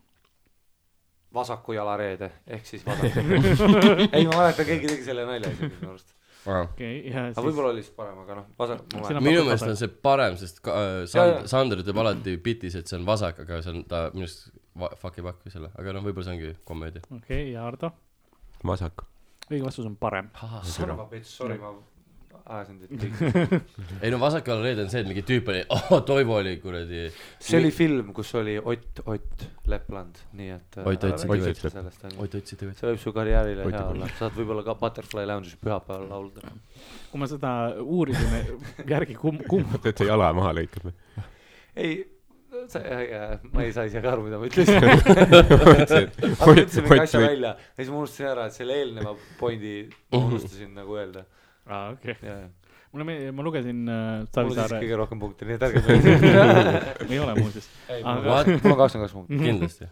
S5: vasaku jalareede , ehk
S2: [laughs]
S5: siis vasak ei , ma mäletan , keegi tegi selle nalja isegi minu arust .
S4: ja .
S2: okei , ja
S5: aga
S2: siis
S5: võib-olla oli siis parem , aga noh , vasak , ma
S2: Sina-
S5: mäletan .
S4: minu meelest on see parem , sest ka, äh,
S5: Jaa, jaa.
S4: Sand, Sander teeb alati bitis , et see on vasak , aga see on ta minu arust va- fuck ei pakku selle , aga noh , võib-olla see ongi komöödia .
S2: okei , ja Ardo ,
S3: vasak .
S2: õige vastus on parem .
S5: sõna , bitch , sorry , ma ajasin
S2: [laughs]
S5: teid kõik .
S4: ei no vasakal reede on see , et mingi tüüp oli , [laughs] oh Toivo oli kuradi ,
S5: see oli film , kus oli Ott , Ott Lepland , nii et .
S4: Ott Otsi
S3: Ott Otsi.
S5: sellest on ju .
S4: Ott Otsi tüüp .
S5: see võib su karjäärile
S3: Ott
S5: hea
S3: Otsi.
S5: olla , saad võib-olla ka Butterfly Lounge'is pühapäeval laulda .
S2: kui ma seda uurisin , järgi kumb , kumb
S3: [laughs] vaata , et see jala maha lõikab .
S5: ei , sa , ma ei saa isegi aru , mida
S4: [laughs]
S5: ma ütlesin . aga ma ütlesin mingi asja
S3: see
S5: välja ja siis ma unustasin ära , et selle eelneva pointi ma
S4: Mhm.
S5: unustasin nagu öelda .
S2: aa , okei okay. .
S5: ja , ja .
S2: mulle meeldib , ma lugesin äh,
S5: mul on siis
S2: Savisaare ,
S5: kõige rohkem punkte , nii et ärge
S4: [laughs]
S5: mõelge .
S2: ei ole muuseas , aga
S4: What ?
S5: mul on kakskümmend kaks punkti .
S4: [laughs] kindlasti .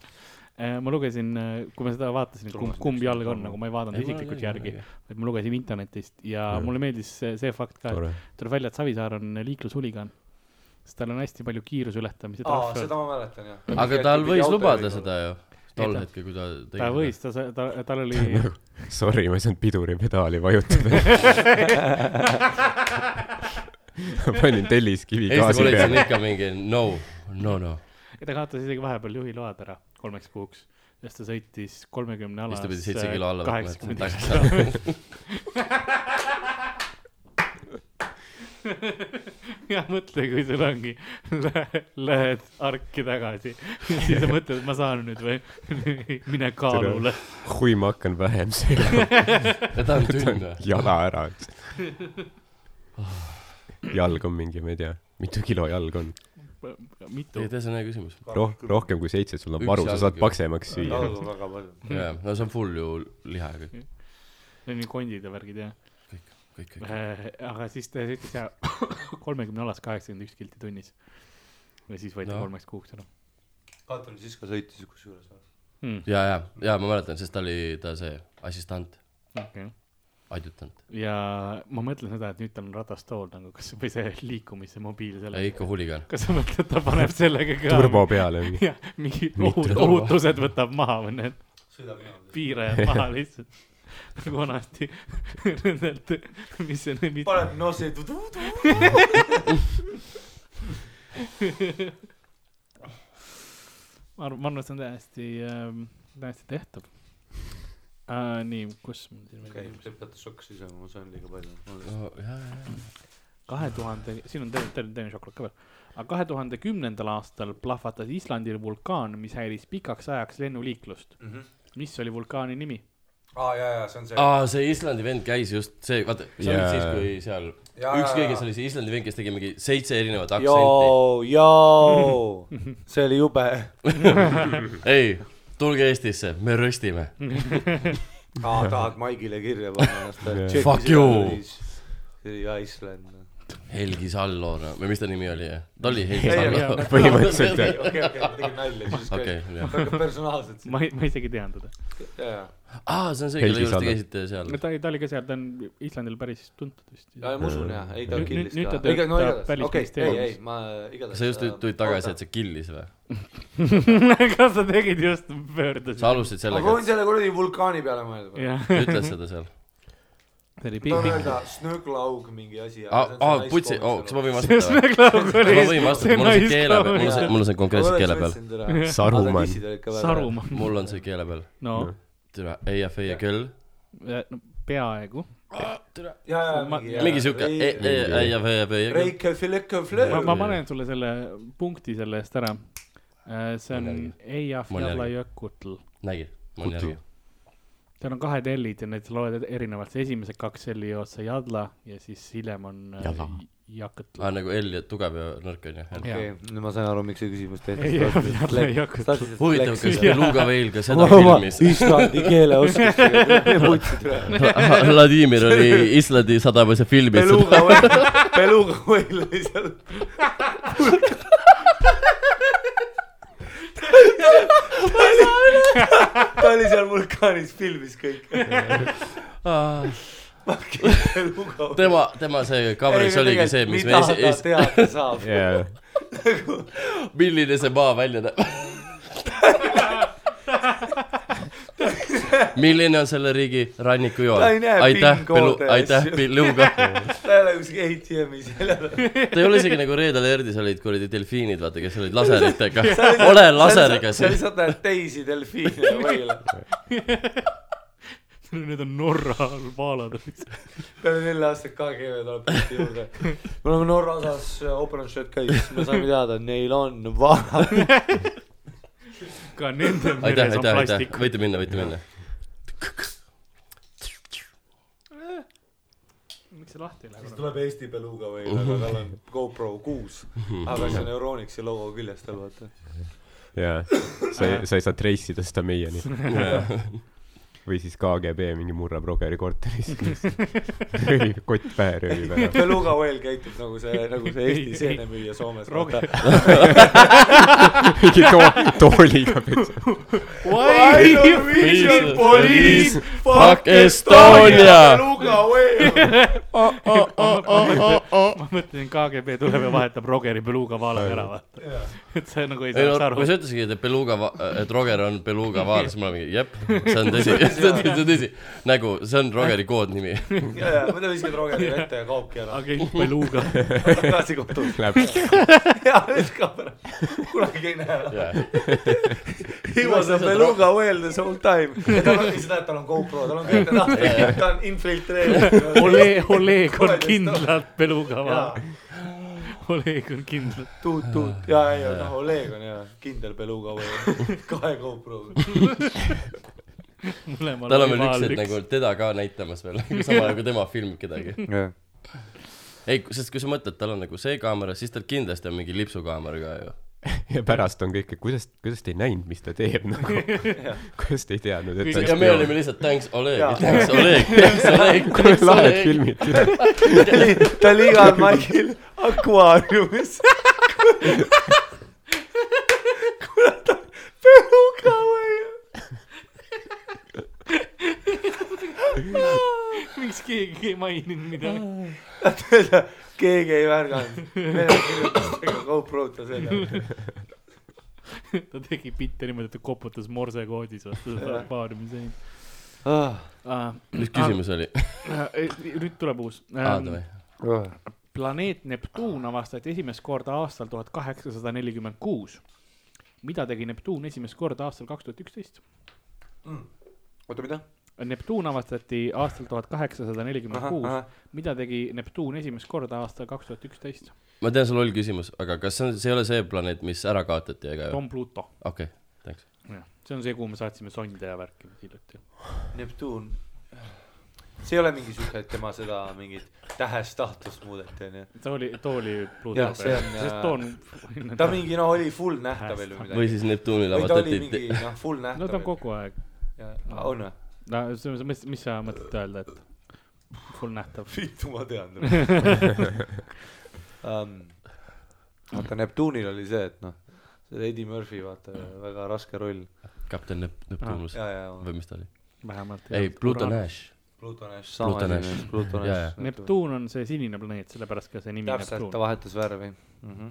S2: Eh, ma lugesin , kui ma seda vaatasin , kumb ,
S5: Tulmas
S2: kumb
S5: üks
S2: jalg on ,
S5: tulmas.
S2: nagu ma ei vaadanud
S4: Ei, ma
S2: isiklikult
S4: lugesin
S2: järgi
S4: järgi. ,
S2: vaid ma lugesin internetist ja
S3: Jah.
S2: mulle meeldis see, see fakt ka ,
S3: tore .
S2: et tuleb välja , et Savisaar on liiklushuligan . sest tal on hästi palju kiiruseületamise
S5: aa ,
S2: trahve
S5: seda ma mäletan jah .
S4: aga tal võis lubada . seda ju , tol hetkel , kui ta tegi .
S2: ta võis ,. ta , ta , tal oli ,
S3: Sorry , ma ei saanud piduripedaali [laughs] vajutada .
S2: [laughs]
S3: panin telliskivi
S4: Eesti
S3: gaasi
S4: politsei on
S3: peale .
S4: ikka mingi no , no , no .
S2: ta kaotas isegi vahepeal juhiload ära kolmeks kuuks . ja siis ta sõitis kolmekümne alas .
S4: siis ta pidi seitse kilo alla võtma , et
S2: kaheksakümmend
S4: tagasi saada .
S2: [laughs] ja mõtle , kui sul ongi , lähed arki tagasi , siis sa mõtled , et ma saan nüüd või [laughs] mine kaalule .
S3: kui ma hakkan [laughs] vähem sööma ,
S4: ja ta on tünn või ?
S3: jala ära . [laughs] jalg on mingi , ma ei tea , mitu kilo jalg on
S2: mitu
S4: ei ,, tee , see on hea küsimus .
S3: Roh- , rohkem kui seitse , sul on
S4: Üks
S3: varu , sa
S4: jalg
S3: saad
S4: ju.
S3: paksemaks süüa .
S5: jalgu on väga palju .
S4: jaa , no see on full ju liha ja kõik ,
S2: see on ju kondid ja värgid jah .
S4: kõik , kõik .
S2: aga siis ta sõitis ja [laughs] kolmekümne alas kaheksakümmend üks kilti tunnis . ja siis võeti
S4: No.
S2: no. kolmeks kuuks ära
S5: Katrin siis ka sõitis kusjuures .
S2: hmm. .
S4: ja , ja , ja ma mäletan , sest ta oli , ta see assistant ,
S2: Okay.
S4: adjutant .
S2: ja ma mõtlen seda , et nüüd tal on ratastool nagu , kas või see liikumise mobiil
S4: ei ,
S2: sellega .
S4: ikka huligaan .
S2: kas sa mõtled , ta paneb sellega ka ?
S3: turbo peale .
S4: [laughs]
S2: jah , mingi
S3: Mitu
S2: ohut-
S4: turva.
S2: ohutused võtab maha või need
S7: sõidab niimoodi .
S2: piirajad maha lihtsalt . nagu vanasti nendelt , mis see nüüd ,
S7: paneb nosi tudu-tudu .
S2: ma arvan , ma arvan , et see on täiesti ähm, , täiesti tehtav uh, . nii , kus mul siin veel
S5: okei
S2: küsimus ,?
S5: lõpeta sokk sisse , ma söön liiga palju .
S4: no jaa , jaa ,
S2: kahe tuhande , siin on terve , terve teine šokolaad ka veel . aga kahe tuhande kümnendal aastal plahvatas Islandil vulkaan , mis häiris pikaks ajaks lennuliiklust .
S4: Mhm.
S2: mis oli vulkaani nimi ?
S7: aa , ja , ja see on see
S4: jaa . aa , see Islandi vend käis just , see , vaata , see on
S3: Jaa.
S4: nüüd siis , kui seal ,
S7: Jaa, jaa,
S4: ükskõik , kes
S7: jaa.
S4: oli see Islandi vend , kes tegi mingi seitse erinevat aktsenti .
S5: joo , joo , [laughs] see oli jube .
S4: ei , tulge Eestisse , me röstime .
S5: aa , tahad Maigile kirja panna [laughs] ennast ?
S4: Fuck you. .
S5: ja Island . noh.
S4: Helgi Sallo , no , või mis ta nimi oli , jah ? ta oli Helgi
S5: Ei,
S4: Sallo .
S3: põhimõtteliselt jah .
S5: okei , okei , ma tegin nalja siis ka
S4: okei , jah .
S5: väga personaalselt .
S2: ma ei , ma isegi ei teadnud teda .
S5: jaa ,
S4: aa , see on see ,
S3: Helgi
S4: kelle juures te
S3: Sallo.
S4: käisite seal .
S2: ta oli , ta oli ka seal , ta on Islandil päris tuntud vist .
S5: jaa , ma usun jaa , ei ta
S2: Nüüd-
S5: killis
S2: nüüd- nüüd
S5: ka
S2: ta .
S5: ega no
S2: töötab
S5: igatahes , okei , ei , ei
S2: Välisministeeriumis. ,
S5: ma igatahes .
S4: sa just tulid- tulid tagasi , et see killis või ?
S2: kas sa tegid just pöördusid ?
S4: sa alustasid
S5: ma
S4: sellega ,
S5: proovin selle kuradi vulkaani peale mõelda .
S2: jah ,
S4: et ütle seda seal .
S2: see oli
S5: tahan
S2: pikk ,
S5: öelda Snöglaug mingi asi .
S4: aa , aa , Ah, putsi , oo , kas ma võin
S2: see
S4: vastata või ?
S2: Sneglaug oli .
S4: ma võin vastata , mul on see keele peal , mul on see , mul on see konkreetselt keele peal .
S5: peal
S3: Saruman. .
S2: Sarumaa ,
S4: mul on see keele peal .
S2: no
S4: türa , ei ja feie küll .
S2: eh, no, peaaegu .
S5: ja ,
S2: Ma-
S5: ja
S4: mingi siuke , ei , ei , ei ja feie , feie küll .
S5: Reike Fileke
S2: ma ,
S5: Fleur .
S2: ma panen sulle selle punkti selle eest ära . see
S4: Ma
S2: on
S4: nälgin. Ma
S2: Eyjafjallajökull ,
S4: nägid ? ma olen
S3: Kutu.
S4: järgi .
S2: seal on kahed L-id ja need sa loed erinevalt , see esimesed kaks L-i on see Jadla ja siis hiljem on eh,
S3: Jadla.
S2: Jakõtl .
S4: aa , nagu L ja tugev ja nõrk on ju .
S5: okei , nüüd ma sain aru , miks see küsimus
S2: Ei, jah, jah, ei hakka-
S5: tehti .
S4: huvitav , kas [laughs] Luga veel ka seda
S5: oma
S4: filmis
S5: islandi keele [laughs] oskust .
S4: Vladimir oli Islandi sadamase filmis .
S5: Beluga whale , Beluga whale oli seal . ta oli seal vulkaanis , filmis
S4: [laughs]
S5: kõik . Beluga whale .
S4: tema , tema see coverage oligi see , mis me
S5: mida
S4: esi-
S5: ta , teada saab .
S3: jaa ,
S4: milline see maa välja näeb . milline on selle riigi rannikujoon
S5: Ta ei näe ?
S4: aitäh ,
S5: pinkoode ja
S4: aitäh ,
S5: asju. [laughs]
S4: Pilluga .
S5: ta ei ole kuskil ATM-i seal . [laughs]
S4: ta ei ole isegi nagu Reedel Erdis olid kuradi delfiinid , vaata , kes olid laseritega . ole laseriga
S5: sa
S4: siin .
S5: lihtsalt näed teisi delfiine whale . [laughs]
S2: Need on Norra albaalad .
S5: peale nelja aastat KGB tuleb pilti juurde . me oleme Norra osas äh, operatsioonid käis , siis me saime teada , et neil on vana
S2: ka nende meres
S4: aitäh ,
S2: on
S4: aitäh , aitäh
S2: plastik .,
S4: võite minna , võite minna .
S2: miks see lahti ei lähe ?
S5: tuleb Eesti Beluga või aga tal on GoPro kuus , aga see on Euronixi logo küljes tal vaata .
S3: jaa . sa ei , sa ei saa trace ida seda meieni . või siis KGB mingi murrab Rogeri korteris . röövib , kott pähe [laughs] röövib ära .
S5: Beluga Whale käitub nagu see , nagu see Eesti seenemüüja Soomes .
S2: Roger-
S3: mingi too- , tooliga peksa .
S2: Why you vision police ?
S4: Fuck Estonia !
S5: Beluga Whale .
S2: ma mõtlesin , KGB tuleb ja vahetab Rogeri Beluga vaalaga ära , vaata . [laughs] et sa nagu ei
S4: ei no
S2: saaks , aru
S4: kui . sa ütlesidki , et Beluga , et Roger on Beluga vaal , siis ma olen mingi , jep , see on tõsi ,
S2: [laughs]
S4: see on see on tõsi . nägu , see on Rogeri koodnimi .
S5: muidu viskad Rogeri kätte ja kaobki ära .
S2: agent
S4: [laughs]
S2: Beluga . [laughs]
S5: tagasi
S3: [laughs]
S5: koju .
S3: Läheb
S5: ja , nüüd kaob ära . kunagi ei näe ära . He was a beluga whale this whole time .
S8: ja tal ongi seda , et tal on GoPro , tal on kõik need ahvid , ta on infiltreeritud .
S2: Oleg , Oleg on
S8: Kuradi
S2: kindlalt
S8: jaa
S2: pelugava ,, Oleg on kindlalt .
S5: tuut-tuut ja , ja , ja noh , Oleg on hea , kindel beluga whale , [laughs] kahe GoPro-ga .
S2: mõlemal
S4: tal on veel üks , et nagu teda ka näitamas veel , samal ajal kui tema filmib kedagi . ei , sest kui sa mõtled , tal on nagu see kaamera , siis tal kindlasti on mingi lipsukaamera ka ju .
S3: ja pärast on kõik , et kuidas , kuidas te ei näinud , mis ta teeb nagu . kuidas te ei teadnud , et
S4: ja me olime lihtsalt thanks Oleg , thanks
S5: [laughs]
S4: Oleg , thanks Oleg ,
S3: [laughs] kui
S4: thanks
S3: lahed
S4: Oleg .
S3: filmid .
S5: ta oli igal maikil akvaariumis . beluga whale .
S2: miks keegi ei maininud midagi ? [laughs]
S5: keegi ei märganud , Vene kirjutas ikka GoPro-t ta selja .
S2: ta tegi bitte niimoodi , et ta koputas morsekoodis vastu seda akvaariumi seina
S4: Ah.
S2: uh, .
S4: mis küsimus oli ?
S2: nüüd tuleb uus Ähm,
S4: aa , davai .
S2: planeet Neptuun avastati esimest korda aastal tuhat kaheksasada nelikümmend kuus . mida tegi Neptuun esimest korda aastal kaks tuhat üksteist ?
S5: oota , mida ?
S2: Neptuun avastati aastal tuhat kaheksasada nelikümmend kuus . mida tegi Neptuun esimest korda aastal kaks tuhat üksteist ?
S4: ma tean , sul oli küsimus , aga kas see on , see ei ole see planeet , mis ära kaotati , ega ju ?
S2: Tom Pluto .
S4: okei , thanks .
S2: see on see , kuhu me saatsime sonde ja värki hiljuti .
S5: Neptuun . see ei ole mingi siuke , et tema seda mingit tähest tahtust muudeti , onju .
S2: ta oli , too oli Pluto
S5: Jah, see
S2: peal.
S5: on,
S2: sest
S5: äh,
S2: too on . [laughs]
S5: ta mingi noh , oli full nähtav veel või
S4: või
S5: midagi .
S4: siis Neptunil
S5: või ta oli
S4: avastati
S5: mingi , noh , full
S2: no ta on
S5: nähtav .
S2: kogu aeg .
S5: on või ?
S2: no see , mis , mis sa mõtled öelda , et full nähtav ?
S5: vittu ma tean um, . vaata Neptuunil oli see , et noh , see oli Eddie Murphy , vaata , väga raske roll .
S4: kapten Nep- , Neptunus
S5: ja , ja
S4: või , mis ta oli ?
S2: vähemalt .
S4: ei , Pluto . Nash .
S5: Plutonash ,
S4: Plutonash.
S5: Plutonash ,
S4: Jaa, jaa.
S5: Plutonash .
S2: Neptuun on see sinine planeet , sellepärast ka see nimi
S5: täpselt , ta
S2: Neptuun .
S5: vahetas värvi mm . -hmm.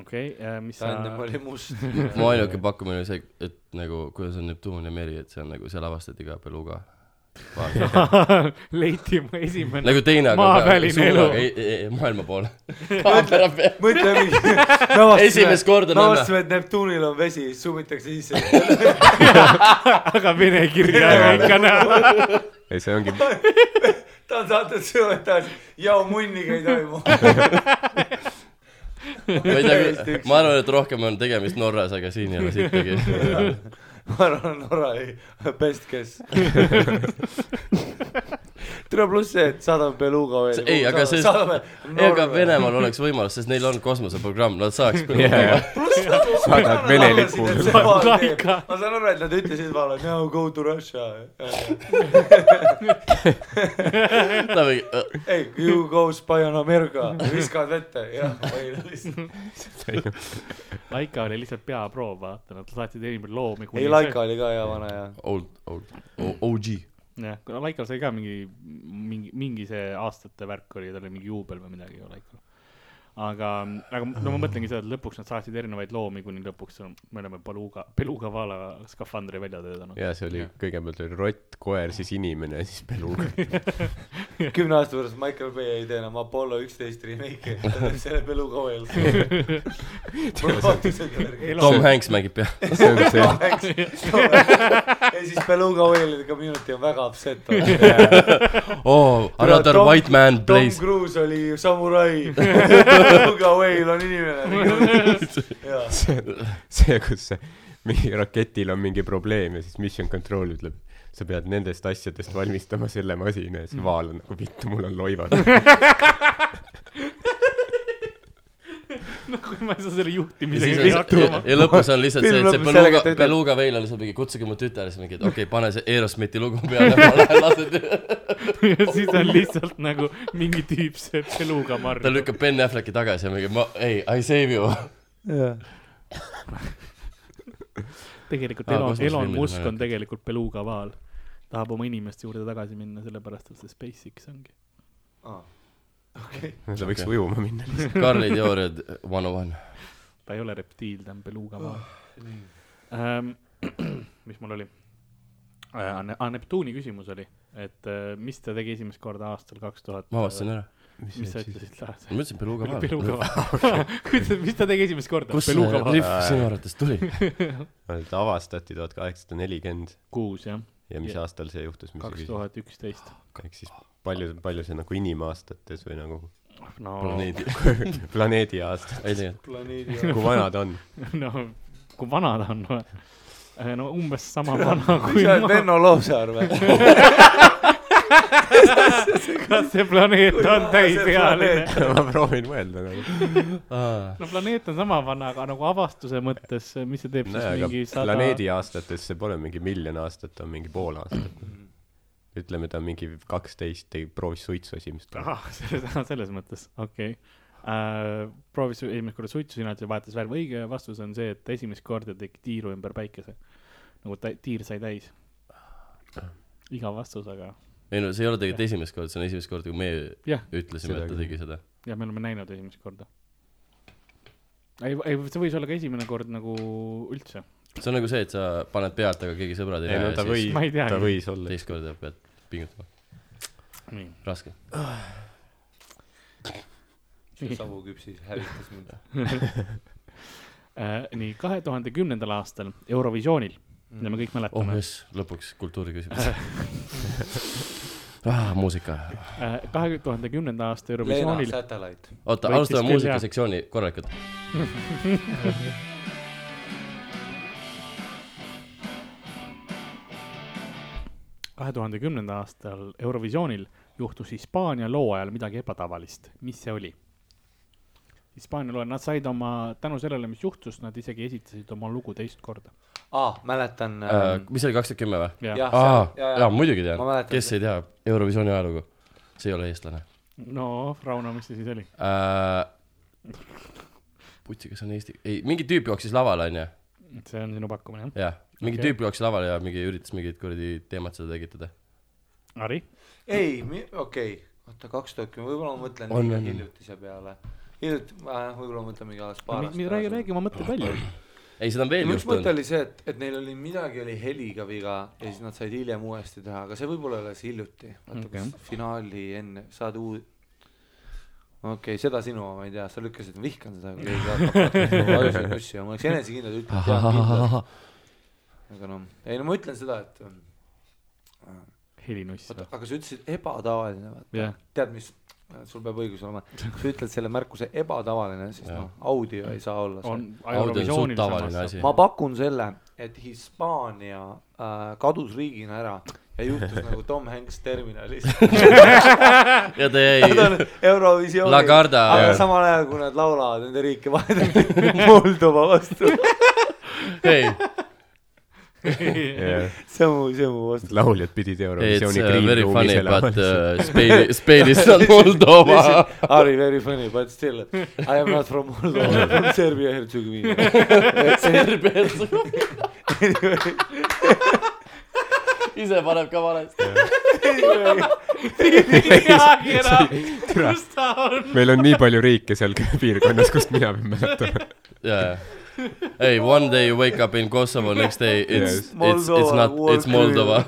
S2: okei , mis
S5: ta
S2: sa ,
S5: ennem oli
S4: [laughs]
S5: must .
S4: mu ainuke pakkumine oli see , et nagu , kuidas on Neptun ja meri , et see on nagu , seal avastati ka Beluga .
S2: [laughs] leiti mu esimene .
S4: nagu teine , aga
S2: Maaväline
S4: suunaga
S2: elu.
S4: ei, ei, ei, maailma
S5: [laughs]
S4: poole . kaamera peal .
S5: mõtle mingi ,
S4: esimest korda
S5: me
S4: näeme .
S5: avastasime , et Neptuunil on vesi , sumitakse sisse . [laughs]
S2: aga vene kirja ei ole ikka näha .
S3: ei , see ongi ,
S5: ta on saatnud süvendajad , jao munniga ei toimu .
S4: ma ei
S5: Täiesti
S4: tea ,
S5: üks.
S4: ma arvan , et rohkem on tegemist Norras , aga siin ei ole
S5: [laughs]
S4: sittagi .
S5: ma arvan , Norra ei , best guess . tuleb pluss see , et saadame Beluga veel
S4: See- . ei, aga see-
S5: saadame
S4: ei , aga
S5: Norra .
S4: Venemaal oleks võimalus , sest neil on kosmoseprogramm , nad
S5: [laughs]
S4: saaks .
S3: jaa , saadad vene lipu .
S2: Laika.
S5: ma saan aru , et nad ütlesid , ma olen now go to Russia . ei , you go spy on America , viskavad vette , jah , ma ei tea .
S2: Laika oli lihtsalt peaproov , vaata , nad saatsid esimene loomi .
S5: ei , Laika . oli ka hea vana ja .
S4: Old , old , OG .
S2: jah , kuna Laikal sai ka mingi , mingi , mingi see aastate värk oli , tal oli mingi juubel või midagi ju Laikal . aga , aga no ma mõtlengi seda , et lõpuks nad saatsid erinevaid loomi , kuni lõpuks on- me oleme Beluga , Beluga vaala skafandri välja töötanud .
S3: ja see oli , kõigepealt oli rott , koer , siis inimene , siis Beluga .
S5: kümne aasta pärast Michael Bay ei tee enam Apollo üksteist remake'i , ta teeb selle Beluga veel . mul vaatas , et järgi .
S4: Tom Hanks mängib
S5: [laughs]
S4: pea .
S3: see on see ,
S5: ja siis Beluga Whale'i community on väga upset .
S4: oo , Oh, another white man plays
S5: Tom . Cruise oli [laughs] samurai , Beluga Whale on inimene .
S3: see , kus see mingi raketil on mingi probleem ja siis mission control ütleb , sa pead nendest asjadest valmistama selle masina ja siis vaal on nagu vittu , mul on [laughs]
S2: [laughs]
S3: loivad .
S2: no kui ma ei saa selle
S4: ja siis
S2: juhtimisega
S4: on
S2: ei hakkama
S4: see , ja lõpus on lihtsalt see ,
S5: Film
S4: et see
S5: lõpeb sellega,
S4: Beluga
S5: et ta , ütleb-
S4: Beluga veel on lihtsalt mingi , kutsuge mu tütar , siis mingi , et okei okay, , pane see Aerosmithi lugu peale , ma lähen lasen ,
S2: ja [laughs] siis on lihtsalt nagu mingi tüüp see Beluga
S4: ta
S2: marju .
S4: lükkab Ben Afflecki tagasi ja mingi , ma , ei , I save you . [laughs]
S2: tegelikult
S4: Aa,
S2: Elon ,
S4: kosmosefilmid
S2: Elon
S4: Ah, on
S2: Musk on
S4: naljakad.
S2: tegelikult Beluga vaal . tahab oma inimeste juurde tagasi minna , sellepärast et see SpaceX ongi .
S5: Ah,
S3: ta võiks ujuma minna .
S4: Karli teooriad one on one .
S2: ta ei ole reptiil , ta on beluuga maa ähm, . [clears throat] mis mul oli ? äh, Neptuuni küsimus oli , et äh, mis ta tegi esimest korda aastal kaks tuhat .
S4: ma avastasin ära .
S2: mis sa ütlesid
S3: [laughs]
S4: ma
S2: lahti ?
S4: mõtlesin Beluga vaal .
S2: peluga . kuidas , [laughs] mis ta tegi esimest korda ?
S4: kus
S2: peluga
S4: see
S2: vaal .
S4: rihv sinu arvates tuli ?
S3: ta avastati tuhat kaheksasada nelikümmend
S2: kuus jah ,
S3: ja mis
S2: Ja.
S3: aastal see juhtus , mis
S2: kaks
S3: sa
S2: tuhat üksteist .
S3: küsisid ? ehk siis palju , palju see nagu inimaastates või nagu
S2: no ,
S3: planeedi , [laughs] planeedi aastates ,
S4: ei tea ,
S9: planeedi
S3: kui vana ta on ?
S2: [laughs] no kui vana ta on või ? no umbes sama vana kui
S5: sa oled
S2: ma .
S5: Venno Loosaar või ?
S2: [laughs] kas see planeet on täisealine ?
S3: [laughs] ma proovin mõelda nagu .
S2: no planeet on sama vana , aga nagu avastuse mõttes , mis see teeb siis
S3: nojah ,
S2: mingi
S3: aga
S2: sada .
S3: planeedi aastates see pole mingi miljon aastat , ta on mingi pool aastat . ütleme , ta on mingi kaksteist , ta proovis suitsu esimest korda .
S2: ah , [laughs] selles , selles mõttes , okei okay. . proovis esimest korda suitsu sinna , et see vahetas värvi . õige vastus on see , et esimest korda tegi tiiru ümber päikese . nagu ta, tiir sai täis . iga vastus , aga
S4: ei no see ei ole tegelikult esimest korda , see on esimest korda , kui me
S2: Jah.
S4: ütlesime , et ta
S3: Seda
S4: tegi seda .
S2: jah , me oleme näinud esimest korda . ei , ei , see võis olla ka esimene kord nagu üldse .
S4: see on nagu see , et sa paned pead , aga keegi sõbrad ei
S3: ei no
S4: näe
S3: ta
S4: ja siis
S3: võis
S2: Ma ei , teagi.
S3: ta võis olla .
S4: teist korda pead pingutama ,
S2: nii ,
S4: raske .
S5: Savu küpsis hävitas mind .
S2: Äh, nii kahe tuhande kümnendal aastal Eurovisioonil , mida me kõik
S4: oh
S2: mäletame ,
S4: jess , lõpuks kultuuriküsimus . ah , muusika .
S2: äh, kahe tuhande kümnenda aasta
S5: Leena
S2: Eurovisioonil ,
S5: Satellite .
S4: oota ,
S2: Võitis
S4: alustame
S2: küll, jah.
S4: muusikasektsiooni korralikult .
S2: kahe tuhande kümnenda aastal Eurovisioonil juhtus Hispaania loo ajal midagi ebatavalist , mis see oli ? Hispaania loe , nad said oma , tänu sellele , mis juhtus , nad isegi esitasid oma lugu teist korda .
S5: aa , Ah, mäletan .
S4: Äh,
S5: ähm,
S4: mis see oli , kaks tuhat kümme või ?
S2: jah ,
S5: jah ,
S4: aa , Ah, jaa ,
S5: jaa ,
S4: muidugi
S5: Ma
S4: tean
S5: mäletan .
S4: kes ei tea Eurovisiooni ajalugu ? see ei ole eestlane
S2: no Rauno , mis see siis oli ?
S4: äh, . putsi , kas on eesti , ei , mingi tüüp jooksis lavale , onju ,
S2: see on sinu pakkumine , jah ?
S4: jah . mingi
S2: Okei.
S4: okay. tüüp jooksis lavale ja mingi üritas mingit kuradi teemat seda tekitada .
S2: Ari ?
S5: ei , okei , oota kaks tuhat kümme , võib-olla ma mõtlen
S4: On,
S5: liiga
S4: on, on.
S5: hiljutise peale . hiljuti , võib-olla ma mõtlen mingi alles paar aastat
S2: räägi , räägi . oma mõtted välja .
S4: ei , seda on veel
S5: üks mõte
S4: juhtunud .
S5: oli see , et , et neil oli midagi oli heliga viga ja siis nad said hiljem uuesti teha , aga see võib-olla ei ole siis hiljuti . vaata ,
S2: Okei.
S5: kas finaali enne saad uu- . okei okay, , seda sinu oma ei tea , sa lükkasid , ma vihkan seda , kui keegi hakkab vajusid nussi ja ma oleks enesekindel , ütleks jah , kindlalt .
S2: [laughs]
S5: aga noh , ei no ma ütlen seda , et äh,
S2: helinuss .
S5: oota , aga sa ütlesid ebatavaline , vaata
S2: Jah.
S5: yeah. , tead mis , sul peab õigus olema , sa ütled selle märkuse ebatavaline , siis noh , audio ei saa olla seal .
S2: on
S4: Audio on suht
S2: Eurovisioonil
S4: tavaline
S2: samas .
S4: asi .
S5: ma pakun selle , et Hispaania äh, kadus riigina ära ja juhtus nagu Tom Hanks
S4: [laughs]
S5: terminalis .
S4: ja ta
S5: [laughs]
S4: jäi
S5: Nad on Eurovisioonil ,
S4: La Garda
S5: aga
S4: ja-
S5: samal ajal , kui nad laulavad nende riike vahetati [laughs] Moldova vastu .
S4: ei ,
S5: see on mu , see on mu vastus .
S3: lauljad pidid
S4: it's
S3: Eurovisiooni
S4: uh, very
S3: kriimruumis
S4: funny
S3: elama .
S4: but uh, Spain , Spain is not Moldova .
S5: Harry , very funny but still I am not from Moldova , I am
S4: [laughs]
S5: from Serbia Herzegovina .
S4: [laughs] ise paneb ka valesti .
S2: midagi enam , kus ta
S4: uh,
S2: on ?
S3: meil on nii palju riike seal [laughs] piirkonnas , kust mina pean mäletama .
S4: jaa , jaa . ei , one day you wake up in Kosovo , next day it's
S3: Yes.
S4: yes. , it's , it's not , it's Moldova .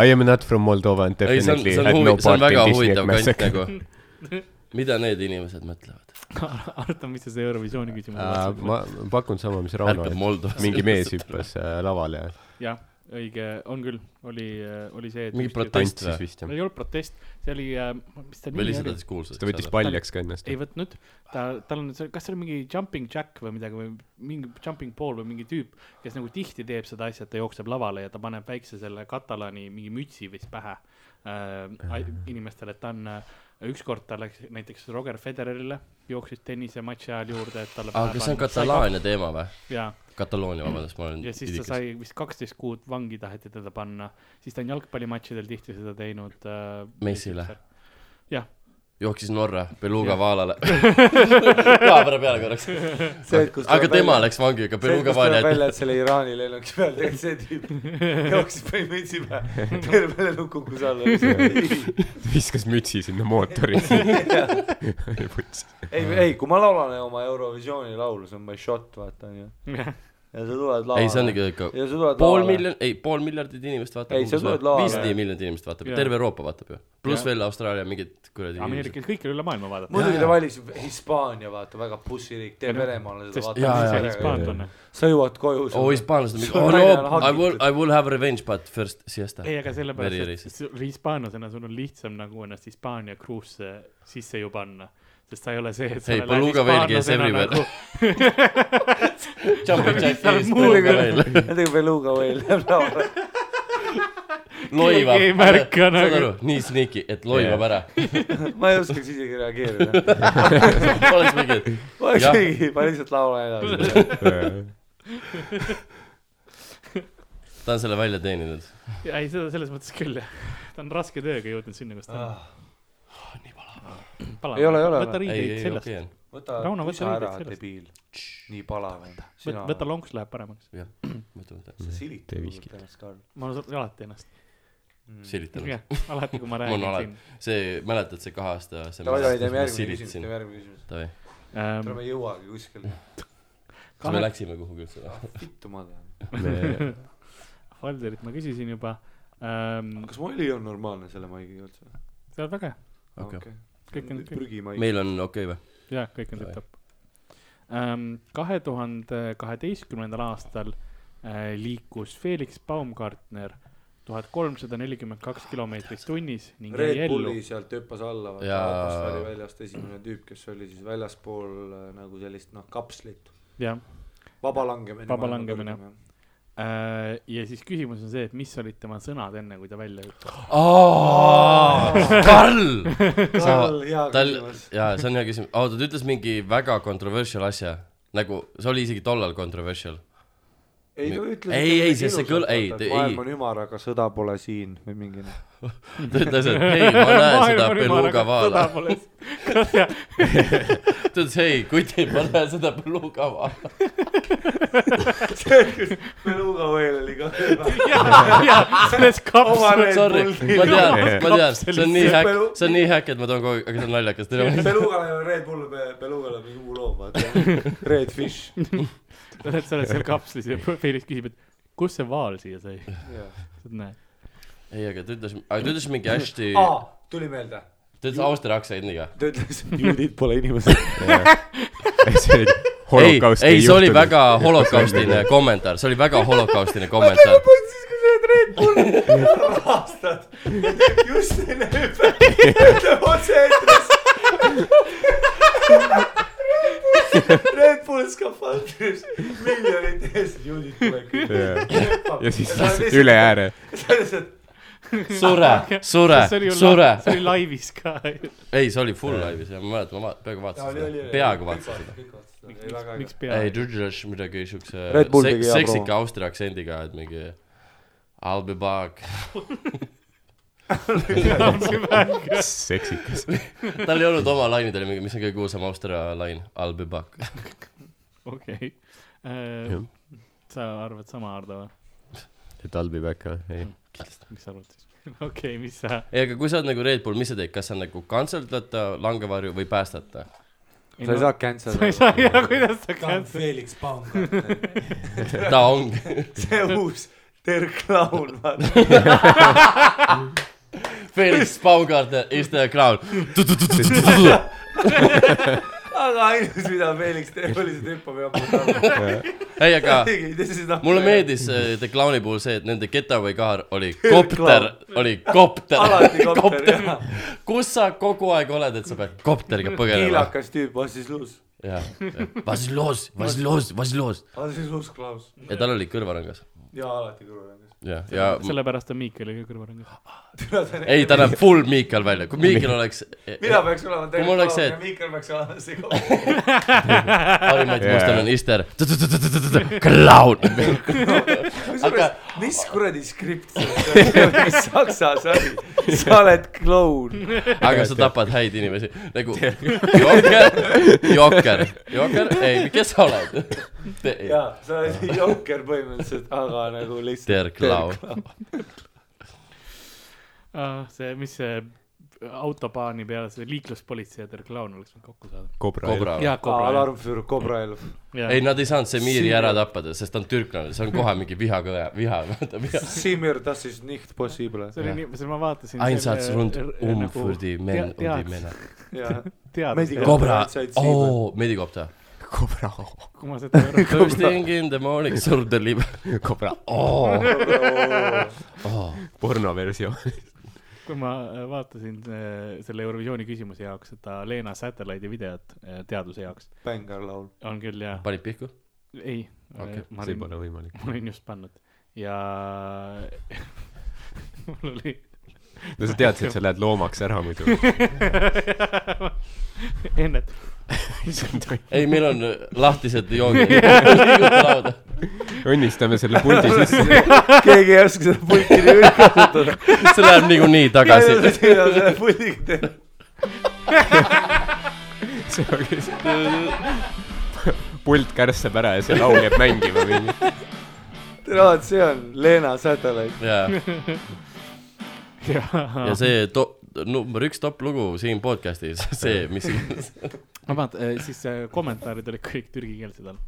S3: I am not from Moldova and
S4: ei , see on ,
S3: definitely
S4: see on
S3: had no
S4: huvi- , see on
S3: part
S4: väga
S3: in Disney
S4: huvitav kant
S3: massacre .
S4: nagu . mida need inimesed mõtlevad ?
S2: Arto , mis sa see Eurovisiooni küsimus
S3: Äh, ma
S2: on ?
S3: ma pakun sama , mis Rauno ,
S4: ärkab
S3: et
S4: Moldovas .
S3: mingi mees . hüppas äh, lavale ja
S2: jah , õige , on küll , oli , oli see .
S4: Mingi protest
S3: tantsis
S4: või?
S3: vist jah .
S2: ei olnud protest , see oli , mis ta
S4: või
S2: nimi
S4: lihtsalt
S2: oli
S4: nad ? siis kuulsid
S3: ta võttis . paljaks ka ennast
S2: ei . võtnud , ta , tal on see , kas see oli mingi jumping jack või midagi või mingi jumping pool või mingi tüüp , kes nagu tihti teeb seda asja , et ta jookseb lavale ja ta paneb väikse selle katalaani mingi mütsi vist pähe äh, ai- inimestele , et ta on äh, ükskord ta läks näiteks Roger Federerile , jooksis tennisematši ajal juurde , et talle .
S4: aa , kas see on Kataloonia teema või ?
S2: ja ,
S4: Kataloonia , vabandust , ma olen
S2: ja siis ta sai vist kaksteist kuud vangi taheti teda panna , siis ta on jalgpallimatšidel tihti seda teinud äh, .
S4: Messile. .
S2: jah ,
S4: jooksis Norra Beluga
S2: [laughs]
S4: vaalale . kaamera peale korraks . aga tema läks vangi , aga Beluga vaal
S5: jäeti .
S4: jäeti .
S5: välja , et selle Iraani lennuki peal tegelikult see
S4: [laughs]
S5: tüüp jooksis põhimõtteliselt pähe , terve lennuk kukkus
S4: [laughs]
S5: alla .
S3: viskas mütsi sinna mootori .
S5: ei , ei , kui ma laulan oma Eurovisiooni laulu , see on my shot , vaata onju . ja sa tuled lavale .
S4: ei , see on ikka ikka
S5: ja sa tuled
S4: pool
S5: lavale.
S4: miljon , ei , pool miljardit inimest vaatab .
S5: Ei, sa tuled lavale.
S4: viissada miljonit inimest vaatab
S2: Jaa. ,
S4: terve Euroopa vaatab ju . pluss
S2: Jah.
S4: veel Austraalia mingid kuradi inimesed .
S2: Ameerikas , kõikjal üle maailma vaadata .
S5: Jaa,
S10: muidugi
S5: jaa.
S10: ta valis Hispaania , vaata , väga bussiriik , tee Venemaale seda
S2: sest
S5: jaa,
S2: see
S5: jaa,
S2: on
S5: jaa, jaa.
S2: hispaanlane .
S5: sa jõuad koju .
S4: oo ,
S2: [laughs]
S4: hispaanlased on mingi ,
S5: Sul
S4: oh
S5: naine on
S4: no , I will ,
S5: [laughs] hagitud.
S4: I will have revenge but first siesta .
S2: ei , aga
S4: Very
S2: sellepärast , et
S4: racist.
S2: sul- hispaanlasena sul on lihtsam nagu ennast Hispaania kruusse sisse ju panna , sest sa ei ole see , et sa
S4: Ei,
S2: lähed
S4: Beluga veelgi is
S2: hispaanlasena
S4: everywhere.
S2: nagu
S4: Jumping jack
S2: Seal
S4: ees ,
S2: muu-
S4: tulge välja .
S5: Nendega Beluga veel läheb [laughs] lavale .
S4: loivab .
S2: Keegi ei märka nagu.
S4: aru , nii sneaky , et loivab
S3: Jah.
S4: ära . [laughs]
S5: ma ei oskaks isegi reageerida .
S4: oleks mingi ,
S5: ma
S4: Jah.
S5: isegi , ma lihtsalt laulan
S2: [laughs]
S5: edasi .
S4: ta on selle välja teeninud .
S2: Ja ei , seda selles mõttes küll jah , ta on raske tööga jõudnud sinna , kus ta
S10: Ah,
S2: on Palav.
S5: Ei ole, ei ole, ei ole.
S2: võta
S4: ei ,
S2: riideid
S4: ei ,
S2: sellest
S4: okei , on .
S10: võta
S2: Rauno, võta
S10: tusa ära
S2: riided , sellest.
S10: debiil . nii palav on .
S2: Võt, võta lonks , läheb paremaks .
S4: jah , võta , võta .
S10: sa silitad
S3: Tee viskit.
S10: ennast ka .
S2: ma usun alati ennast .
S4: silitanud .
S2: Mm. jah , alati kui ma räägin
S4: [laughs] mul on
S2: siin
S4: alati ., see , mäletad see kahe aasta , see
S5: Davai, davai, teeme järgmine küsimus,
S4: silitasin
S5: teeme . järgmine küsimus .
S4: davai ,
S2: Ähm,
S10: täna me ei jõuagi kuskile .
S4: kas me läksime kuhugi üldse või ?
S10: vittu ma tean .
S2: Valderit ma küsisin juba ähm, .
S5: kas Molly on normaalne selle maigi üldse ?
S2: see on väga hea ,
S4: Okei.
S2: kõik on ,
S5: prügimaik .
S4: meil on okei okay, või ?
S2: jaa , kõik on
S4: Davai.
S2: tipp-topp . kahe tuhande kaheteistkümnendal aastal äh, liikus Felix Baumgartner tuhat kolmsada nelikümmend kaks kilomeetrit tunnis ning jäi
S5: Red
S2: ellu
S5: Bulli . sealt hüppas alla , vaata
S4: Jaa.
S5: atmosfääri väljast esimene tüüp , kes oli siis väljaspool äh, nagu sellist noh , kapslit ,
S2: jah ,
S5: vaba langemine .
S2: Vaba langemine. . Äh, ja siis küsimus on see , et mis olid tema sõnad enne , kui ta välja hüppas .
S4: Karl !
S5: Karl , hea
S4: tal ,
S5: küsimus .
S4: jaa , see on hea küsimus , oota , ta ütles mingi väga controversial asja , nagu see oli isegi tollal controversial .
S5: ei , ta ütles .
S4: Ei, ei, sest see kõl- ei, te- ei.
S5: maailm on ümar , aga sõda pole siin või
S4: [laughs]
S5: mingi . noh.
S4: ta ütles , et hei , ma näen seda Beluga vaala .
S5: [laughs]
S4: ta ütles , hei , kuti , ma näen seda Beluga vaala .
S5: Beluga veel
S4: [laughs]
S5: oli ka .
S2: [laughs] jah , jah , selles
S5: Oma
S2: kapsas
S5: Red
S4: Sorry , ma tean , ma tean , see on nii
S5: Kapselisse.
S4: häkk , see on nii häkk , et ma toon kogu aeg , aga see on naljakas , teil on .
S5: Belugale , Red Bull , Belugale on mingi muu loom ,
S4: [laughs]
S5: vaata . Red
S2: [laughs]
S5: Fish .
S2: sa oled , sa oled seal kapslis ja Felix küsib , et kust see vaal siia sai , näed .
S4: ei , aga ta ütles , aga ta ütles mingi hästi ,
S10: aa , tuli meelde .
S4: ta ütles Austria aktsia enne ka .
S5: ta ütles , juudid pole [laughs] inimesed .
S3: see
S4: ei ,
S3: holokaust
S4: ei , see oli . väga holokaustiline kommentaar , see oli väga holokaustiline kommentaar .
S5: siis , kui sa oled Red Bulli rahastad , just enne hüpet , ütleb otse eetris . Red Bull skafandris , miljonid eest juudid tuleksid .
S3: ja siis lihtsalt üle ääre .
S4: sure , sure , sure .
S2: see oli laivis ka .
S4: ei , see oli full live'is ja ma mäletan , ma va- peaaegu vaatasin seda , peaaegu vaatasin seda .
S10: seda
S2: miks
S4: ei ,
S2: peab ?
S4: ta ütles midagi siukse
S5: Red Bull
S4: sek-
S5: tegi hea
S4: seksika
S5: promo.
S4: austria aktsendiga , et mingi I will be back .
S3: seksikas .
S4: tal ei olnud oma laine , ta oli mingi , mis on kõige kuulsam austria lain , I will be back .
S2: okei .
S3: Jah.
S2: sa arvad sama , Ardo või ?
S3: et I'll be back või ? ei .
S2: mis sa arvad siis ? [laughs]
S4: [laughs]
S2: okei , mis sa ?
S4: ei , aga kui sa oled nagu Red Bull , mis sa teed , kas sa nagu kantseldad ta langevarju või päästad ta ?
S5: sa ei saa cancel
S2: sa ei saa , ja kuidas sa
S10: ta on Felix Baumgartner ,
S2: käed .
S4: ta on , [laughs]
S5: see uus terklaun , vaata .
S4: Felix Baumgartner is the crown .
S5: aga ainus , mida Felix teeb , oli see tüüpab ja puhtab .
S4: ei , aga
S5: tegi , tegi seda .
S4: mulle meedis äh, The Clowni puhul see , et nende getaway car oli kopter , oli kopter .
S5: alati kopter , jah .
S4: kus sa kogu aeg oled , et sa pead kopteriga põgenema ?
S5: kiilakas tüüp , Vassislus .
S4: jah , Vasilos , Vasilos , Vasilos .
S5: Vassislus Klaus .
S4: ja tal oli kõrvarõngas .
S5: jaa , alati kõrvalangas .
S4: jah , ja
S2: sellepärast on Miikaliga kõrvarõngas .
S4: ei , ta näeb full Miikal välja , kui Miikal oleks
S5: mina peaks olema
S4: Kui mul oleks see-
S5: terklaun ja Miikal peaks olema see kopter .
S4: Harri-Mati
S3: Jaa.
S4: Mustonen ister , clown .
S5: kusjuures , mis kuradi skript see on , mis saksa sari , sa oled kloun .
S4: aga sa tapad häid inimesi , nagu Jokker , Jokker , Jokker , ei , kes sa oled ?
S5: jaa , sa oled jokker põhimõtteliselt , aga nagu lihtsalt .
S4: Der Clown .
S2: see , Ah, mis see autobaani peale see liikluspolitsei ja Terklaun oleks võinud kokku saada .
S3: kobra .
S4: kobra .
S2: jaa , Kobra .
S5: alarm für Cobra Elf .
S4: ei , nad ei saanud Semiri ära tappada , sest ta on türklane , see on kohe mingi vihakõne , viha , vaata viha .
S5: Simir , das ist nicht possible .
S2: see oli nii , see ma vaatasin .
S4: Einsatz rund
S2: nagu-
S4: um für die men- , um die männer .
S5: jah ,
S2: tead ,
S5: Ko-
S4: kobra
S5: Einsatz ,
S4: oo , medikopter .
S3: kobra ,
S2: [laughs] kui ma seda
S4: [laughs]
S2: ei arva-
S4: Posting in the morning , surm the lib- ,
S3: kobra ,
S4: oo .
S3: oh, pornoversioon .
S2: kui ma äh, vaatasin äh, selle Eurovisiooni küsimuse jaoks seda Leena Satellide'i videot äh, teaduse jaoks ,
S5: bängar laul .
S2: on küll jah ,
S4: panid pihku ?
S2: ei äh,
S4: Okei, ,
S2: ma
S3: see
S2: olin ,
S3: pole võimalik .
S2: [laughs] ma olin just pannud ja [laughs] mul oli [laughs]
S3: no sa teadsid , et sa lähed loomaks ära muidu .
S2: ennet ,
S4: ei , meil on äh, lahtised [laughs] joogid .
S3: õnnistame selle puldi sisse .
S5: keegi ei oska seda pulti nii üle kasutada .
S4: see läheb niikuinii tagasi .
S5: selle puldiga teha .
S3: pult kärssab ära ja see laul jääb mängima mingi .
S5: tead , see on Leena Satellite .
S4: ja , ja see to- , number üks top lugu siin podcast'is , see , mis iganes .
S2: vabandust , siis äh, kommentaarid olid kõik türgikeelsed all .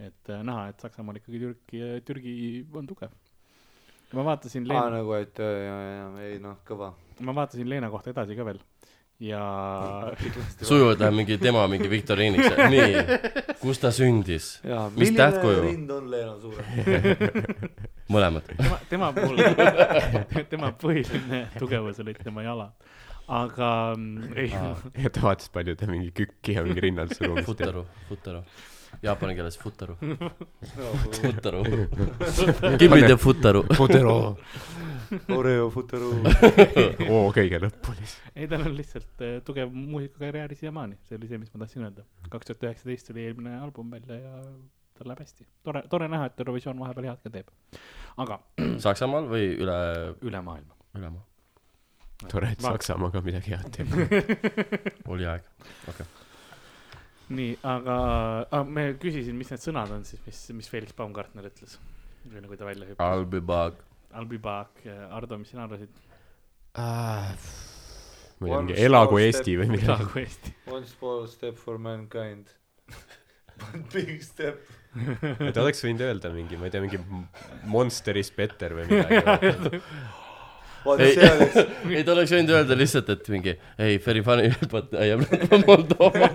S2: et äh, näha , et Saksamaal ikkagi Türki , Türgi on tugev . ma vaatasin
S5: aa ,
S2: Leena ,
S5: nagu , et ja , ja , ja ei noh , kõva .
S2: ma vaatasin Leena kohta edasi ka veel ja
S4: sujuvalt läheb mingi tema mingi viktoriiniks , nii . kus ta sündis ? Mis tähtkuju?
S5: rind on Leena suurem ?
S4: mõlemad .
S2: tema , tema puhul , tema põhiline tugevus olid tema jalad , aga mm, ei ,
S3: ja ta vaatas , palju ta mingi kükki on mingi rinnalt surumas .
S4: Futaru , Futaru . Jaapani keeles Futaru . Futaru . Give me the Futaru .
S3: Fotero .
S5: [laughs] Oreo Futuru .
S3: oo , kõige lõpuni .
S2: ei tal on lihtsalt eh, tugev muusikakarjäär siiamaani , see oli see , mis ma tahtsin öelda . kaks tuhat üheksateist tuli eelmine album välja ja tal läheb hästi . tore , tore näha , et Eurovisioon vahepeal head ka teeb . aga
S4: Saksamaal või üle ,
S2: üle maailma .
S4: üle maa ?
S3: tore , et Saksamaa ka midagi head teeb .
S4: oli aeg .
S2: nii , aga ah, me küsisin , mis need sõnad on siis , mis , mis Felix Baumgartner ütles , enne kui ta välja hüppas .
S4: I'll be back .
S2: I'll be back , Ardo , mis sina arvasid ,
S3: Ah, ma ei tea , mingi Elagu Eesti või midagi .
S2: Jaagu
S5: [laughs]
S2: Eesti ?
S5: One small step for mankind . [laughs] One big step .
S3: [laughs] ta oleks võinud öelda mingi , ma ei tea , mingi Monster is better või midagi .
S5: vaata ,
S4: ei
S5: see oleks ,, [laughs]
S4: ei ta oleks võinud öelda lihtsalt , et mingi ei , very funny , [laughs] but I am not from Moldova .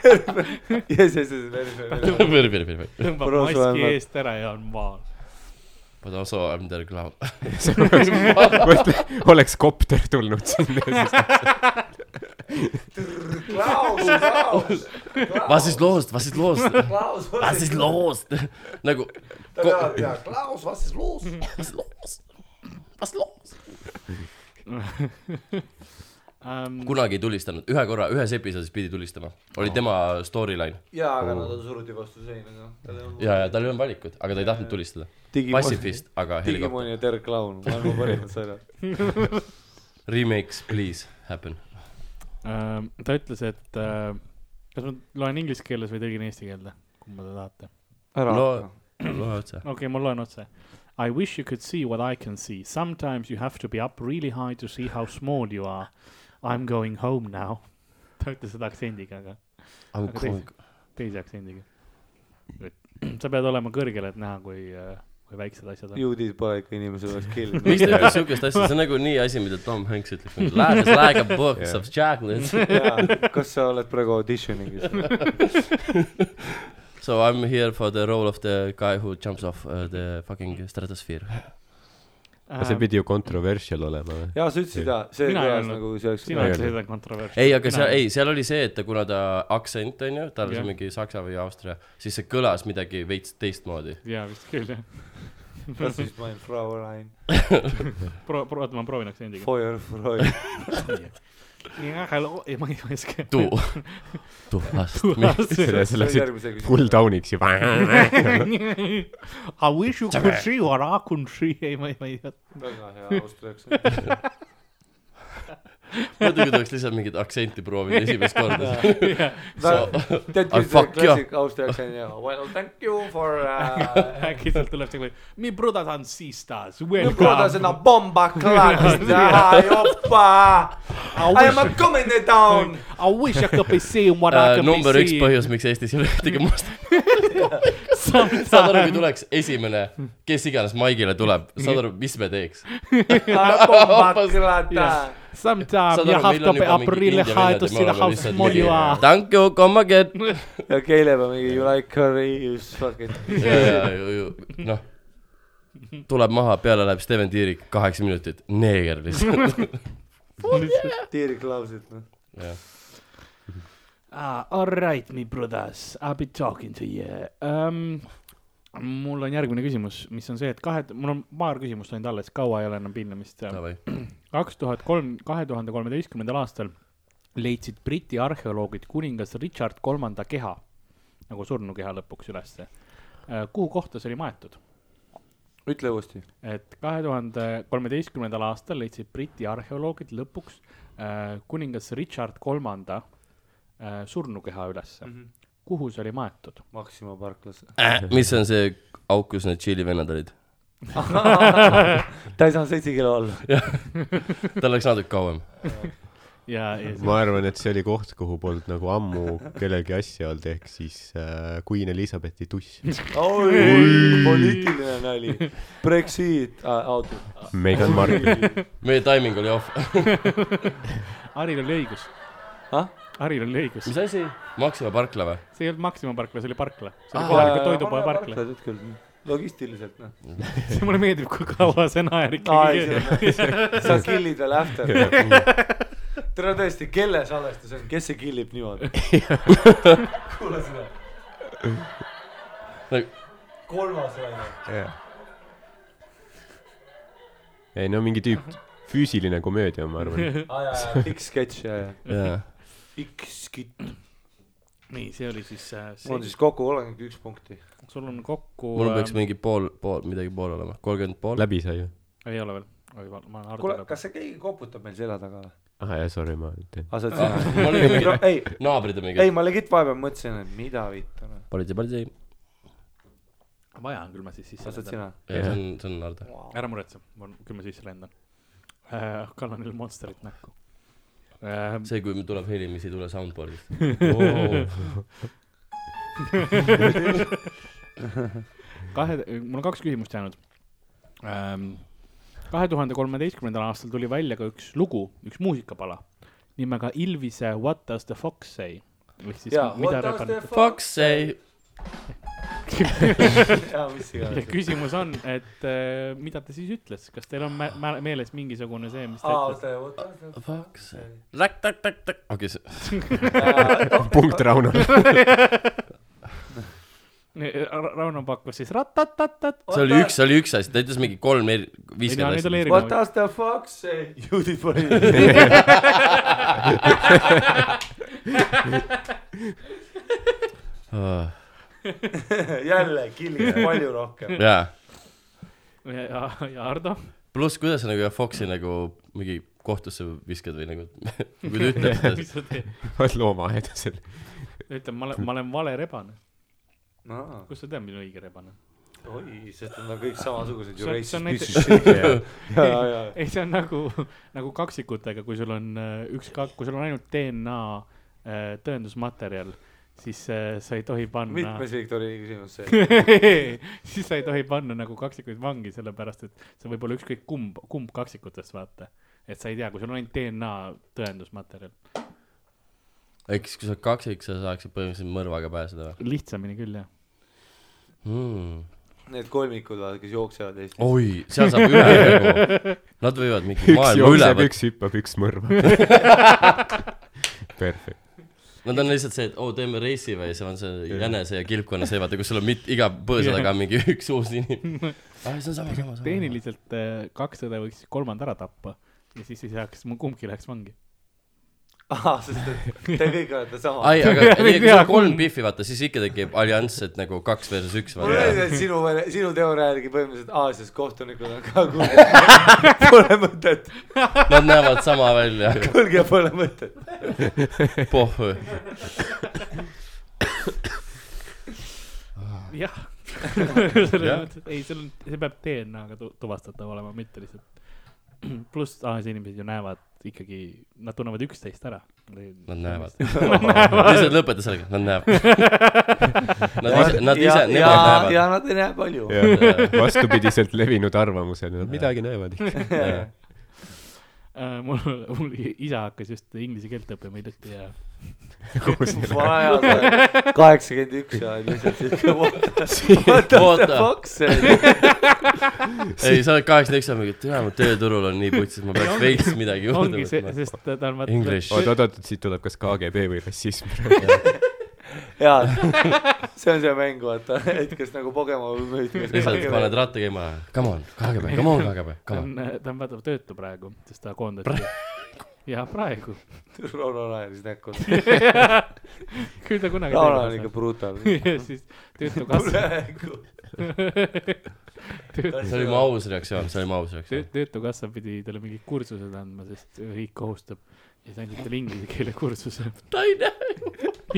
S4: [laughs]
S5: jess , jess , jess , very , very , very .
S4: Very , very , very ,
S2: tõmbab
S5: Pronto,
S2: maski
S5: vähemalt.
S2: eest ära ja on maal .
S4: but also I am their clown .
S3: see oleks , ma ütlen , oleks kopter tulnud sinna .
S5: Klaus , Klaus ,
S4: [laughs] Was ist los , was ist los ,
S5: Klaus ,
S4: was ist los [laughs] nagu
S5: ta peab teha , Klaus , was ist los ?
S4: was ist los , was ist los .
S2: Um,
S4: kunagi ei tulistanud , ühe korra , ühes episoodis pidi tulistama , oli tema storyline
S5: jaa , aga nad suruti vastu seina , noh .
S4: ja , ja tal ei olnud valikut , aga ta ei tahtnud tulistada .
S5: Digimon
S4: passifist , aga helikopter .
S5: Digimon ja Ter Clown , maailma parimad sarjad .
S4: Remakes please happen .
S2: Ähm, ta ütles , et äh, kas ma loen inglise keeles või tõlgin eesti keelde , kumba te tahate .
S5: ära
S4: no
S5: hakka .,
S4: loe otsa .
S2: okei okay, , ma loen otse . I wish you could see what I can see . Sometimes you have to be up really high to see how small you are . I m going home now . ta ütles seda aktsendiga , aga Aga teise- teise aktsendiga . sa pead olema kõrgel , et näha , kui , kui väiksed asjad on .
S5: juudid pole ikka inimese
S2: [laughs]
S5: juures
S4: miks
S5: [laughs] killinud .
S4: ta ütles siukest asja , see on nagu nii asi , mida Tom Hanks ütleb . Life is like a box of chocolates .
S5: kas sa oled praegu auditioningis ?
S4: So I m here for the role of the guy who jumps off uh, the fucking stratosphere .
S3: see pidi ju controversial olema või ?
S5: [laughs] jaa , sa ütlesid jaa , see
S2: Mina ei
S5: kõlas
S2: olnud.
S5: nagu see oleks .
S2: sina
S3: Ei,
S2: ütlesid , et on kontroversne .
S4: ei , aga seal ,
S2: Mina-
S4: ei , seal oli see , et ta- kuna ta aktsent on ju , tal oli
S2: Jah.
S4: see mingi saksa või austria , siis see kõlas midagi veits teistmoodi .
S2: jaa , vist küll jah .
S5: [laughs] Das ist mein Fraulein ,
S2: pro- , pro- , oota , ma proovin aktsendiga . [laughs]
S5: Feuerfreund .
S2: jah , hello , ei ma ei oska .
S4: Du , du hast me .
S3: selle ,
S5: see
S3: selle
S5: oli
S3: siit
S5: järgmise
S3: full
S5: küsimus .
S3: [laughs] down'iks juba .
S2: I wish you could see what I could see , ei ma ei , ma ei tea .
S5: väga hea austria aktsent .
S4: muidugi tuleks lihtsalt mingit aktsenti proovida esimest korda . Äh,
S5: tead
S4: Ah,
S5: küll , see
S4: fuck jah.
S5: klassik Austria aktsent ja well thank you for uh,
S2: äkki sealt tuleb see kui mi brothers and sisters ,
S5: kuulda
S2: welcome .
S5: seda bomba
S2: [laughs]
S5: klaanist , jopa . I am coming
S2: [laughs]
S5: down .
S2: I wish I could be seeing what I can
S4: Uh, number
S2: be
S4: üks
S2: seeing .
S4: põhjus , miks Eestis ei ole ühtegi musta . saad aru , kui tuleks esimene , kes iganes maigile tuleb , saad aru , mis me teeks ?
S5: bomba klaata .
S2: Sometimes
S4: saad
S2: you
S4: aru ,
S2: have
S4: meil
S2: to
S4: on
S2: be
S4: juba
S2: up
S4: mingi
S2: really
S4: India
S2: high
S4: vennad
S2: to
S4: ja me
S2: see how
S4: oleme lihtsalt
S2: small you
S4: mingi
S2: are ..
S4: Thank you , come again . [laughs]
S5: ja Keile peab mingi you like curry , you fucking .
S4: noh , Noh, tuleb maha , peale läheb Steven Tiirik , kaheksa minutit , neeger lihtsalt .
S5: Tiirik lausid noh .
S2: Ah, all right , me brothers , I be talking to you um, . mul on järgmine küsimus , mis on see , et kahe , mul on paar küsimust ainult alles , kaua ei ole enam piinamist . kaks tuhat kolm , kahe tuhande kolmeteistkümnendal aastal leidsid Briti arheoloogid kuningas Richard kolmanda keha , nagu surnukeha lõpuks ülesse . kuhu kohta see oli maetud ?
S5: ütle uuesti .
S2: et kahe tuhande kolmeteistkümnendal aastal leidsid Briti arheoloogid lõpuks äh, kuningas Richard kolmanda äh, surnukeha ülesse mm . -hmm. kuhu see oli maetud ?
S5: Maxima parklas .
S4: Äh, mis on see auk , kus need Tšiili vennad olid ?
S5: [laughs] ta ei saanud seitse kilo olla .
S4: tal läks natuke kauem .
S2: ja , ja see
S3: ma arvan , et see oli koht , kuhu polnud nagu ammu kellelgi asja olnud , ehk siis äh, Queen Elizabethi tuss .
S5: oi , poliitiline nali . Brexit ah, , out .
S3: Meghan Markle .
S4: meie taiming oli off .
S2: Haril oli õigus
S5: Ah? .
S2: Haril oli õigus ,
S4: mis asi ? Maxima parkla või ?
S2: see ei olnud Maxima parkla , see oli parkla , see oli kohaliku toidupoe parkla .
S5: tead küll , logistiliselt noh .
S2: see mulle meeldib , kui kaua see naer
S5: [laughs] aa , ei ,
S2: ikkagi .
S5: see on , sa kill'id veel after . tere tõesti , kelle salvestus on , kes see kill ib niimoodi ? kuule seda .
S4: Ei.
S5: kolmas välja .
S3: [laughs] ei no mingi tüüp , füüsiline komöödia , ma
S5: [laughs]
S3: arvan .
S5: [laughs] aa jaa , jaa , pikk sketš ja , ja .
S4: jaa .
S5: pikk skitt .
S2: nii , see oli siis äh,
S5: mul on
S2: see ,
S5: siis kokku kolmkümmend üks punkti .
S2: sul on kokku .
S4: mul peaks mingi pool , pool , midagi pool olema , kolmkümmend pool .
S3: läbi sai ju ?
S2: ei ole veel , oi , ma ma olen
S5: kuule ,
S2: harjunud .
S5: kas see keegi koputab meil selja taga või ?
S3: ah jah , sorry , ma teen .
S5: aa , sa oled
S4: Ah,
S5: sina .
S4: ma olin mingi
S5: no ei ,
S4: naabrid on
S5: ei
S4: mingid .
S5: ma legit vahepeal mõtlesin , et mida vittu noh .
S4: politsei , politsei .
S2: vaja on , küll ma siis sisse
S5: aa , sa oled . sina .
S4: see on , see on Nardo .
S2: ära muretse , ma , küll ma sisse lendan äh, . kallan veel Monsterit näkku äh, .
S4: see , kui meil tuleb heli , mis ei tule [laughs] soundboard'ist . Oh.
S2: kahe , mul on kaks küsimust jäänud ähm, . kahe tuhande kolmeteistkümnendal aastal tuli välja ka üks lugu , üks muusikapala nimega Ilvise What does the fox say ? ehk siis
S5: jaa ,
S2: mida
S5: what does the
S2: räpanud .
S5: fuck ?
S4: Fuck say .
S5: jaa , mis
S2: ja
S5: iganes .
S2: [laughs] küsimus on , et äh, mida ta siis ütles , kas teil on mä- mä- meeles mingisugune see , mis ta
S5: aa ,
S2: ütles ?
S5: oota , what does the
S4: Fuck say .
S5: fuck ?
S4: räkk-täkk-täkk-täkk . okei , see ,
S3: punkt Raunole .
S2: Rauno pakkus siis ratatatat .
S4: see oli üks , see oli üks asi , ta ütles mingi kolm , viiskümmend
S2: neid oli
S4: asja .
S5: What
S2: erinevaid .
S5: does the fuck say ? juudi poiss . [laughs]
S4: Ah,
S5: jälle killis palju
S2: [laughs]
S5: rohkem .
S4: jaa .
S2: ja , ja Ardo ?
S4: pluss , kuidas sa nagu Foxi nagu mingi kohtusse viskad või nagu , [laughs] kui ta ütleb seda ,
S2: [laughs] mis sa teed ?
S3: oled loomaaedasel .
S2: ütle , ma olen , ma olen vale rebane .
S5: aa ,
S2: kust sa tead , mis on õige rebane ?
S5: oi , sest nad on kõik samasugused ju
S2: See on- see
S5: racist
S2: on
S5: piece
S2: näite- [laughs]
S5: of shit . jaa , jaa , jaa .
S2: ei , see on nagu , nagu kaksikutega , kui sul on äh, üks kak- , kui sul on ainult DNA äh, tõendusmaterjal , siis äh, sa ei tohi panna ,
S5: mitmes Viktori küsimus
S2: [laughs]
S5: see ?
S2: siis sa [laughs] ei tohi panna nagu kaksikuid vangi , sellepärast et see võib olla ükskõik kumb , kumb kaksikutest , vaata . et sa ei tea , kui sul on ainult DNA tõendusmaterjal ,
S4: et eks kui sa oled kaksik , sa saaksid põhimõtteliselt mõrvaga pääseda või
S2: lihtsamini küll jah .
S4: hmm. ?
S5: Need kolmikud , vaata , kes jooksevad Eestis .
S2: Oh.
S4: oi , seal saab üle nagu , nad võivad mingi
S3: üks
S4: maailma üle
S3: jookseb ,
S4: võtta ,
S3: üks hüppab , üks mõrvab . Perfekt .
S4: nad on lihtsalt see , et oo , teeme reisi või see on see jänese ja kilpkonna see , vaata , kus sul on mit- , iga põõsa taga on mingi [laughs] üks uus inimene . aa , see on sama , sama , sama .
S2: tehniliselt äh, kakssada võiks kolmanda ära tappa ja siis ei saaks , kumbki läheks vangi .
S5: [laughs] aa , sest et te kõik olete sama .
S4: ai , aga nii , kui sul on kolm Biffi , vaata , siis ikka tekib allianss , et nagu kaks versus üks .
S5: mul oli see , et sinu , sinu teooria järgi põhimõtteliselt Aasias kohtunikud on ka kuulnud ,
S4: [laughs]
S5: pole mõtet ,
S4: Nad näevad sama välja ,
S5: kuulge , pole mõtet .
S4: pohhu .
S2: jah .
S4: Jah.
S2: ei , seal on , see peab DNA-ga tu- tuvastatav olema , mitte lihtsalt . [clears throat] pluss Aasia inimesed ju näevad ikkagi , nad tunnevad üksteist ära .
S4: Nad näevad .
S2: [laughs]
S4: lihtsalt lõpeta sellega , nad näevad . Nad ise , nad ise , nemad
S5: ja
S4: näevad .
S5: nad ei näe palju .
S3: vastupidiselt levinud arvamusele , nad midagi näevad ikka .
S2: Äh, mul , mul isa hakkas just inglise keelt õppima hiljuti
S4: [laughs]
S2: ja
S3: koos neile .
S5: kaheksakümmend üks ja lihtsalt siuke [laughs] what the
S4: Oota.
S5: fuck see oli .
S4: ei , sa oled kaheksakümmend üks , sa mingi , tea , mu tööturul on nii putsis , ma peaks veits midagi juurde
S2: ongi see ,
S4: võtma .
S2: sest ta ta on vaata .
S4: English .
S3: oot , oot , oot , siit tuleb kas KGB või rassism .
S5: jaa , see on see mäng , vaata , et kas nagu Pokemon või müüt . nagu
S4: lihtsalt paned ratta käima , come on , KGB , come on , KGB ,
S2: ta
S4: come on .
S2: on , ta on vaata töötu praegu , sest ta koondati . jah , praegu . [laughs]
S5: Rauno naeris
S4: [laughs]
S5: näkku .
S2: küll ta kunagi .
S5: Rauno on ikka
S4: [laughs]
S5: brutaalne .
S2: [laughs] ja siis töötukassa ,
S5: praegu .
S4: see oli mu aus reaktsioon , see oli mu aus reaktsioon
S2: töö- . töötukassa pidi talle mingid kursused andma , sest riik kohustab ja siis andis talle inglise keele kursuse .
S4: ta ei näe ,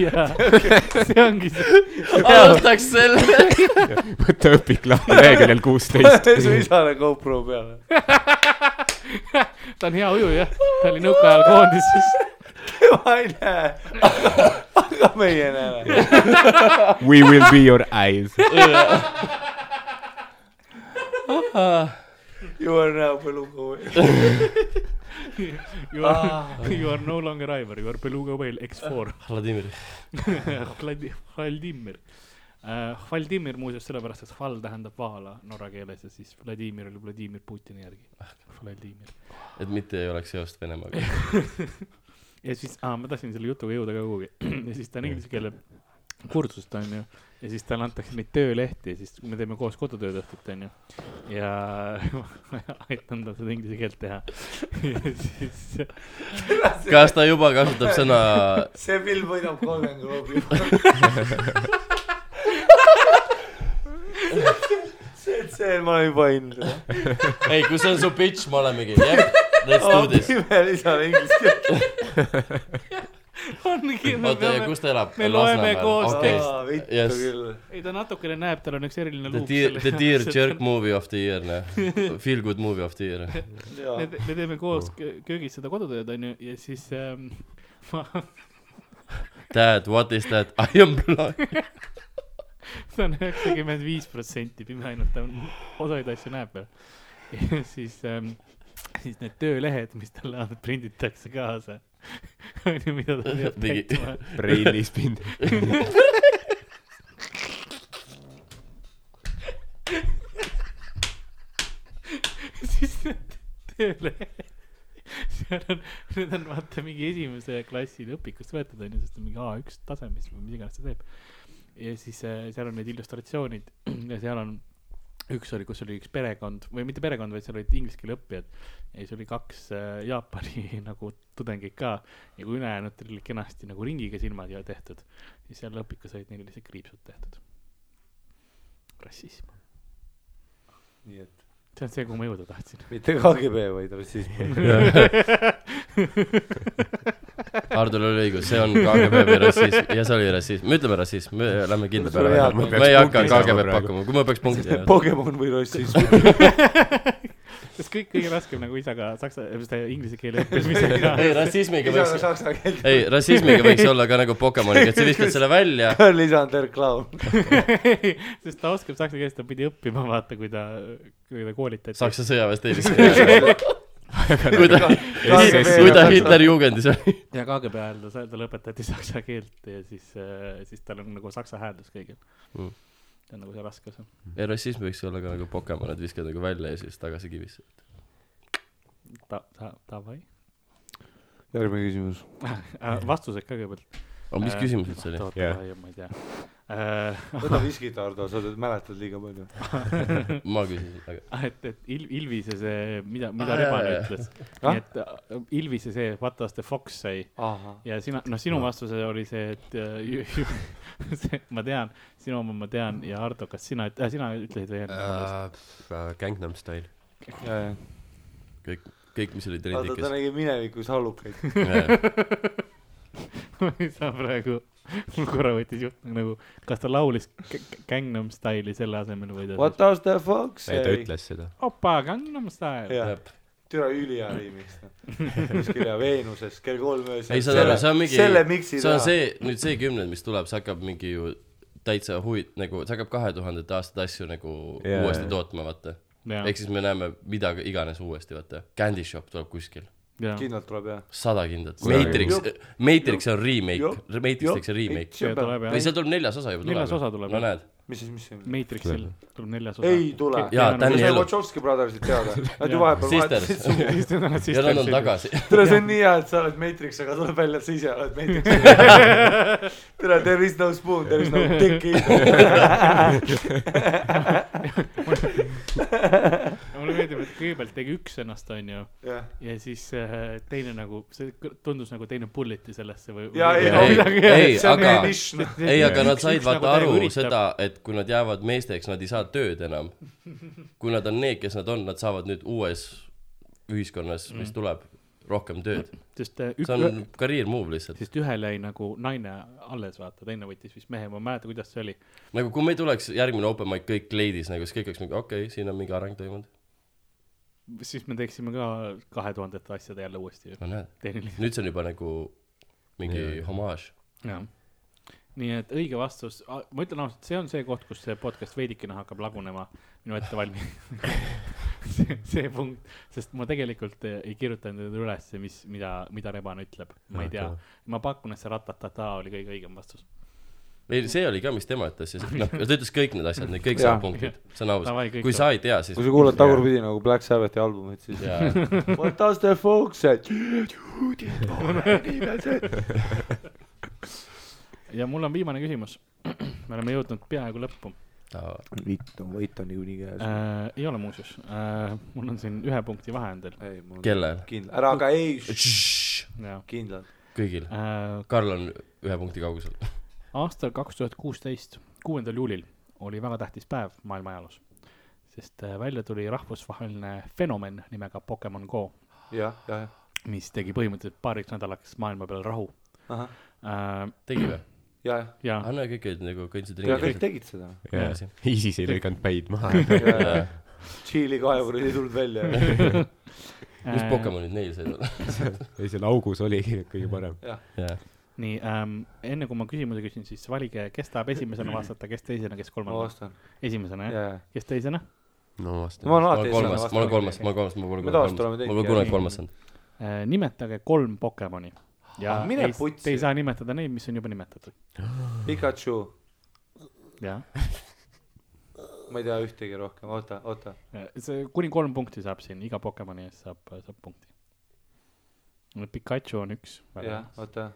S2: jaa , see ongi see ,
S4: alustaks selle .
S3: võta õpik lahti leheküljel
S5: [laughs]
S3: kuusteist .
S5: su isale GoPro peale .
S2: ta on hea ujuja , ta oli nõukaajal koondises .
S5: ma ei näe , aga , aga meie näeme .
S3: We will be your eyes .
S5: You are now Belugo .
S2: You are , you are no longer Aivar , you are Beluga whale X4 .
S4: Vladimir ,
S2: Vladimir . Vladimir muuseas sellepärast , et Val tähendab vaala norra keeles ja siis Vladimir oli Vladimir Putini järgi . Vladimir .
S4: et mitte ei oleks seost Venemaaga .
S2: ja siis ah, , ma tahtsin selle jutuga jõuda ka kuhugi [clears throat] ja siis ta on inglise keele kursust onju ja siis talle antakse neid töölehti ja siis me teeme koos kodutööd õhtut onju ja [laughs] ma aitan tal seda inglise keelt teha [laughs] ja siis
S4: kas ta juba kasutab sõna ,
S5: see film võidab kolme gloobi . see , see ma olen juba hindel .
S4: ei , kui see on su bitch , me olemegi , jah , let's do this .
S5: pime lisale inglise keelt .
S2: [laughs] ongi me
S4: oota , ja
S2: peame
S4: kus ta elab ?
S2: me loeme koos
S4: okei
S5: aa , vittu
S4: Yes.
S5: küll .
S2: ei ta natukene näeb tal on üks eriline
S4: The
S2: luuk
S4: Dear , The Dear
S2: [laughs]
S4: Jerk Movie of the Year , noh . Feel Good Movie of the Year .
S5: jaa
S2: me , te- me teeme koos
S4: Oh.
S2: kö- köögis seda kodutööd onju ja siis ähm, [laughs] ma
S4: Dad , what is that ? I am blind .
S2: [laughs] ta on üheksakümmend viis protsenti pime ainult , ta on osaid asju näeb veel . [laughs] ja siis ähm, , siis need töölehed , mis talle [laughs] on- prinditakse kaasa . [laughs] on ju , mida ta peab
S4: Mingi-
S2: täitma .
S3: Reilis pind . [laughs]
S2: siis need töölehed , seal on , need on vaata mingi esimese klassi õpikust võetud onju , sest on mingi A1 tasemest või mis iganes ta teeb . ja siis äh, seal on need illustratsioonid ja seal on , üks oli , kus oli üks perekond või mitte perekond , vaid seal olid inglise keele õppijad . ja siis oli kaks äh, Jaapani [laughs] nagu tudengit ka ja kui ülejäänutel oli kenasti nagu ringiga silmad ja tehtud , siis seal õpikus olid neil lihtsalt kriipsud tehtud . rassism ,
S5: nii et
S2: see on see , kuhu ma jõuda tahtsin .
S5: mitte KGB , vaid rassism .
S4: Hardol oli õigus , see on KGB või rassism ja see oli rassism , me ütleme rassism , me lähme kindla
S5: Sul on hea
S4: peale .
S5: punkt.
S4: me ei hakka
S3: Punkti saama
S4: KGB-d
S3: praegu.
S4: pakkuma , kui ma peaks punkti saama .
S5: Pokemon või rassism .
S2: sest kõik kõige raskem nagu isaga saksa , seda inglise keele õppimisega .
S4: ei , rassismiga
S5: lisaga
S4: võiks ,
S5: saksa keelt .
S4: ei , rassismiga võiks olla ka nagu Pokemoniga , et sa viskad selle välja
S5: lisander clown .
S2: [laughs] sest ta oskab saksa keelt , ta pidi õppima , vaata , kui ta , kui ta koolitati .
S4: Saksa [laughs] sõjaväest eelis . kui ta , kui ta Hitlerjugendis oli .
S2: ja KGB ajal ta sai , talle õpetati [laughs] saksa keelt ja siis , siis tal on nagu saksa hääldus kõigil
S4: Mm.
S2: mm. . see on nagu see raskus .
S4: ja rassism võiks olla ka nagu Pokemon , et viskad nagu välja ja siis tagasi kivisse .
S2: ta , ta , davai .
S5: järgmine küsimus .
S2: vastused ka kõigepealt .
S4: aga mis küsimus üldse oli ?
S2: oota ,
S3: Jah.
S2: oota , ma ei tea . Äh,
S5: võta viskit , Ardo , sa tead- mäletad liiga palju .
S4: ma küsisin , aga
S2: Ah, et , et Il- , Ilvise see , mida , mida
S4: Ah,
S2: ah, Rebane
S4: jaa, jaa.
S2: ütles .
S5: Ah?
S2: nii et äh, Ilvise see What does the fox say
S5: ahah ,
S2: ja sina , noh ,
S5: Ah.
S2: sinu vastus oli see , et äh, ju, ju, [laughs] see, ma tean , sinu oma ma tean ja Ardo , kas sina , äh, sina ütlesid või [laughs]
S4: Äh.
S2: enne ?
S3: Ah, Gangnam Style .
S5: jajah .
S4: kõik , kõik , mis oli
S5: vaata , ta
S4: trendikas .
S5: nägi minevikus hallukaid .
S2: sa praegu , mul korra võttis juht nagu , kas ta laulis G- G- Gangnam Style'i selle asemel või ta
S5: [laughs] What does the fox
S3: ei , ta
S5: say ?
S3: ütles seda .
S2: opa Gangnam Style .
S5: jah , türa ülihea riimiks . kuskil ja Veenuses kell kolm öösel .
S4: ei , saad aru , see on mingi ,
S5: selle miksi
S4: see on see , nüüd see kümnend , mis tuleb , see hakkab mingi ju täitsa huvi- , nagu see hakkab kahe tuhandete aastate asju nagu
S3: Jaa,
S4: yeah. uuesti
S3: jaa.
S4: tootma , vaata .
S2: jah ,
S4: ehk siis me näeme mida iganes uuesti , vaata . Candy Shop tuleb kuskil ,
S2: jah .
S5: kindlalt tuleb jah .
S4: sada kindlat .
S3: Sada
S4: Matrix , Matrix on remake
S5: Jop. ,
S4: Matrix tehakse remake .
S2: see tuleb
S4: või
S2: jah ,
S4: seal tuleb neljas osa juba tuleb .
S2: Neljas osa tuleb,
S4: no
S2: jah.
S4: näed ,
S5: mis siis , mis see on ?
S2: Matrixil tuleb neljas osa .
S5: ei tule .
S4: Jaa,
S5: me
S4: Danny
S5: saime
S4: Elu.
S5: Wachowski brothersit teada . Nad ju
S2: Jaa.
S5: vahepeal
S4: Sisters.
S5: vahetasid sugu .
S4: ja nad on . tagasi .
S5: tere , see on nii hea , et sa oled Matrix , aga tuleb välja , et sa ise oled [laughs] Matrix . tere , there is no spoon , there is no dick either .
S2: mulle meeldib , et kõigepealt tegi üks ennast , onju ,
S5: jah ,
S2: ja siis äh, teine nagu , see kõ- tundus nagu teine pulliti sellesse või .
S5: ja ei ,
S4: Jaa, ei,
S5: midagi
S4: ei, ,
S5: see on
S4: aga-
S5: meie nišš , noh .
S4: ei , aga nad said
S2: üks nagu
S4: vaata
S2: täiega
S4: aru
S2: üritab.
S4: seda , et kui nad jäävad meesteks , nad ei saa tööd enam . kui nad on need , kes nad on , nad saavad nüüd uues ühiskonnas , mis
S2: Mm.
S4: tuleb , rohkem tööd .
S2: sest äh,
S4: see
S2: üks ,
S4: on career move lihtsalt .
S2: sest ühel jäi nagu naine alles , vaata , teine võttis vist mehe , ma ei mäleta , kuidas see oli .
S4: nagu kui meil tuleks järgmine open mic kõik kleidis nagu , siis kõik oleks mingi okei okay, , siin on mingi areng toimunud .
S2: siis me teeksime ka kahe tuhandete asjade jälle uuesti ju ,
S4: no näed ,
S2: tehniliselt .
S4: nüüd see on juba nagu mingi homaaž .
S2: jah . nii et õige vastus , ma ütlen ausalt , see on see koht , kus see podcast veidikene hakkab lagunema minu ettevalmi- . [laughs] see , see punkt , sest ma tegelikult eh, ei kirjutanud endale üles , mis , mida , mida Rebane ütleb , ma ei tea . ma pakun , et see ratatata oli kõige õigem vastus .
S4: ei , see oli ka , mis tema ütles ja see- noh , ta ütles kõik need asjad , need kõik
S5: Jaa.
S4: saavad punktid , see on aus
S2: Davai, . kõik
S4: kui sa ei tea , siis
S5: kui sa kuulad tagurpidi nagu Black Sabbathi albumit , siis
S4: jaa ,
S5: What does the fox say ?
S2: ja mul on viimane küsimus . [clears throat] me oleme jõudnud peaaegu lõppu
S4: davai .
S5: vitt on , võit on niikuinii käes .
S2: äh, . ei ole muuseas äh, , mul on siin ühe punkti vahe on teil ,
S5: ei , mul on
S4: kellel ?
S5: kindlalt , ära aga ei ,
S2: jaa
S5: kindlalt .
S4: kõigil .
S2: äh, .
S4: Karl on ühe punkti kaugusel .
S2: aastal kaks tuhat kuusteist , kuuendal juulil oli väga tähtis päev maailma ajaloos , sest äh, välja tuli rahvusvaheline fenomen nimega Pokemon Go ,
S5: jah , jah , jah ,
S2: mis tegi põhimõtteliselt paariks nädalaks maailma peal rahu
S5: ahah ,
S2: äh, .
S4: tegi või ?
S5: jah , jah ,
S2: ja
S4: aa , no kõik olid nagu kõndsid
S5: ja kõik
S4: ringi .
S5: tegid seda .
S4: Jaa.
S3: ISIS [laughs] ei lõiganud päid maha .
S5: Tšiili kaevurid ei tulnud välja .
S4: mis Pokemonid neil said olla ?
S3: ei , seal augus oligi kõige parem .
S4: jaa .
S2: nii ähm, , enne kui ma küsimuse küsin , siis valige , kes tahab esimesena vastata , kes teisena , kes
S5: ma
S2: kolmandana .
S5: vastan ,
S2: esimesena jah ,
S5: jaa .
S2: kes teisena ?
S3: no
S5: ma
S3: vastan .
S5: olen
S4: ma
S5: alati
S4: olen kolmas , ma olen kolmas , ma olen kolmas , ma pole
S5: Me
S4: kunagi
S5: tavaliselt
S4: kolmas ,
S5: oleme
S4: ma pole
S5: teinud,
S4: kunagi
S2: jah.
S4: kolmas olnud .
S2: Äh, nimetage kolm Pokemoni . ja
S5: Ah, mine
S2: ei, te ei
S5: putsi.
S2: saa nimetada neid , mis on juba nimetatud .
S5: Pikachu ,
S2: jah ,
S5: ma ei tea ühtegi rohkem , oota , oota .
S2: see kuni kolm punkti saab siin , iga Pokemoni eest saab , saab punkti . Pikachu on üks .
S5: jah , oota .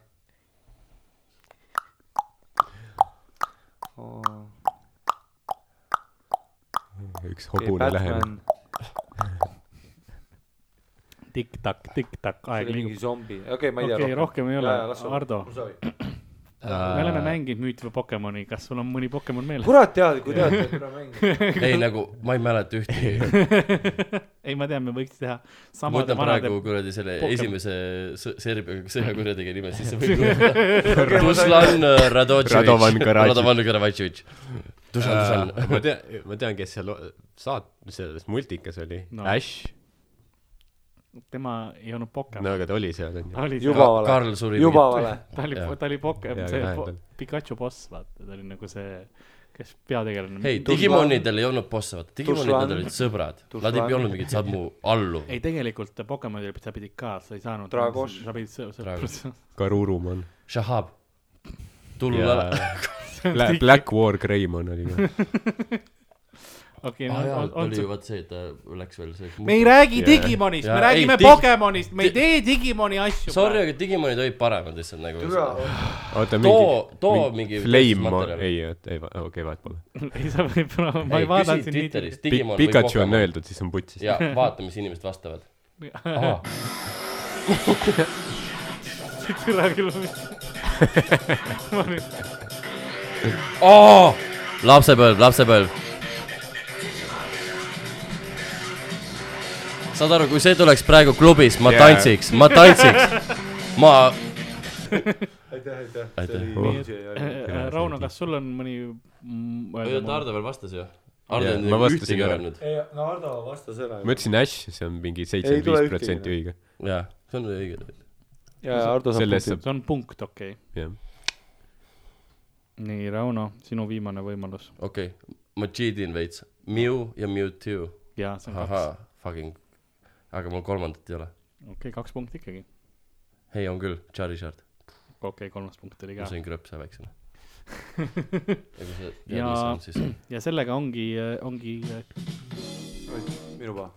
S3: üks
S5: okei ,
S3: hobune läheb .
S5: Batman ,
S2: tikk-takk , tikk-takk ,
S5: see
S2: aeg
S5: oli mingi
S2: liigub .
S5: zombi , okei , ma ei tea
S2: okei , rohkem ei ole , Ardo , me oleme
S4: ei ,
S2: mänginud müütva Pokemoni , kas sul on mõni Pokemon meeles ?
S5: kurat tead , kui tead , et ära mängi .
S4: nagu ma ei mäleta
S2: [laughs]
S4: ühtegi .
S2: ei , ma tean , me võiks teha
S4: ma
S2: samade
S4: võtan
S2: vanade
S4: praegu , kuradi selle
S2: Pokemon-
S4: esimese sõ- Serbia sõjakurjategija nime
S2: [laughs]
S4: sisse . Ruslan
S3: äh, Radovan
S4: Radotšovitš ,
S3: Karadžić. Äh,
S4: Radovan Karadžitš . Dušan , Dušan .
S3: ma tean , ma tean , kes seal o- saat- , selles multikas oli
S2: No.
S3: no. . Ash ,
S2: tema ei olnud
S3: no
S2: Pokemon .
S3: aga ta oli seal onju .
S2: ta oli ,
S5: Juba vale.
S4: Karl suri .
S5: juba vale .
S2: ta oli
S4: Jah. ,
S2: ta oli Pokemon ,
S3: Jaa,
S2: see
S3: kahe
S2: po-
S3: endal.
S2: Pikachu boss , vaata , ta oli nagu see , kes peategelane .
S4: ei , Digimonidel ei olnud bosse , vaata , Digimonidel
S5: Tuslan.
S4: olid sõbrad , nad ei
S5: Tuslan.
S4: olnud mingid sammu allu .
S2: ei , tegelikult Pokemonil sa pidid ka , sa ei saanud .
S5: Dragos.
S2: sa pidid sõ-
S4: Dragos.
S2: sõprus .
S3: Karuruman
S4: Shahab ,
S3: ja
S4: tululala ,
S3: [laughs] Bla- Black War Greymon oli ka .
S2: okei ,
S4: aa jaa ,
S2: on
S4: oli
S2: see
S4: ju vot see , et
S3: äh,
S4: ta läks veel see .
S2: me ei räägi Digimonist , me
S4: Jaa,
S2: räägime
S4: ei, dig-
S2: Pokemonist , me ei
S4: di-
S2: tee Digimoni asju .
S4: Sorry , aga Digimonid olid paremad lihtsalt nagu .
S3: oota ,
S4: too , too mingi .
S3: Flame on , ei , ei , okei , vahet pole .
S2: ei sa võib-olla , ma
S4: ei
S2: ei
S4: küsi
S2: vaadanud sind [laughs] nii .
S4: Twitteris , Digimon või
S3: Pikachu on
S4: Pokemon .
S3: öeldud , siis on putsis .
S4: ja vaata , mis inimesed vastavad .
S2: türa küll . ma nüüd ,
S4: Oh! lapsepõlv , lapsepõlv . saad aru , kui see tuleks praegu klubis , ma
S3: Jaa.
S4: tantsiks , ma tantsiks . ma ,
S5: aitäh , aitäh .
S4: Aitäh.
S2: Rauno , kas sul on mõni mm,
S4: oota ,
S2: öelda-
S4: Ardo veel vastas ju . Ardo
S3: Jaa,
S4: ei
S3: ma
S4: ole
S3: vastasin
S4: ühtegi
S3: ka.
S4: öelnud .
S5: ei , Eh, no Ardo vastas ära .
S3: ma ütlesin Ash , see on mingi
S11: Ei tule
S3: seitsekümmend viis protsenti
S5: Noh,
S3: õige .
S4: jaa , see on õige .
S11: ja , ja Ardo saab
S3: Selles
S11: punkti .
S2: see on punkt , okei okay. .
S3: jah .
S2: nii , Rauno , sinu viimane võimalus .
S4: okei okay. , ma cheat'in veits . Mew ja Mewtwo .
S2: jaa , see on kaks .
S4: ahhaa , fucking . aga mul kolmandat ei ole .
S2: okei okay, , kaks punkti ikkagi .
S4: ei , on küll , Charizard .
S2: okei okay, , kolmas punkt oli
S4: ma
S2: ka .
S4: sõin krõpse väiksena . ja kui sa tead ,
S2: Ja-
S4: mis see on , siis on .
S2: ja sellega ongi , ongi , äh,
S5: minu paha .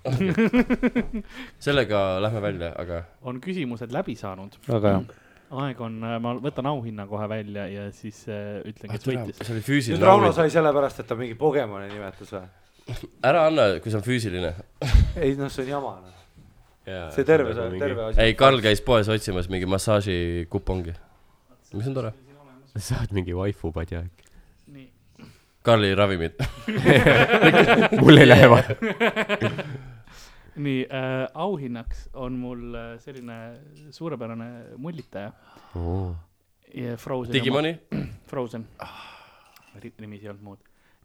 S4: sellega lähme välja , aga
S2: on küsimused läbi saanud .
S11: väga hea .
S2: aeg on , ma võtan auhinna kohe välja ja siis äh, ütlen , kes võitis .
S4: see oli
S5: nüüd
S4: füüsiline
S5: Rauno
S4: auhind .
S5: sai sellepärast , et ta mingi Pokemoni nimetas või ?
S4: ära anna , kui see on füüsiline .
S5: ei noh , see on jama noh .
S3: Äh,
S5: see terve ,
S3: nagu
S5: see on terve . asi .
S4: ei , Karl käis poes otsimas mingi massaažikupongi . mis on tore .
S3: saad mingi waifu padja äkki . [laughs]
S4: Karli ravimid .
S3: mul ei lähe vaja .
S2: nii äh, , auhinnaks on mul äh, selline suurepärane mullitaja . Frozen .
S4: Digimoni ,
S2: Frozen . nimisi ei olnud muud .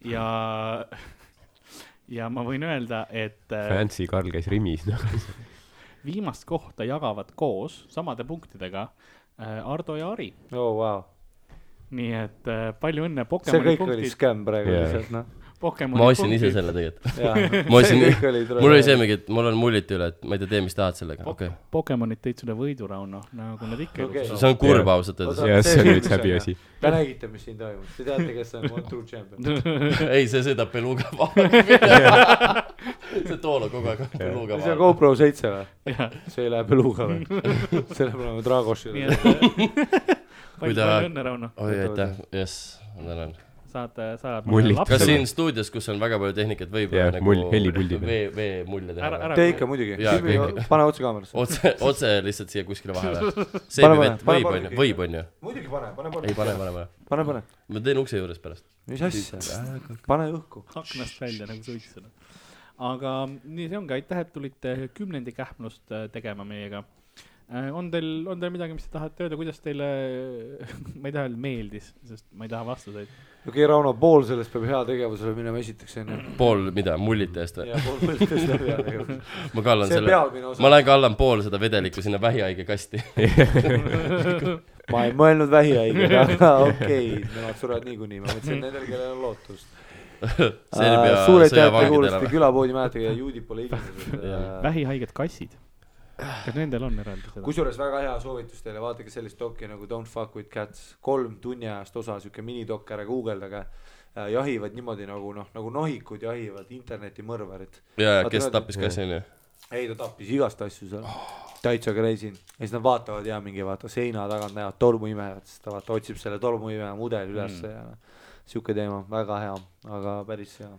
S2: ja , [laughs] ja ma võin öelda , et äh,
S3: Fancy Karl käis Rimis ,
S4: [laughs]
S3: noh .
S2: viimast kohta jagavad koos samade punktidega äh, Ardo ja Ari .
S5: oo , vau .
S2: nii et äh, palju õnne ,
S11: see
S2: Pokemoni
S11: kõik oli
S2: punktid ,
S11: skäm praegu
S3: Jaa.
S11: lihtsalt ,
S5: [laughs]
S11: noh .
S2: Pokemoni
S4: ma ostsin ise
S2: punktid ,
S4: selle tegelikult .
S11: jaa ,
S4: ma ostsin
S11: See kõik oli tore.
S4: mul oli see mingi , et mul on mullid üle , et ma ei tea , tee , mis tahad sellega , okei .
S2: Pokemonid tõid sulle võidu , Rauno , nagu nad ikka
S5: Okei.
S2: okay. .
S4: see on kurb
S3: Jaa.
S4: ausalt
S5: [laughs]
S4: öeldes .
S3: ja see oli üks häbiasi .
S5: Te nägite , mis siin toimub , te teate , kes on One True Champion .
S4: ei , see sõidab Beluga vahele . see tool on kogu aeg Beluga
S5: see on
S4: vahel .
S5: GoPro seitse või ?
S2: Jah.
S5: see ei lähe peluga [laughs] või ? selle paneme Dragošile .
S2: nii
S4: [laughs]
S2: et äh, [laughs]
S4: Kui
S2: palju
S4: ta-
S2: ta... õnne , Rauno ,
S4: oi , aitäh , jess , ma tänan .
S2: saad , saad .
S3: Mullit.
S4: kas siin stuudios , kus on väga palju tehnikat , võib
S3: Jaa, mull- helipuldi peal.
S4: vee , vee mulje
S2: Ära-
S4: teha
S2: ära- ?
S5: tee ikka muidugi
S4: Jaa, . kõik.
S5: pane otse kaamerasse .
S4: otse , otse lihtsalt siia kuskile vahele .
S5: Pane,
S4: seebivett
S5: pane,
S4: võib
S5: pane,
S4: onju ,
S5: pane.
S4: võib onju ?
S5: muidugi pane , pane ,
S4: ei
S5: pane .
S4: pane , pane , pane .
S5: pane , pane .
S4: ma teen ukse juures pärast .
S5: mis asja ? pane õhku .
S2: aknast välja nagu suitsena . aga mm, nii see ongi , aitäh , et tulite kümnendi kähmlust äh, tegema meiega . on teil , on teil midagi , mis te tahate öelda , kuidas teile , [laughs] ma ei taha öelda meeldis , sest ma ei taha vastuseid .
S5: okei , Rauno , pool sellest peab heategevusele minema esiteks onju .
S4: pool mida , mullite eest või ?
S5: ja pool sellest läheb heategevusele .
S4: ma kallan
S5: see on
S4: selle ,
S5: pealmine
S4: ma
S5: osa .
S4: lähen kallan pool seda vedelikku sinna vähihaige kasti .
S5: [laughs] ma ei mõelnud vähihaigega , aga [laughs] okei , nemad surevad niikuinii , ma mõtlesin nendel , kellel on lootust .
S4: Serbia
S5: suured teate
S4: sõjavangidele
S5: kuulasite
S4: või ?
S5: külapoodi , mäletage , juudid pole
S4: [laughs]
S5: inimesed äh,
S4: Jaa. .
S2: vähihaiged kassid , kas nendel on eraldi seda ?
S5: kusjuures väga hea soovitus teile , vaadake sellist doki nagu Don't fuck with cats , kolm tunni ajast osa , sihuke minidok , ära guugeldage . jahivad niimoodi nagu noh , nagu nohikud jahivad internetimõrvarid .
S4: jaa , kes tappis kassi onju ?
S5: ei , ta tappis igast asju seal , täitsa crazy . ja siis nad vaatavad ja mingi vaata seina tagant näevad tolmuimejat , siis ta vaata otsib selle tolmuimeja mudeli ülesse mm. ja noh , sihuke teema , väga hea , aga päris hea .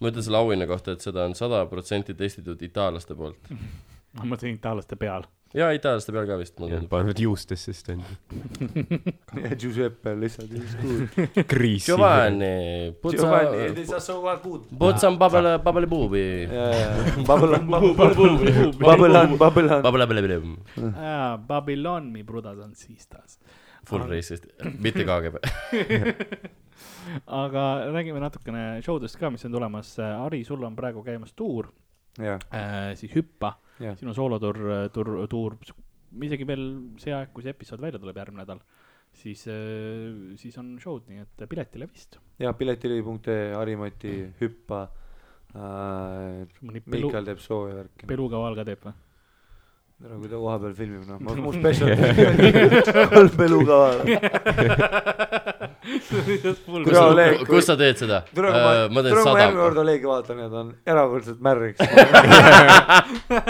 S4: ma ütlen selle auhinna kohta , et seda on sada protsenti testitud itaallaste poolt .
S2: Ah, ma mõtlesin itaallaste peal .
S4: jaa , itaallaste peal ka vist , mulle tundub .
S3: panevad juustesse , sest on
S5: [laughs] Giuseppe lihtsalt , it's good .
S3: kriisi .
S4: Giovanni ,
S5: Giovanni ,
S4: putsa ,
S5: it is a so good .
S4: putsa on babele , babele puubi .
S5: Babylon , Babylon , Babylon , Babylon .
S4: babele , babele ,
S2: Babylon , mi brudas on sistas .
S4: full racist , mitte KGB .
S2: aga räägime natukene showdest ka , mis on tulemas . Ari , sul on praegu käimas tuur ,
S5: jah ,
S2: siis hüppa
S5: jah .
S2: sinu soolotuur , tuur , tuur , isegi veel see aeg , kui see episood välja tuleb järgmine nädal , siis , siis on show'd , nii et piletile vist .
S5: jah , piletili.ee , Harimati , Hüppa äh, ,
S2: mõni pelu ,
S5: Miikal teeb sooja värki .
S2: peluga valga teeb või ?
S5: no kui ta vahepeal [laughs] Äh, filmib , noh , mu spetsial kolm pelu ka . Kuule, ole- Oleg, kui-
S4: kus sa teed seda ?
S5: tule kui ma ,
S4: ma teen
S5: tule kui ma järgmine
S4: sada .
S5: kord Olegi vaatan ja ta on erakordselt [laughs] märgiks .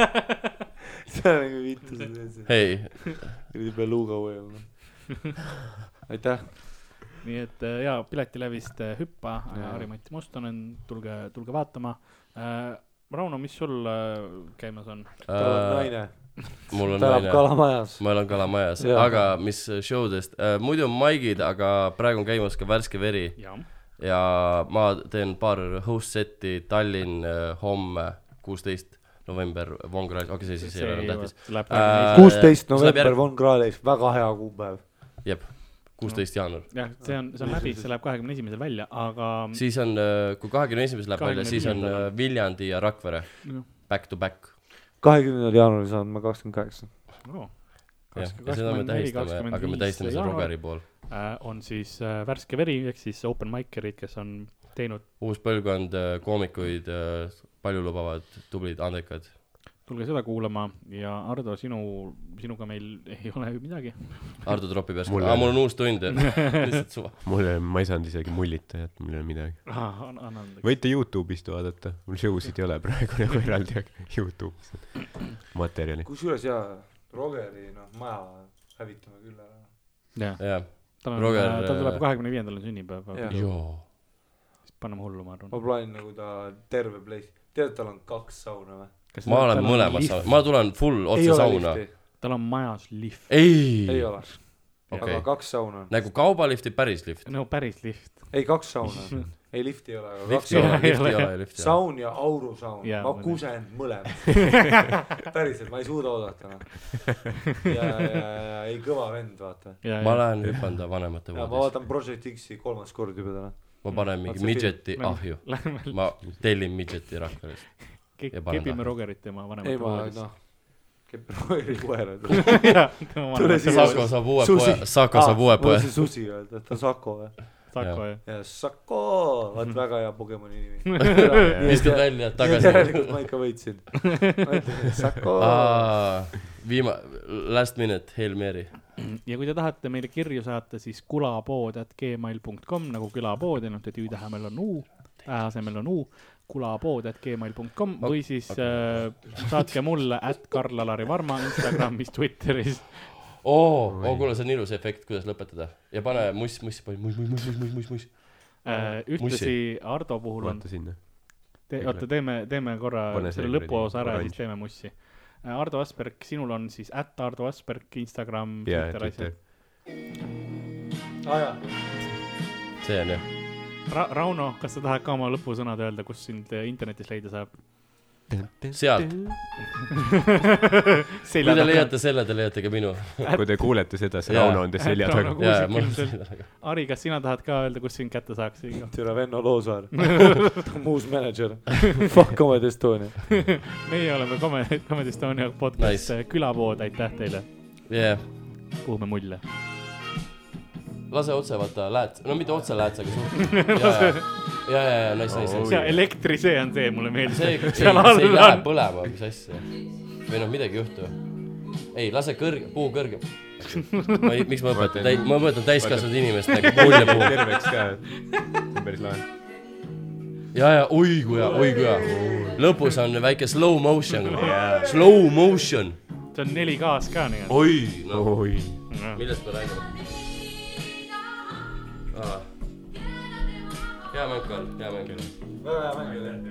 S5: see on nagu vittu , see on see .
S4: ei ,
S5: jube luuga võim . noh. aitäh ,
S2: nii et äh, jaa , Piletilävist äh, hüppa ,
S5: Jaa.
S2: Harri-Mati Mustonen , tulge , tulge vaatama . Rauno , mis sul äh, käimas on ?
S5: ta on naine ,
S4: äh, mul on
S5: ta elab
S4: naine ,
S5: kalamajas .
S4: ma elan kalamajas ,
S5: Jaa.
S4: aga mis show dest , muidu on maigid , aga praegu on käimas ka Värske veri
S2: jah ,
S4: ja ma teen paar host set'i Tallinn äh, homme , kuusteist november , Von Krahlis , okei , see siis ei ole enam tähtis .
S2: läheb
S4: Äh,
S2: äh... .
S5: kuusteist
S4: see läheb
S5: november
S4: järg-
S5: Von Krahlis , väga hea kuupäev .
S4: jep , kuusteist jaanuar .
S2: jah , see on , see on läbi , see läheb kahekümne esimesel välja , aga
S4: siis on , kui kahekümne esimesel läheb välja , siis on äh, Viljandi ja Rakvere
S2: Jah.
S4: back to back .
S5: kahekümnendal jaanuaril saan ma kakskümmend kaheksa .
S2: oh,
S4: ja
S2: Kakskümmend-
S4: ja seda me
S2: kakskümmend neli,
S4: tähistame ,
S2: kakskümmend
S4: aga me
S2: viis
S4: tähistame seda
S2: jaanuar.
S4: Rogeri pool .
S2: äh, on siis äh, Värske veri ehk siis open mikerid , kes on teinud ,
S4: uus põlvkond äh, koomikuid , paljulubavad , tublid , andekad .
S2: tulge seda kuulama ja Ardo , sinu , sinuga meil [laughs] ei ole ju midagi .
S4: Ardo tropib järsku ,
S3: Mul ei
S4: aa ,
S3: ole.
S4: mul on uus tund ,
S5: [laughs]
S4: lihtsalt suva .
S3: mul ei , ma ei saanud isegi mullita , et mul ei ole midagi .
S2: anna andeks .
S3: võite Youtube'ist vaadata , mul show sid ei ole praegu nagu eraldi , aga Youtube'is on materjali .
S5: kusjuures jaa , Rogeri noh , maja hävitame küll ära .
S2: jah ,
S4: jah ,
S2: tal on ,
S4: Roger,
S2: tal tuleb
S4: äh,
S2: kahekümne viiendal on sünnipäev ,
S5: Jah.
S4: joo .
S2: siis paneme hullu , ma
S5: ma
S2: arvan .
S5: plaanin nagu ta terve place , tead , tal on kaks sauna või ?
S4: ma olen mõlemas saunas , ma tulen full otse sauna .
S2: tal on majas lift ,
S5: ei
S4: ei ,
S5: ole ,
S4: okei
S5: aga , kaks sauna on ,
S4: nagu kaubalift ja päris lift .
S2: no päris lift .
S5: ei kaks
S4: [laughs]
S5: sauna on , ei lifti ei ole , aga kaks
S4: lifti
S2: Jah, ei
S4: ei ole ,
S5: sauna .
S4: lifti ei
S2: ole.
S4: ole , lifti ei ole .
S5: saun ja aurusaun
S2: Jaa, ,
S5: ma
S2: ma tean.
S5: kusen mõlemat , päriselt , ma ei suuda oodata enam . ja , ja , ja ei kõva vend , vaata .
S4: ma lähen hüppan ta vanemate
S5: ja ma
S4: voodisse ,
S5: vaatan Project X-i kolmas kord juba täna .
S4: ma panen
S5: Vaat
S4: mingi
S5: see
S4: midžeti
S2: film.
S4: ahju ,
S2: Lähme
S4: ma tellin midžeti Rakverest . ja panen
S2: kepime
S4: lahti.
S2: Rogerit tema vanemate
S5: ei ma
S2: voodisse.
S5: noh , [laughs] Roger koerad .
S2: Jah, tema
S5: Tule
S2: vanemate
S5: siia.
S4: Sako saab uue
S5: Susi. Ah,
S4: poja , Sako saab uue poja
S5: mul . see Susi öelda , ta on Sako või ?
S2: Sako ja
S5: ja Sako , vaat väga hea
S4: [laughs]
S5: Pokemoni nimi .
S4: viskad välja , tagasi .
S5: järelikult ma ikka
S4: [laughs]
S5: võitsin . ma ütlen , et Sako .
S4: viima- , last minute , Hail Mary .
S2: ja kui te tahate meile kirju saata , siis kulapood.gmail.com nagu külapood , ainult et hüüdetähemel on U , Ä asemel on U , kulapood.gmail.com või siis äh, saatke mulle , at Karl-Alari Varma Instagramis , Twitteris .
S4: oo ,
S2: Oh,
S4: oo Oh, kuule , see on ilus efekt , kuidas lõpetada ja pane muss , muss , muss , muss , muss , muss , muss , muss , muss .
S2: Äh, ühtlasi Ardo puhul on ,
S3: vaata sinna .
S2: te, oota , teeme , teeme korra
S3: Pane see
S2: selle
S3: kuradi
S2: lõpuosa ära ja siis
S3: oranž.
S2: teeme mussi . Ardo Asperg , sinul on siis at Ardo Asperg , Instagram ,
S3: jaa ,
S2: Twitter
S3: Twitter
S2: asjad ..
S5: aa jaa ,
S4: see on jah .
S2: Ra- , Rauno , kas sa tahad ka oma lõpusõnad öelda , kus sind äh, internetis leida saab ?
S4: sealt , kui te leiate selle , te leiate ka minu .
S3: kui te kuulete seda , see
S4: Jaa.
S3: Rauno on teil selja
S2: Rauno
S3: taga .
S2: Kuusik
S4: jaa , mul on
S2: ilmselt.
S4: selle taga .
S2: Ari , kas sina tahad ka öelda , kus sind kätte saaks ? noh,
S5: tere , Venno
S4: [laughs]
S5: Loosaar . ta on uus mänedžer . Fuck Comedy Estonia .
S2: meie oleme Comedy , Comedy Estonia podcast nice. külapood , aitäh teile ,
S4: jah ,
S2: puhume mulje .
S4: lase otse , vaata , lähed , no mitte otse lähed , aga
S2: [laughs]
S4: suht- . ja , ja , ja , nice , nice , nice .
S2: see elektri , see on see , mulle meeldis .
S4: see , see , see
S2: Seal all
S4: ei lähe
S2: on.
S4: põlema , mis asja . või noh , midagi ei juhtu . ei , lase kõrge , puu kõrge .
S2: [laughs]
S4: ma ei , miks ma õpetan täi- , ma õpetan täiskasvanud inimest nagu mulje puhul .
S3: terveks ka . see on päris lahe .
S4: ja , ja oi kui hea , oi kui hea . lõpus on väike slow motion . Slow motion .
S2: see on 4K-s ka nii-öelda .
S4: oi , noh ,
S3: oi .
S4: millest me räägime ? hea mäng , Karl , hea mäng .
S5: väga hea mäng oli .